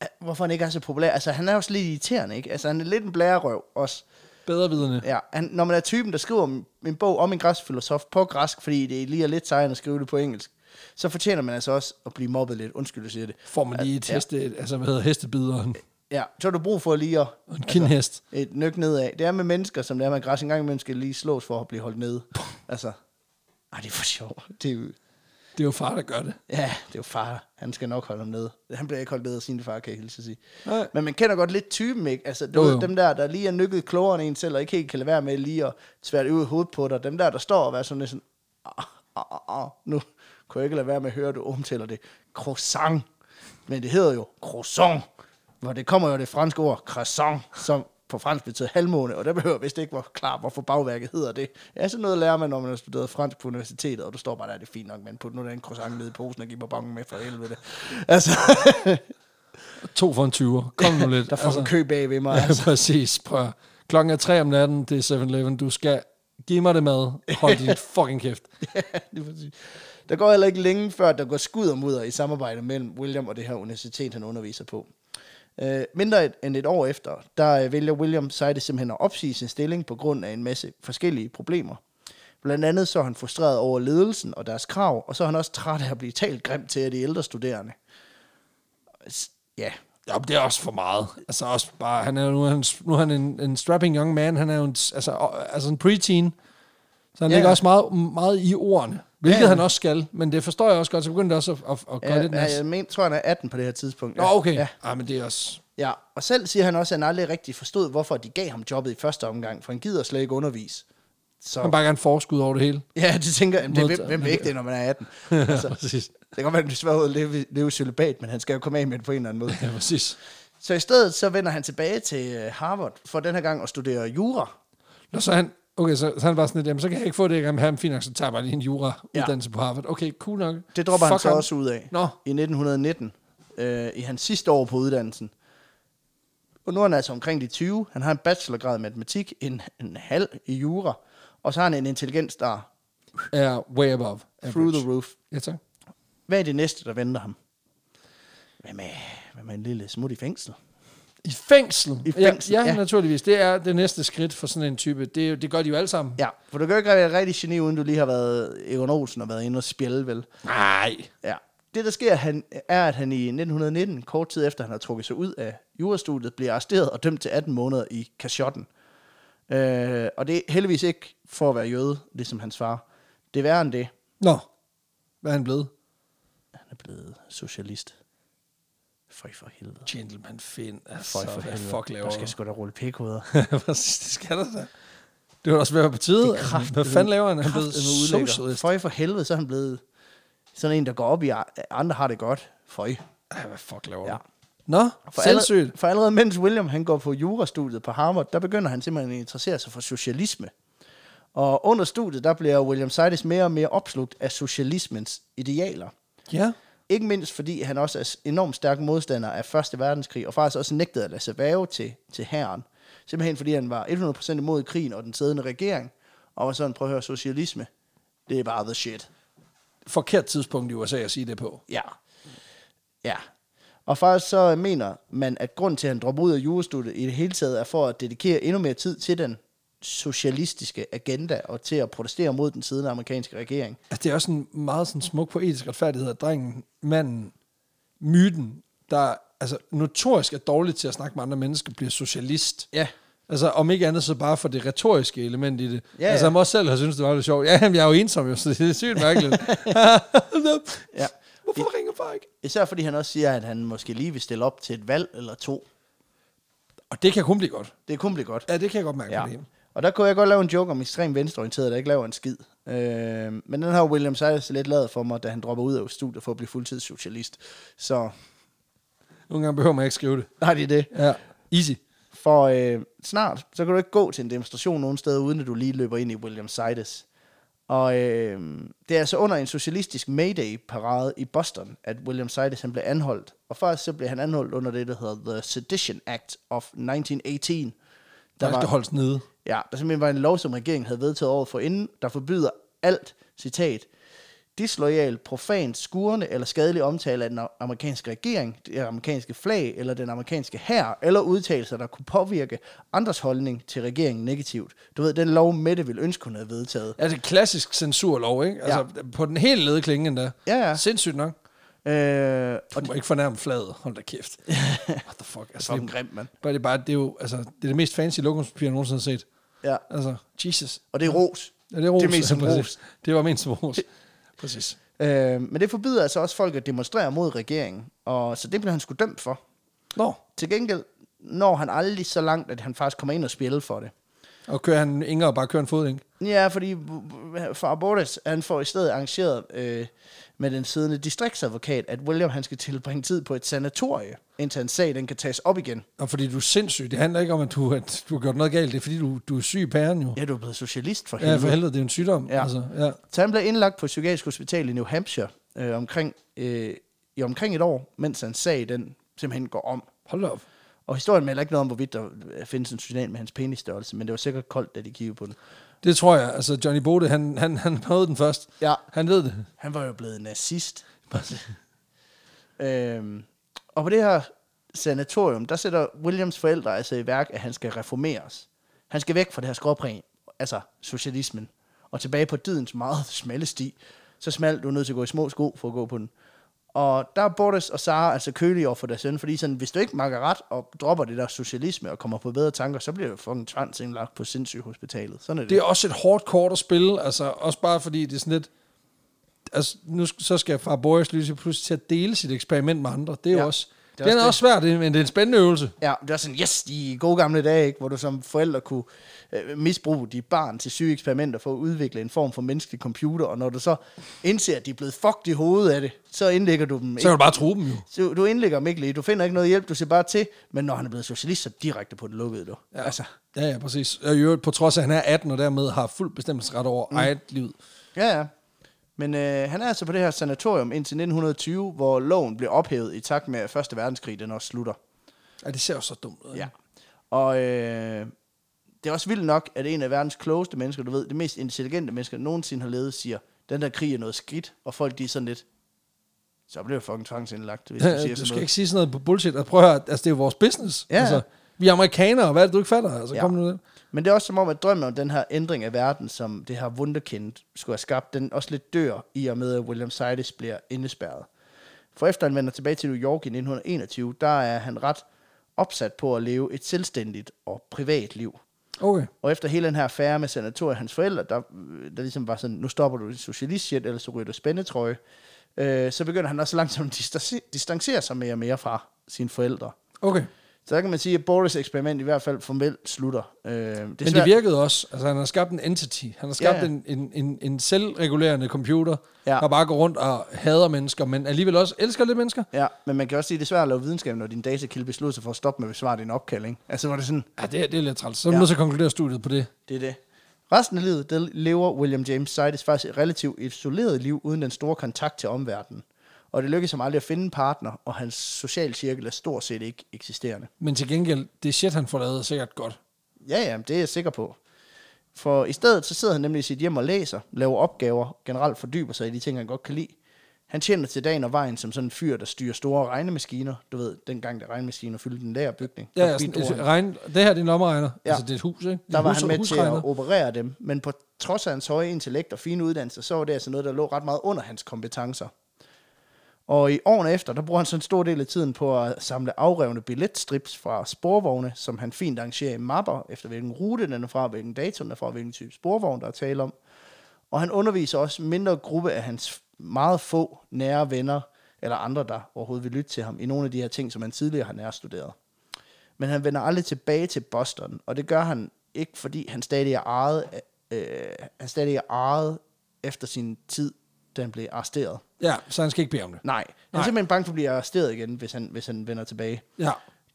Speaker 2: at hvorfor han ikke er så populær. Altså, han er også lidt irriterende, ikke? Altså, han er lidt en blærerøv også.
Speaker 1: Bedre vidende.
Speaker 2: Ja, han, når man er typen, der skriver om- en bog om en græsk filosof på græsk, fordi det lige er lidt sejere end at skrive det på engelsk, så fortjener man altså også at blive mobbet lidt. Undskyld, jeg siger det.
Speaker 1: Får man lige et
Speaker 2: Ja.
Speaker 1: heste, et- altså hvad hedder hestebid og en,
Speaker 2: Ja, så har du brug for lige at
Speaker 1: og en kindhest.
Speaker 2: et nyk nedad. Det er med mennesker, som det er med græs. En gang imellem skal lige slås for at blive holdt nede. Altså, ej, det er for sjovt. Det er jo,
Speaker 1: Det er jo far, der gør det.
Speaker 2: ja, det er jo far. Han skal nok holde ham nede. Han bliver ikke holdt nede af sin far, kan jeg hilse at sige.
Speaker 1: Nej.
Speaker 2: Men man kender godt lidt typen, ikke? Altså, du
Speaker 1: Jo,
Speaker 2: jo,
Speaker 1: jo.
Speaker 2: Ved, dem der, der lige er nykket klogere end en selv, og ikke helt kan lade være med lige at tvært ud i hovedet på dig. Dem der, der står og er sådan lidt sådan, "Ah, ah, ah, ah, nu kunne jeg ikke lade være med at høre, at du omtaler det. Croissant. Men det hedder jo croissant. Hvor det kommer jo af det franske ord croissant, som på fransk betyder halvmåne, og der behøver jeg vist ikke være klar, hvorfor bagværket hedder det. Ja, sådan noget lærer man, når man har studeret fransk på universitetet, og du står bare der, det er fint nok, men put nu den croissant ned i posen og giv mig bongen med for helvede. Altså,
Speaker 1: To for en 20'er. Kom
Speaker 2: [laughs]
Speaker 1: nu lidt.
Speaker 2: der får
Speaker 1: [laughs]
Speaker 2: altså, en kø altså. bag ved mig.
Speaker 1: Ja, præcis. Prøv. at- Klokken er tre om natten,
Speaker 2: [laughs]
Speaker 1: det er 7-Eleven. Du skal give mig det mad. Hold din fucking kæft.
Speaker 2: Ja, lige præcis. Der går heller ikke længe før, der går skud og mudder i samarbejde mellem William og det her universitet, han underviser på. Øh, mindre et- end et år efter, der øh, vælger William Seide simpelthen at opsige sin stilling på grund af en masse forskellige problemer. Blandt andet så er han frustreret over ledelsen og deres krav, og så er han også træt af at blive talt grimt til af de ældre studerende. S- Ja,
Speaker 1: Ja, men det er også for meget. Altså også bare, han er jo nu, er han, nu er han en, en strapping young man, han er jo en, altså, og- altså en preteen, så han
Speaker 2: Ja.
Speaker 1: ja. ligger også meget, meget i ordene, hvilket
Speaker 2: Ja.
Speaker 1: ja. han også skal, men det forstår jeg også godt, så begynder det også at, at, at gøre
Speaker 2: ja,
Speaker 1: lidt
Speaker 2: ja,
Speaker 1: nas.
Speaker 2: jeg men, tror, han er 18 på det her tidspunkt.
Speaker 1: Nå,
Speaker 2: ja.
Speaker 1: okay.
Speaker 2: Ja.
Speaker 1: Ja. Ej, men det er også...
Speaker 2: Ja, og selv siger han også, at han aldrig rigtig forstod, hvorfor de gav ham jobbet i første omgang, for han gider slet ikke undervise. Så,
Speaker 1: Han vil bare gerne forskud over det hele.
Speaker 2: ja, det tænker jeg, det, hvem,
Speaker 1: Modtager.
Speaker 2: hvem vil ikke det, når man er 18? [laughs] altså,
Speaker 1: [laughs] præcis.
Speaker 2: det kan godt være, at det er svært at leve, leve celibat, men han skal jo komme af med det på en eller anden måde.
Speaker 1: Ja, præcis.
Speaker 2: Så i stedet så vender han tilbage til øh, Harvard for den her gang at studere jura.
Speaker 1: Nå, så er han, okay, så, så er han bare sådan lidt, jamen, så kan jeg ikke få det, jeg gerne vil have, men fint nok, så tager jeg bare lige en jura-uddannelse ja. på Harvard. Okay, cool nok.
Speaker 2: Det dropper han
Speaker 1: Fuck
Speaker 2: så
Speaker 1: ham.
Speaker 2: også ud af
Speaker 1: Nå.
Speaker 2: i 1919, øh, i hans sidste år på uddannelsen. Og nu er han altså omkring de 20. Han har en bachelorgrad i matematik, en, en halv i jura, og så har han en intelligens, der er
Speaker 1: Er way above. Average.
Speaker 2: through the roof.
Speaker 1: Ja, tak.
Speaker 2: Hvad er det næste, der venter ham? Hvad med, hvad med en lille smut i fængsel?
Speaker 1: I fængsel?
Speaker 2: I fængsel,
Speaker 1: ja, ja,
Speaker 2: ja.
Speaker 1: ja. naturligvis. Det er det næste skridt for sådan en type. Det, er jo- det gør de jo alle sammen.
Speaker 2: Ja, for du kan jo ikke være et rigtig geni, uden du lige har været Egon Olsen og været inde og spjælde, vel?
Speaker 1: Nej.
Speaker 2: Ja. Det, der sker, han, er, at han i 1919, kort tid efter han har trukket sig ud af jurastudiet, bliver arresteret og dømt til 18 måneder i kashotten. Øh, og det er heldigvis ikke for at være jøde, ligesom hans far. Det er værre end det.
Speaker 1: Nå. Hvad er han blevet?
Speaker 2: Han er blevet socialist. Føj for helvede.
Speaker 1: Gentleman Finn. Altså,
Speaker 2: Føj for
Speaker 1: hvad
Speaker 2: helvede.
Speaker 1: fuck laver
Speaker 2: der skal
Speaker 1: du?
Speaker 2: sgu da rulle pikhoveder.
Speaker 1: [laughs] Præcis, det skal der da. Det var også ved at være på tide.
Speaker 2: Det er kraft-
Speaker 1: Hvad fanden laver han? Han er blevet en
Speaker 2: Kraft-
Speaker 1: udlægger.
Speaker 2: Føj for helvede, så er han blevet sådan en, der går op i, at andre har det godt. Føj.
Speaker 1: Ej, hvad fuck laver
Speaker 2: Ja.
Speaker 1: ja. du? Nå,
Speaker 2: For allerede,
Speaker 1: selvsygt.
Speaker 2: for allerede mens William han går på jurastudiet på Harvard, der begynder han simpelthen at interessere sig for socialisme. Og under studiet, der bliver William Sidis mere og mere opslugt af socialismens idealer.
Speaker 1: Ja.
Speaker 2: Ikke mindst fordi han også er s- enormt stærk modstander af Første Verdenskrig, og faktisk også nægtede at lade sig væve til, til herren. Simpelthen fordi han var 100% imod krigen og den siddende regering, og var sådan, prøv at høre, socialisme, det er bare the shit.
Speaker 1: Forkert tidspunkt i USA at sige det på.
Speaker 2: Ja. Ja. Og faktisk så mener man, at grund til, at han dropper ud af jurastudiet i det hele taget, er for at dedikere endnu mere tid til den socialistiske agenda og til at protestere mod den siddende amerikanske regering.
Speaker 1: Altså, det er også en meget sådan smuk poetisk retfærdighed, at drengen, manden, myten, der altså, notorisk er dårlig til at snakke med andre mennesker, bliver socialist.
Speaker 2: Ja.
Speaker 1: Altså, om ikke andet så bare for det retoriske element i det.
Speaker 2: Ja,
Speaker 1: Ja, altså,
Speaker 2: ja.
Speaker 1: han må også selv have syntes, det var lidt sjovt. Ja, jamen, jeg er jo ensom, jo, så det er sygt mærkeligt.
Speaker 2: [laughs] Ja.
Speaker 1: ja. Hvorfor ringer far ikke?
Speaker 2: Især fordi han også siger, at han måske lige vil stille op til et valg eller to.
Speaker 1: Og det kan kun blive godt.
Speaker 2: Det kunne blive godt.
Speaker 1: Ja, det kan jeg godt mærke.
Speaker 2: Ja.
Speaker 1: Ja. Det.
Speaker 2: Og der kunne jeg godt lave en joke om ekstrem venstreorienteret, der ikke laver en skid. Øh, men den har William Silas lidt lavet for mig, da han dropper ud af studiet for at blive fuldtidssocialist. Så
Speaker 1: Nogle gange behøver man ikke skrive det.
Speaker 2: nej, det er det.
Speaker 1: Ja. Easy.
Speaker 2: For øh, snart, så kan du ikke gå til en demonstration nogen steder, uden at du lige løber ind i William Sides. Og øh, det er altså under en socialistisk Mayday-parade i Boston, at William Sides han blev anholdt. Og først så blev han anholdt under det, der hedder The Sedition Act of 1918.
Speaker 1: Der skal holdes nede.
Speaker 2: Ja, der simpelthen var en lov, som regeringen havde vedtaget over for inden, der forbyder alt, citat, disloyal, profan, skurende eller skadelig omtale af den amerikanske regering, det amerikanske flag eller den amerikanske hær, eller udtalelser, der kunne påvirke andres holdning til regeringen negativt. Du ved, den lov, Mette ville ønske, hun havde vedtaget.
Speaker 1: Altså, klassisk censurlov, ikke? Altså, ja. på den helt lede klinge endda.
Speaker 2: Ja, ja.
Speaker 1: Sindssygt nok.
Speaker 2: Øh, og
Speaker 1: Og du må ikke fornærme flaget. Hold da
Speaker 2: [laughs]
Speaker 1: kæft. What the fuck? Altså,
Speaker 2: fucking
Speaker 1: det,
Speaker 2: grimt, mand.
Speaker 1: bare, det, er bare, det er jo altså, det, er det mest fancy lokumspapir, jeg nogensinde har set.
Speaker 2: Ja,
Speaker 1: Altså, Jesus.
Speaker 2: og det er ros.
Speaker 1: Ja, det er ros.
Speaker 2: Det er mest som
Speaker 1: Ja, [laughs] præcis.
Speaker 2: ros.
Speaker 1: Det var mest som
Speaker 2: [laughs]
Speaker 1: ros. Præcis.
Speaker 2: Øh, men det forbyder altså også folk at demonstrere mod regeringen, og så det blev han sgu dømt for.
Speaker 1: Nå,
Speaker 2: Til gengæld når han aldrig så langt, at han faktisk kommer ind og spiller for det.
Speaker 1: og kører han Inger og bare kører en fod, ikke?
Speaker 2: Ja, fordi far Bortes, han får i stedet arrangeret øh, med den siddende distriktsadvokat, at William han skal tilbringe tid på et sanatorie, indtil hans sag den kan tages op igen.
Speaker 1: Og fordi du er sindssyg. Det handler ikke om, at du, at du har gjort noget galt. Det er fordi, du, du er syg i pæren jo.
Speaker 2: Ja, du er blevet socialist for
Speaker 1: Ja,
Speaker 2: helvede.
Speaker 1: for helvede, det er jo en sygdom.
Speaker 2: Ja.
Speaker 1: Ja. Altså, ja.
Speaker 2: Så han blev indlagt på et psykiatrisk hospital i New Hampshire øh, omkring, øh, i omkring et år, mens hans sag den simpelthen går om.
Speaker 1: Hold da op.
Speaker 2: Og historien melder ikke noget om, hvorvidt der findes en journal med hans penisstørrelse, men det var sikkert koldt, da de kiggede på den.
Speaker 1: Det tror jeg. Altså, Johnny Bode, han, han, han nåede den først.
Speaker 2: Ja.
Speaker 1: Han ved det.
Speaker 2: Han var jo blevet nazist. øhm, og på det her sanatorium, der sætter Williams forældre altså i værk, at han skal reformeres. Han skal væk fra det her skråpræg, altså socialismen, og tilbage på dydens meget smalle sti. Så smalt, du er nødt til at gå i små sko for at gå på den. Og der er Boris og Sara altså kølige over for deres søn, fordi sådan, hvis du ikke makker ret og dropper det der socialisme og kommer på bedre tanker, så bliver du fucking tvangsindlagt på sindssyghospitalet. Sådan er det.
Speaker 1: Det er også et hårdt kort at spille, altså også bare fordi det er sådan lidt, altså nu sk- så skal far Boris lyse pludselig til at dele sit eksperiment med andre. Det er
Speaker 2: Ja,
Speaker 1: jo også,
Speaker 2: det er
Speaker 1: det er, den
Speaker 2: også
Speaker 1: er også svært, det- men det er en spændende øvelse.
Speaker 2: Ja, det var sådan, yes, de gode gamle dage, ikke? hvor du som forældre kunne øh, misbruge dit barn til syge eksperimenter for at udvikle en form for menneskelig computer, og når du så indser, at de er blevet fucked i hovedet af det, så indlægger du dem
Speaker 1: Så kan
Speaker 2: ikke.
Speaker 1: du bare true dem jo.
Speaker 2: Så du indlægger dem ikke lige, du finder ikke noget hjælp, du ser bare til, men når han er blevet socialist, så direkte på den lukkede du. Ja. Altså,
Speaker 1: Ja, ja, præcis. Og i øvrigt, på trods af, at han er 18 og dermed har fuld bestemmelsesret over mm. eget liv.
Speaker 2: ja, ja. Men øh, han er altså på det her sanatorium indtil 1920, hvor loven blev ophævet i takt med, at Første Verdenskrig den også slutter.
Speaker 1: Ja, det ser jo så dumt ud.
Speaker 2: Ja. Og øh, det er også vildt nok, at en af verdens klogeste mennesker, du ved, det mest intelligente mennesker, der nogensinde har levet, siger, den der krig er noget skidt, og folk de er sådan lidt, så bliver jeg fucking
Speaker 1: [laughs]
Speaker 2: tvangsindlagt, hvis du siger
Speaker 1: Ja, du
Speaker 2: sådan
Speaker 1: skal
Speaker 2: noget.
Speaker 1: ikke sige sådan noget på bullshit. Og prøv at høre, altså, det er jo vores business.
Speaker 2: Ja.
Speaker 1: Altså, vi er amerikanere, hvad er det, du ikke fatter? Altså,
Speaker 2: Ja.
Speaker 1: ja. kom nu.
Speaker 2: Men det er også som om, at drømmen om den her ændring af verden, som det her wunderkind skulle have skabt, den også lidt dør i og med, at William Sidis bliver indespærret. For efter han vender tilbage til New York i 1921, der er han ret opsat på at leve et selvstændigt og privat liv.
Speaker 1: Okay.
Speaker 2: Og efter hele den her affære med senatoriet og hans forældre, der, øh, der ligesom var sådan, nu stopper du din socialist shit, eller så ryger du spændetrøje, øh, så begynder han også langsomt at distanci- distancere sig mere og mere fra sine forældre.
Speaker 1: Okay.
Speaker 2: Så der kan man sige, at Boris' eksperiment i hvert fald formelt slutter. Øh, det er
Speaker 1: Det Men det virkede også. Altså, han har skabt en entity. Han har skabt
Speaker 2: Ja,
Speaker 1: ja,
Speaker 2: ja.
Speaker 1: En, en, en, en selvregulerende computer,
Speaker 2: Ja.
Speaker 1: ja. der bare går rundt og hader mennesker, men alligevel også elsker lidt mennesker.
Speaker 2: Ja, men man kan også sige, at det er svært at lave videnskab, når din datakilde beslutter sig for at stoppe med at besvare din opkald, ikke? Altså, var det sådan,
Speaker 1: Ja, det, er- det er lidt træls. Så er
Speaker 2: Ja.
Speaker 1: ja. nødt til at konkludere studiet på det.
Speaker 2: det er det. Resten af livet, der lever William James Sidis faktisk et relativt isoleret liv uden den store kontakt til omverdenen. Og det lykkedes ham aldrig at finde en partner, og hans social cirkel er stort set ikke eksisterende.
Speaker 1: Men til gengæld, det shit, han får lavet, er sikkert godt.
Speaker 2: Ja, ja, det er jeg sikker på. For i stedet så sidder han nemlig i sit hjem og læser, laver opgaver, generelt fordyber sig i de ting, han godt kan lide. Han tjener til dagen og vejen som sådan en fyr, der styrer store regnemaskiner. Du ved, dengang der regnemaskiner fyldte den lagerbygning.
Speaker 1: Ja,
Speaker 2: Der
Speaker 1: ja, sådan,
Speaker 2: bidrog han.
Speaker 1: et, regn, det her det er en lommeregner. Ja.
Speaker 2: Ja.
Speaker 1: Altså, det er et hus, ikke?
Speaker 2: der
Speaker 1: En
Speaker 2: var
Speaker 1: hus,
Speaker 2: han med til
Speaker 1: husregner.
Speaker 2: at operere dem, men på trods af hans høje intellekt og fine uddannelse, så var det altså noget, der lå ret meget under hans kompetencer. Og i årene efter, der bruger han så en stor del af tiden på at samle afrevne billetstrips fra sporvogne, som han fint arrangerer i mapper, efter hvilken rute den er fra, hvilken dato den er fra, hvilken type sporvogn, der er tale om. Og han underviser også en mindre gruppe af hans meget få nære venner, eller andre, der overhovedet vil lytte til ham, i nogle af de her ting, som han tidligere har nærstuderet. Men han vender aldrig tilbage til Boston, og det gør han ikke, fordi han stadig er ejet, af- øh, han stadig er ejet efter sin tid, da han blev arresteret.
Speaker 1: Ja, så han skal ikke bede om det.
Speaker 2: Nej, han er
Speaker 1: Nej.
Speaker 2: simpelthen bange for at blive arresteret igen, hvis han, hvis han vender tilbage.
Speaker 1: Ja.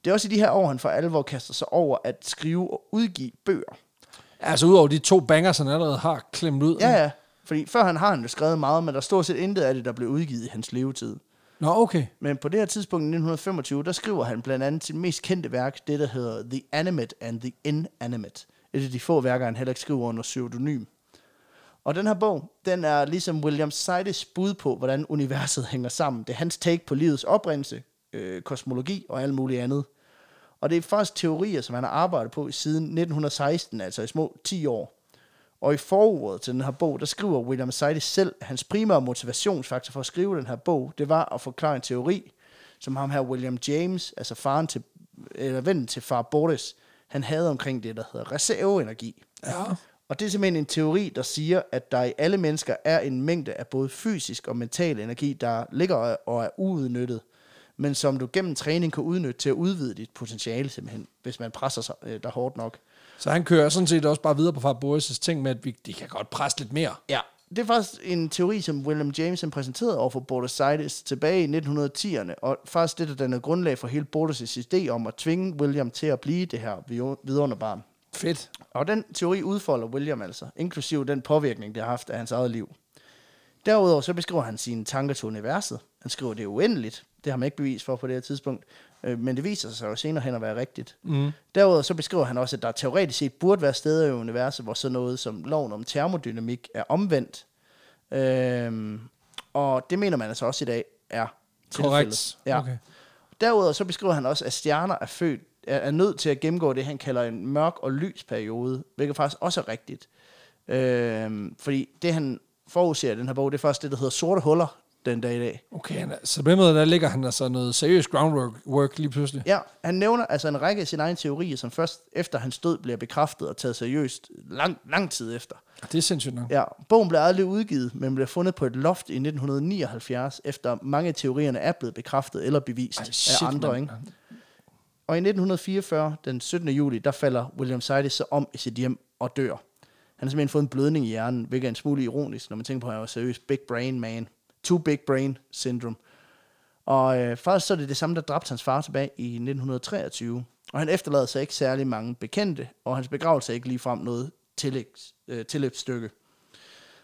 Speaker 2: Det er også i de her år, han for alvor kaster sig over at skrive og udgive bøger.
Speaker 1: Altså, udover de to bangers, han allerede har klemt ud.
Speaker 2: Ja, ja. Fordi før han har han jo skrevet meget, men der er stort set intet af det, der blev udgivet i hans levetid.
Speaker 1: Nå, okay.
Speaker 2: Men på det her tidspunkt i 1925, der skriver han blandt andet sit mest kendte værk, det der hedder The Animate and the Inanimate. Et af de få værker, han heller ikke skriver under pseudonym. Og den her bog, den er ligesom William Sidis bud på, hvordan universet [laughs] hænger sammen. Det er hans take på livets oprindelse, øh, kosmologi og alt muligt andet. Og det er faktisk teorier, som han har arbejdet på siden 1916, altså i små 10 år. Og i forordet til den her bog, der skriver William Sidis selv, at hans primære motivationsfaktor for at skrive den her bog, det var at forklare en teori, som ham her William James, altså faren til, eller vennen til far Boris, han havde omkring det, der hedder reserveenergi.
Speaker 1: Ja.
Speaker 2: Og det er simpelthen en teori, der siger, at der i alle mennesker er en mængde af både fysisk og mental energi, der ligger og er uudnyttet, men som du gennem træning kan udnytte til at udvide dit potentiale simpelthen, hvis man presser sig øh, der hårdt nok.
Speaker 1: Så han kører sådan set også bare videre på far Boris' ting med, at vi, de kan godt presse lidt mere.
Speaker 2: Ja. Det er faktisk en teori, som William James han præsenterede over for Bortus Sidis tilbage i 1910'erne, og faktisk det, der dannede grundlag for hele Bortus' idé om at tvinge William til at blive det her vi- vidunderbarn.
Speaker 1: Fedt.
Speaker 2: Og den teori udfolder William altså, inklusive den påvirkning, det har haft af hans eget liv. Derudover så beskriver han sine tanker til universet. Han skriver, det er uendeligt. Det har man ikke bevis for på det her tidspunkt. Øh, men det viser sig jo senere hen at være rigtigt. Mm. Derudover så beskriver han også, at der teoretisk set burde være steder i universet, hvor sådan noget som loven om termodynamik er omvendt. Øh, og det mener man altså også i dag er tilfældet.
Speaker 1: Korrekt.
Speaker 2: Ja.
Speaker 1: Okay.
Speaker 2: Derudover så beskriver han også, at stjerner er født er er nødt til at gennemgå det, han kalder en mørk og lys periode, hvilket faktisk også er rigtigt. Øhm, fordi det, han forudser i den her bog, det er faktisk det, der hedder sorte huller den dag i dag.
Speaker 1: Okay, han er, så på den måde, der ligger han altså noget seriøst groundwork work lige pludselig.
Speaker 2: Ja, han nævner altså en række af sine egne teorier, som først efter hans død bliver bekræftet og taget seriøst lang, lang tid efter.
Speaker 1: Ah, Det er sindssygt nok.
Speaker 2: Ja, bogen blev aldrig udgivet, men blev fundet på et loft i 1979, efter mange af teorierne er blevet bekræftet eller bevist Ej, shit, af andre.
Speaker 1: mand.
Speaker 2: Ikke? Og i 1944, den 17. juli, der falder William Sidis så om i sit hjem og dør. Han har simpelthen fået en blødning i hjernen, hvilket er en smule ironisk, når man tænker på, at han var seriøst big brain man. Too big brain syndrome. Og øh, faktisk så er det det samme, der dræbte hans far tilbage i 1923. Og han efterlader sig ikke særlig mange bekendte, og hans begravelse er ikke ligefrem noget tillægs, øh, tilløbsstykke.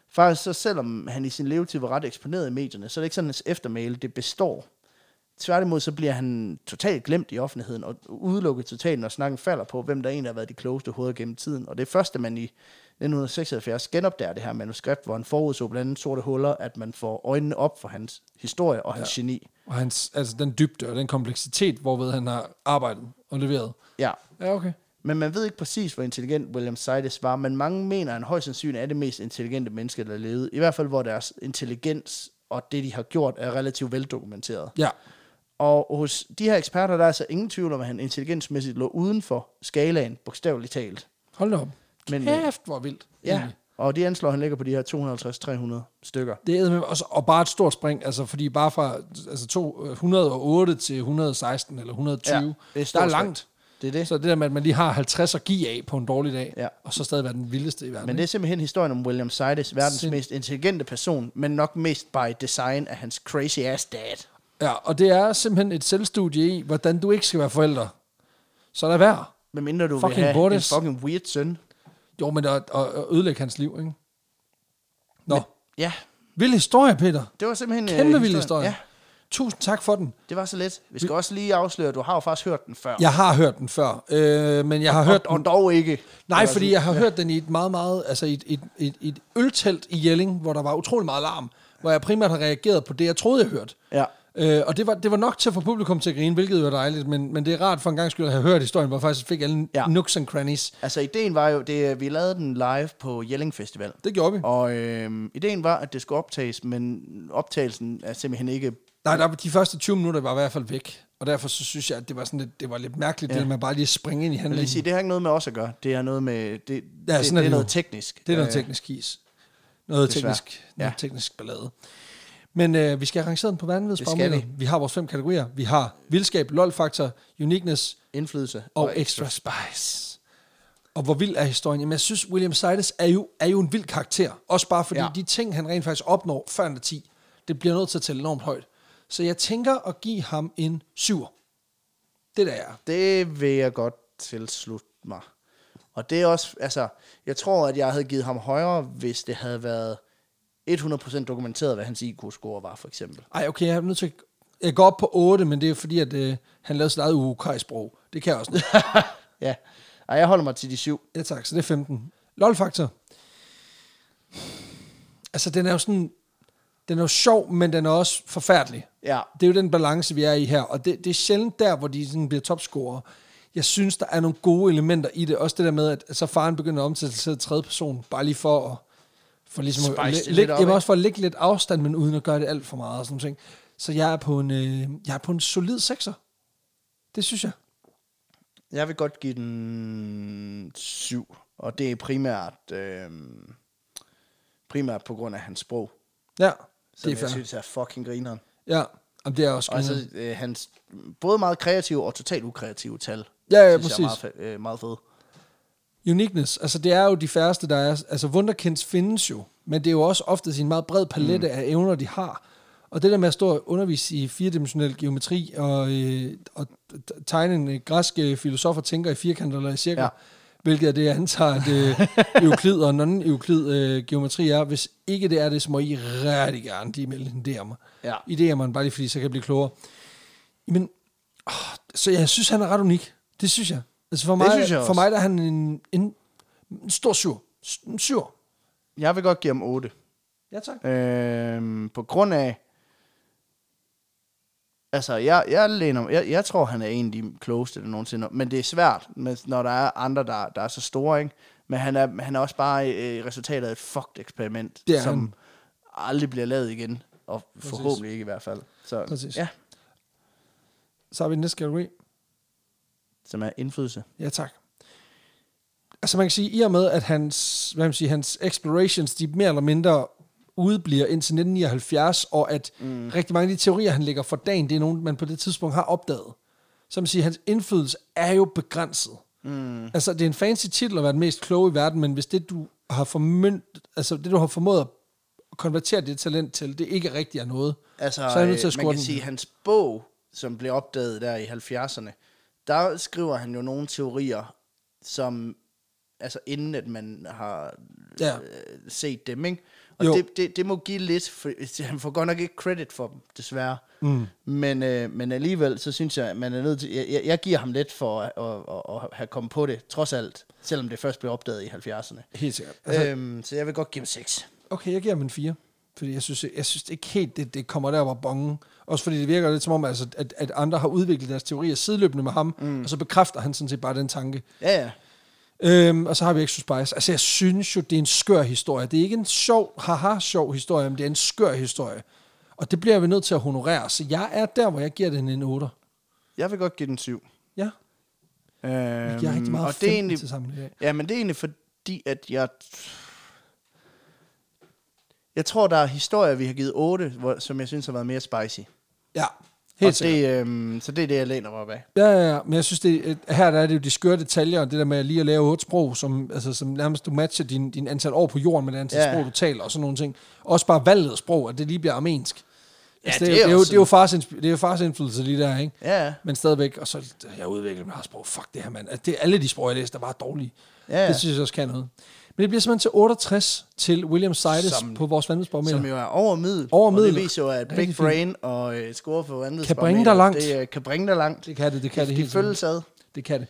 Speaker 2: Faktisk så selvom han i sin levetid var ret eksponeret i medierne, så er det ikke sådan, at hans eftermæle det består. Tværtimod så bliver han totalt glemt i offentligheden og udelukket totalt, når snakken falder på, hvem der egentlig har været de klogeste hoveder gennem tiden. Og det er først, at man i 1976 genopdager det her manuskript, hvor han forudså blandt andet sorte huller, at man får øjnene op for hans historie og hans ja. geni.
Speaker 1: Og hans, altså den dybde og den kompleksitet, hvorved han har arbejdet og leveret.
Speaker 2: Ja.
Speaker 1: Ja, okay.
Speaker 2: Men man ved ikke præcis, hvor intelligent William Sidis var, men mange mener, at han højst sandsynligt er det mest intelligente menneske, der levede. I hvert fald, hvor deres intelligens og det, de har gjort, er relativt veldokumenteret.
Speaker 1: Ja,
Speaker 2: Og hos de her eksperter, der er altså ingen tvivl om, at han intelligensmæssigt lå uden for skalaen, bogstaveligt talt.
Speaker 1: hold da op.
Speaker 2: Men- øh,
Speaker 1: Men, Kæft, hvor vildt.
Speaker 2: Ja. Og de anslår, at han ligger på de her 250-300 stykker.
Speaker 1: Det er eddermame- og, så- og bare et stort spring, altså fordi bare fra altså to, øh, 108 til 116 eller 120,
Speaker 2: Ja,
Speaker 1: ja,
Speaker 2: det er
Speaker 1: det er, der
Speaker 2: stort
Speaker 1: er langt.
Speaker 2: Det er det.
Speaker 1: Så det der med, at man lige har 50 at give af på en dårlig dag,
Speaker 2: Ja.
Speaker 1: og så stadig være den vildeste i verden.
Speaker 2: Men det
Speaker 1: ikke?
Speaker 2: er simpelthen historien om William Sidis, verdens
Speaker 1: Sind-
Speaker 2: mest intelligente person, men nok mest by design af hans crazy ass dad.
Speaker 1: Ja, og det er simpelthen et selvstudie i, hvordan du ikke skal være forældre. Så lad være.
Speaker 2: Men mindre du
Speaker 1: Fucking
Speaker 2: vil have
Speaker 1: Bortes.
Speaker 2: en fucking weird søn.
Speaker 1: Jo, men at, at, at ødelægge hans liv, ikke? Nå, men,
Speaker 2: Ja,
Speaker 1: vild historie, Peter.
Speaker 2: det var simpelthen... øh,
Speaker 1: Kæmpe vild
Speaker 2: historien.
Speaker 1: historie.
Speaker 2: Ja,
Speaker 1: Ja. Tusind tak for den.
Speaker 2: det var så let. Vi skal også lige afsløre, at du har jo faktisk hørt den før.
Speaker 1: Jeg har hørt den før, øh, men jeg har hørt
Speaker 2: Og,
Speaker 1: den...
Speaker 2: og dog ikke. Altså,
Speaker 1: Nej,
Speaker 2: Det var
Speaker 1: fordi jeg har hørt den i et meget, meget... Altså i et, et, et, et øltelt i Jelling, hvor der var utrolig meget larm, hvor jeg primært har reageret på det, jeg troede, jeg hørte.
Speaker 2: Ja.
Speaker 1: Øh, og det var, det var nok til at få publikum til at grine, hvilket jo er dejligt, men, men det er rart for en gang skyld at have hørt historien, hvor jeg faktisk fik alle
Speaker 2: Ja.
Speaker 1: ja. nooks and crannies.
Speaker 2: Altså, ideen var jo, det, vi lavede den live på Jelling Festival.
Speaker 1: Det gjorde vi.
Speaker 2: Og øhm, ideen var, at det skulle optages, men optagelsen er simpelthen ikke...
Speaker 1: Nej, der, var- de første 20 minutter var i hvert fald væk, og derfor så synes jeg, at det var, sådan lidt, det var lidt mærkeligt, ja. det der med bare lige at springe ind i
Speaker 2: Jeg vil
Speaker 1: handlingen.
Speaker 2: lige sige, det har ikke noget med os at gøre. Det er noget med... Det, ja,
Speaker 1: sådan er
Speaker 2: det, det,
Speaker 1: det
Speaker 2: er
Speaker 1: jo.
Speaker 2: noget teknisk.
Speaker 1: Det er noget
Speaker 2: Øh,
Speaker 1: teknisk is. Noget
Speaker 2: desværre.
Speaker 1: teknisk, noget
Speaker 2: Ja.
Speaker 1: teknisk ballade. Men øh, vi skal have rangeret den på
Speaker 2: Det skal
Speaker 1: vanvidsbarometer. Vi har vores fem kategorier. Vi har vildskab, lol-faktor, uniqueness
Speaker 2: Indflydelse.
Speaker 1: og, og extra spice. Og hvor vild er historien? Jamen, jeg synes, William Sidis er jo, er jo en vild karakter. Også bare fordi
Speaker 2: Ja.
Speaker 1: ja. de ting, han rent faktisk opnår før han er 10, det bliver nødt til at tælle enormt højt. Så jeg tænker at give ham en 7'er. Det der er.
Speaker 2: Det vil jeg godt tilslutte mig. Og det er også, altså, jeg tror, at jeg havde givet ham højere, hvis det havde været 100% dokumenteret, hvad hans IQ-score var, for eksempel.
Speaker 1: Ej, okay, jeg er nødt til at... Jeg går op på 8, men det er fordi, at øh, han lavede sit eget UK-sprog. Det kan jeg også nu.
Speaker 2: Ja. Ej, jeg holder mig til de syv.
Speaker 1: Ja tak, så det er 15. LOL-faktor. Altså, den er jo sådan... Den er jo sjov, men den er også forfærdelig.
Speaker 2: Ja.
Speaker 1: Det er jo den balance, vi er i her. Og det, det er sjældent der, hvor de sådan bliver topscorer. Jeg synes, der er nogle gode elementer i det. Også det der med, at at så faren begynder at omsætte sig til tredje person, bare lige for at... For ligesom
Speaker 2: Spice
Speaker 1: at,
Speaker 2: det
Speaker 1: læ-
Speaker 2: lidt
Speaker 1: lægge,
Speaker 2: op,
Speaker 1: jamen
Speaker 2: ikke?
Speaker 1: også for at lægge lidt afstand, men uden at gøre det alt for meget og sådan ting. Så jeg er på en, øh, jeg er på en solid sekser. Det synes jeg.
Speaker 2: Jeg vil godt give den 7, og det er primært, øh, primært på grund af hans sprog,
Speaker 1: Ja,
Speaker 2: som
Speaker 1: det er
Speaker 2: jeg
Speaker 1: fair. Mhm.
Speaker 2: synes er fucking grineren.
Speaker 1: Ja, Jamen, det er også
Speaker 2: Og altså, øh, hans både meget kreative og totalt ukreative tal,
Speaker 1: Ja, ja,
Speaker 2: synes jeg er
Speaker 1: præcis.
Speaker 2: meget, fe- øh, meget fede.
Speaker 1: Uniqueness, altså det er jo de færreste, der er, altså wunderkinds findes jo, men det er jo også ofte en meget bred palette mm. af evner, de har. Og det der med at stå og undervise i firedimensionel geometri og, øh, og t- tegne en øh, græsk øh, filosof og tænker i firkanter eller i cirkler,
Speaker 2: Ja.
Speaker 1: ja. hvilket er det, jeg antager, at
Speaker 2: [laughs]
Speaker 1: øh, euklid og non-euklid øh, geometri er. Hvis ikke det er det, så må I rigtig gerne de melde en DM'er.
Speaker 2: Ja.
Speaker 1: I DM'eren, bare lige fordi, så kan jeg blive klogere. Men, åh, så jeg synes, han er ret unik. Det synes jeg. Altså for
Speaker 2: Det
Speaker 1: mig,
Speaker 2: synes jeg
Speaker 1: for
Speaker 2: også.
Speaker 1: mig der er han en, en, en stor syr. En syr.
Speaker 2: Jeg vil godt give ham 8.
Speaker 1: Ja, tak.
Speaker 2: Øhm, på grund af... Altså, jeg, jeg, læner, jeg, jeg tror, han er en af de klogeste, der nogensinde... Men det er svært, med- når der er andre, der, der er så store, ikke? Men han er, han er også bare øh, resultatet af et fucked eksperiment,
Speaker 1: Det er
Speaker 2: som
Speaker 1: han.
Speaker 2: aldrig bliver lavet igen. Og forhåbentlig ikke i hvert fald. Så,
Speaker 1: Præcis.
Speaker 2: Ja,
Speaker 1: Så har vi den næste kategori.
Speaker 2: som er indflydelse.
Speaker 1: Ja, tak. Altså man kan sige, i og med, at hans, hvad kan man sige, hans explorations, de mere eller mindre udebliver indtil 1979, og at mm. rigtig mange af de teorier, han lægger for dagen, det er nogen, man på det tidspunkt har opdaget. Så man siger, hans indflydelse er jo begrænset. Mm. Altså, det er en fancy titel at være den mest kloge i verden, men hvis det, du har formyndt, altså det, du har formået at konvertere dit talent til, det ikke rigtig er noget, så
Speaker 2: Altså,
Speaker 1: er jeg nødt til at
Speaker 2: øh, man
Speaker 1: score
Speaker 2: kan
Speaker 1: den.
Speaker 2: sige, hans bog, som blev opdaget der i 70'erne, der skriver han jo nogle teorier, som, altså inden at man har
Speaker 1: Ja.
Speaker 2: ja. øh, set dem, ikke? Og
Speaker 1: Jo.
Speaker 2: det, det, det må give lidt, for [laughs] han får godt nok ikke credit for dem, desværre. Mm. Men, øh, men alligevel, så synes jeg, at man er nødt til, jeg, jeg, jeg giver ham lidt for at, at, at, at have kommet på det, trods alt, selvom det først blev opdaget i 70'erne.
Speaker 1: helt sikkert.
Speaker 2: Altså, øhm, så jeg vil godt give ham 6.
Speaker 1: Okay, jeg giver ham en 4. Fordi jeg synes, jeg synes ikke helt, det, det kommer der, hvor bongen. Også fordi det virker lidt som om, altså, at, at andre har udviklet deres teorier sideløbende med ham, mm. og så bekræfter han sådan set bare den tanke.
Speaker 2: Ja, ja.
Speaker 1: Øhm, og så har vi Extra Spice. Altså, jeg synes jo, det er en skør historie. Det er ikke en sjov, haha-sjov historie, men det er en skør historie. Og det bliver vi nødt til at honorere. Så jeg er der, hvor jeg giver den en 8.
Speaker 2: Jeg vil godt give den 7.
Speaker 1: Ja,
Speaker 2: Øhm, jeg
Speaker 1: jeg har rigtig meget og det er egentlig... til sammen i dag.
Speaker 2: Ja, men det er egentlig fordi, at jeg... Jeg tror, der er historier, vi har givet 8, hvor, som jeg synes har været mere spicy.
Speaker 1: Ja,
Speaker 2: Helt
Speaker 1: helt
Speaker 2: og det, øhm, så det er det, jeg læner mig op af.
Speaker 1: Ja, ja, ja, men jeg synes, det, øh, her der er det jo de skøre detaljer, og det der med at lige at lave otte sprog, som, altså, som nærmest du matcher din, din antal år på jorden med det antal
Speaker 2: Ja.
Speaker 1: ja. sprog, du taler, og sådan nogle ting. Også bare valget af sprog, at det lige bliver armensk.
Speaker 2: Ja,
Speaker 1: Altså, det,
Speaker 2: det er
Speaker 1: er, jo,
Speaker 2: også
Speaker 1: det, er jo fars, insp- det er jo fars indflydelse lige der, ikke?
Speaker 2: Ja, ja.
Speaker 1: Men stadigvæk, og så jeg udvikler mit eget sprog. Fuck det her, mand. Altså, det er alle de sprog, jeg læste, der var dårlige.
Speaker 2: Ja, ja.
Speaker 1: Det synes jeg også kan noget. Men det bliver simpelthen til 68 til William Sides
Speaker 2: Som-
Speaker 1: på vores vandvidsbarometer.
Speaker 2: Som jo er over middel.
Speaker 1: Over
Speaker 2: Og
Speaker 1: middel.
Speaker 2: det viser jo, at Big
Speaker 1: Rigtig fint.
Speaker 2: Brain og øh, score for vandet
Speaker 1: Kan bringe dig langt.
Speaker 2: Det øh, kan bringe dig langt.
Speaker 1: Det kan det, det kan det,
Speaker 2: de
Speaker 1: helt sikkert.
Speaker 2: følges ad.
Speaker 1: Det kan det.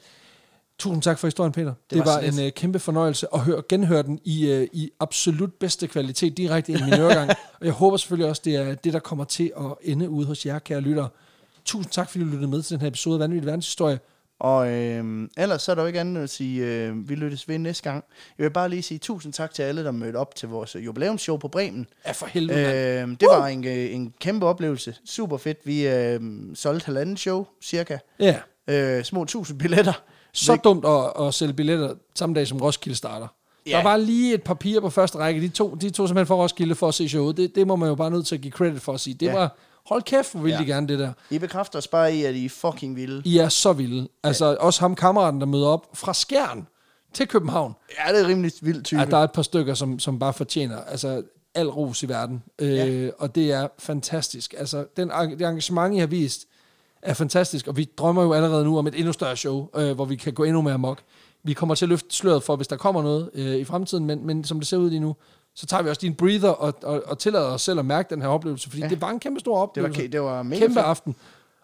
Speaker 1: Tusind tak for historien, Peter. Det,
Speaker 2: var
Speaker 1: det var,
Speaker 2: så lidt.
Speaker 1: en øh, kæmpe fornøjelse at høre, genhøre den i, øh, i absolut bedste kvalitet direkte ind i min
Speaker 2: [laughs]
Speaker 1: øregang. og jeg håber selvfølgelig også, det er det, der kommer til at ende ude hos jer, kære lyttere. Tusind tak, fordi du lyttede med til den her episode af Vanvittig Verdenshistorie.
Speaker 2: Og øh, ellers så er der jo ikke andet end at sige, øh, vi lyttes ved næste gang. Jeg vil bare lige sige tusind tak til alle, der mødte op til vores øh, jubilæumsshow på Bremen.
Speaker 1: Ja, for helvede. mand.
Speaker 2: Øh, det var en, øh, en kæmpe oplevelse. Super fedt. Vi øh, solgte halvanden show, cirka.
Speaker 1: Ja,
Speaker 2: Øh, små tusind [laughs] billetter.
Speaker 1: så dumt at, at sælge billetter samme dag, som Roskilde starter.
Speaker 2: Ja.
Speaker 1: Der var lige et papir på første række. De to, de to simpelthen for Roskilde for at se showet. Det, det må man jo bare nødt til at give credit for at sige. Det
Speaker 2: Ja.
Speaker 1: ja. var, hold kæft, hvor ville
Speaker 2: Ja.
Speaker 1: ja. de gerne det der.
Speaker 2: I bekræfter os bare i, at I er fucking vilde.
Speaker 1: I er så vilde. Altså også ham kammeraten, der møder op fra Skjern til København.
Speaker 2: Ja, det er rimelig vildt type.
Speaker 1: At der er et par stykker, som, som bare fortjener altså, al ros i verden. Øh,
Speaker 2: Ja.
Speaker 1: Og det er fantastisk. Altså, den, en- det engagement, I har vist, er fantastisk. Og vi drømmer jo allerede nu om et endnu større show, øh, hvor vi kan gå endnu mere mok. Vi kommer til at løfte sløret for, hvis der kommer noget øh, i fremtiden, men, men som det ser ud lige nu, så tager vi også din breather og, og, og tillader os selv at mærke den her oplevelse, fordi ja. det var en kæmpe stor
Speaker 2: det, var,
Speaker 1: oplevelse
Speaker 2: ke- det var mega
Speaker 1: kæmpe
Speaker 2: fedt.
Speaker 1: aften.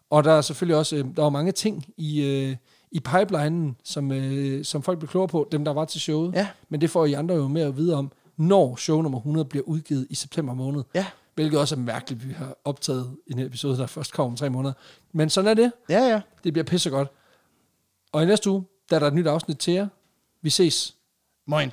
Speaker 1: Og der er selvfølgelig også øh, der var mange ting i, øh, i pipelinen, som, øh, som folk blev klogere på, dem der var til showet.
Speaker 2: Ja.
Speaker 1: Men det får I andre jo mere at vide om, når show nummer 100 bliver udgivet i september måned.
Speaker 2: Ja.
Speaker 1: Hvilket også er mærkeligt, vi har optaget en episode, der først kommer om tre måneder. Men sådan er det.
Speaker 2: Ja, ja.
Speaker 1: Det bliver pissegodt. Og i næste uge, der er der et nyt afsnit til jer. Vi ses.
Speaker 2: Moin.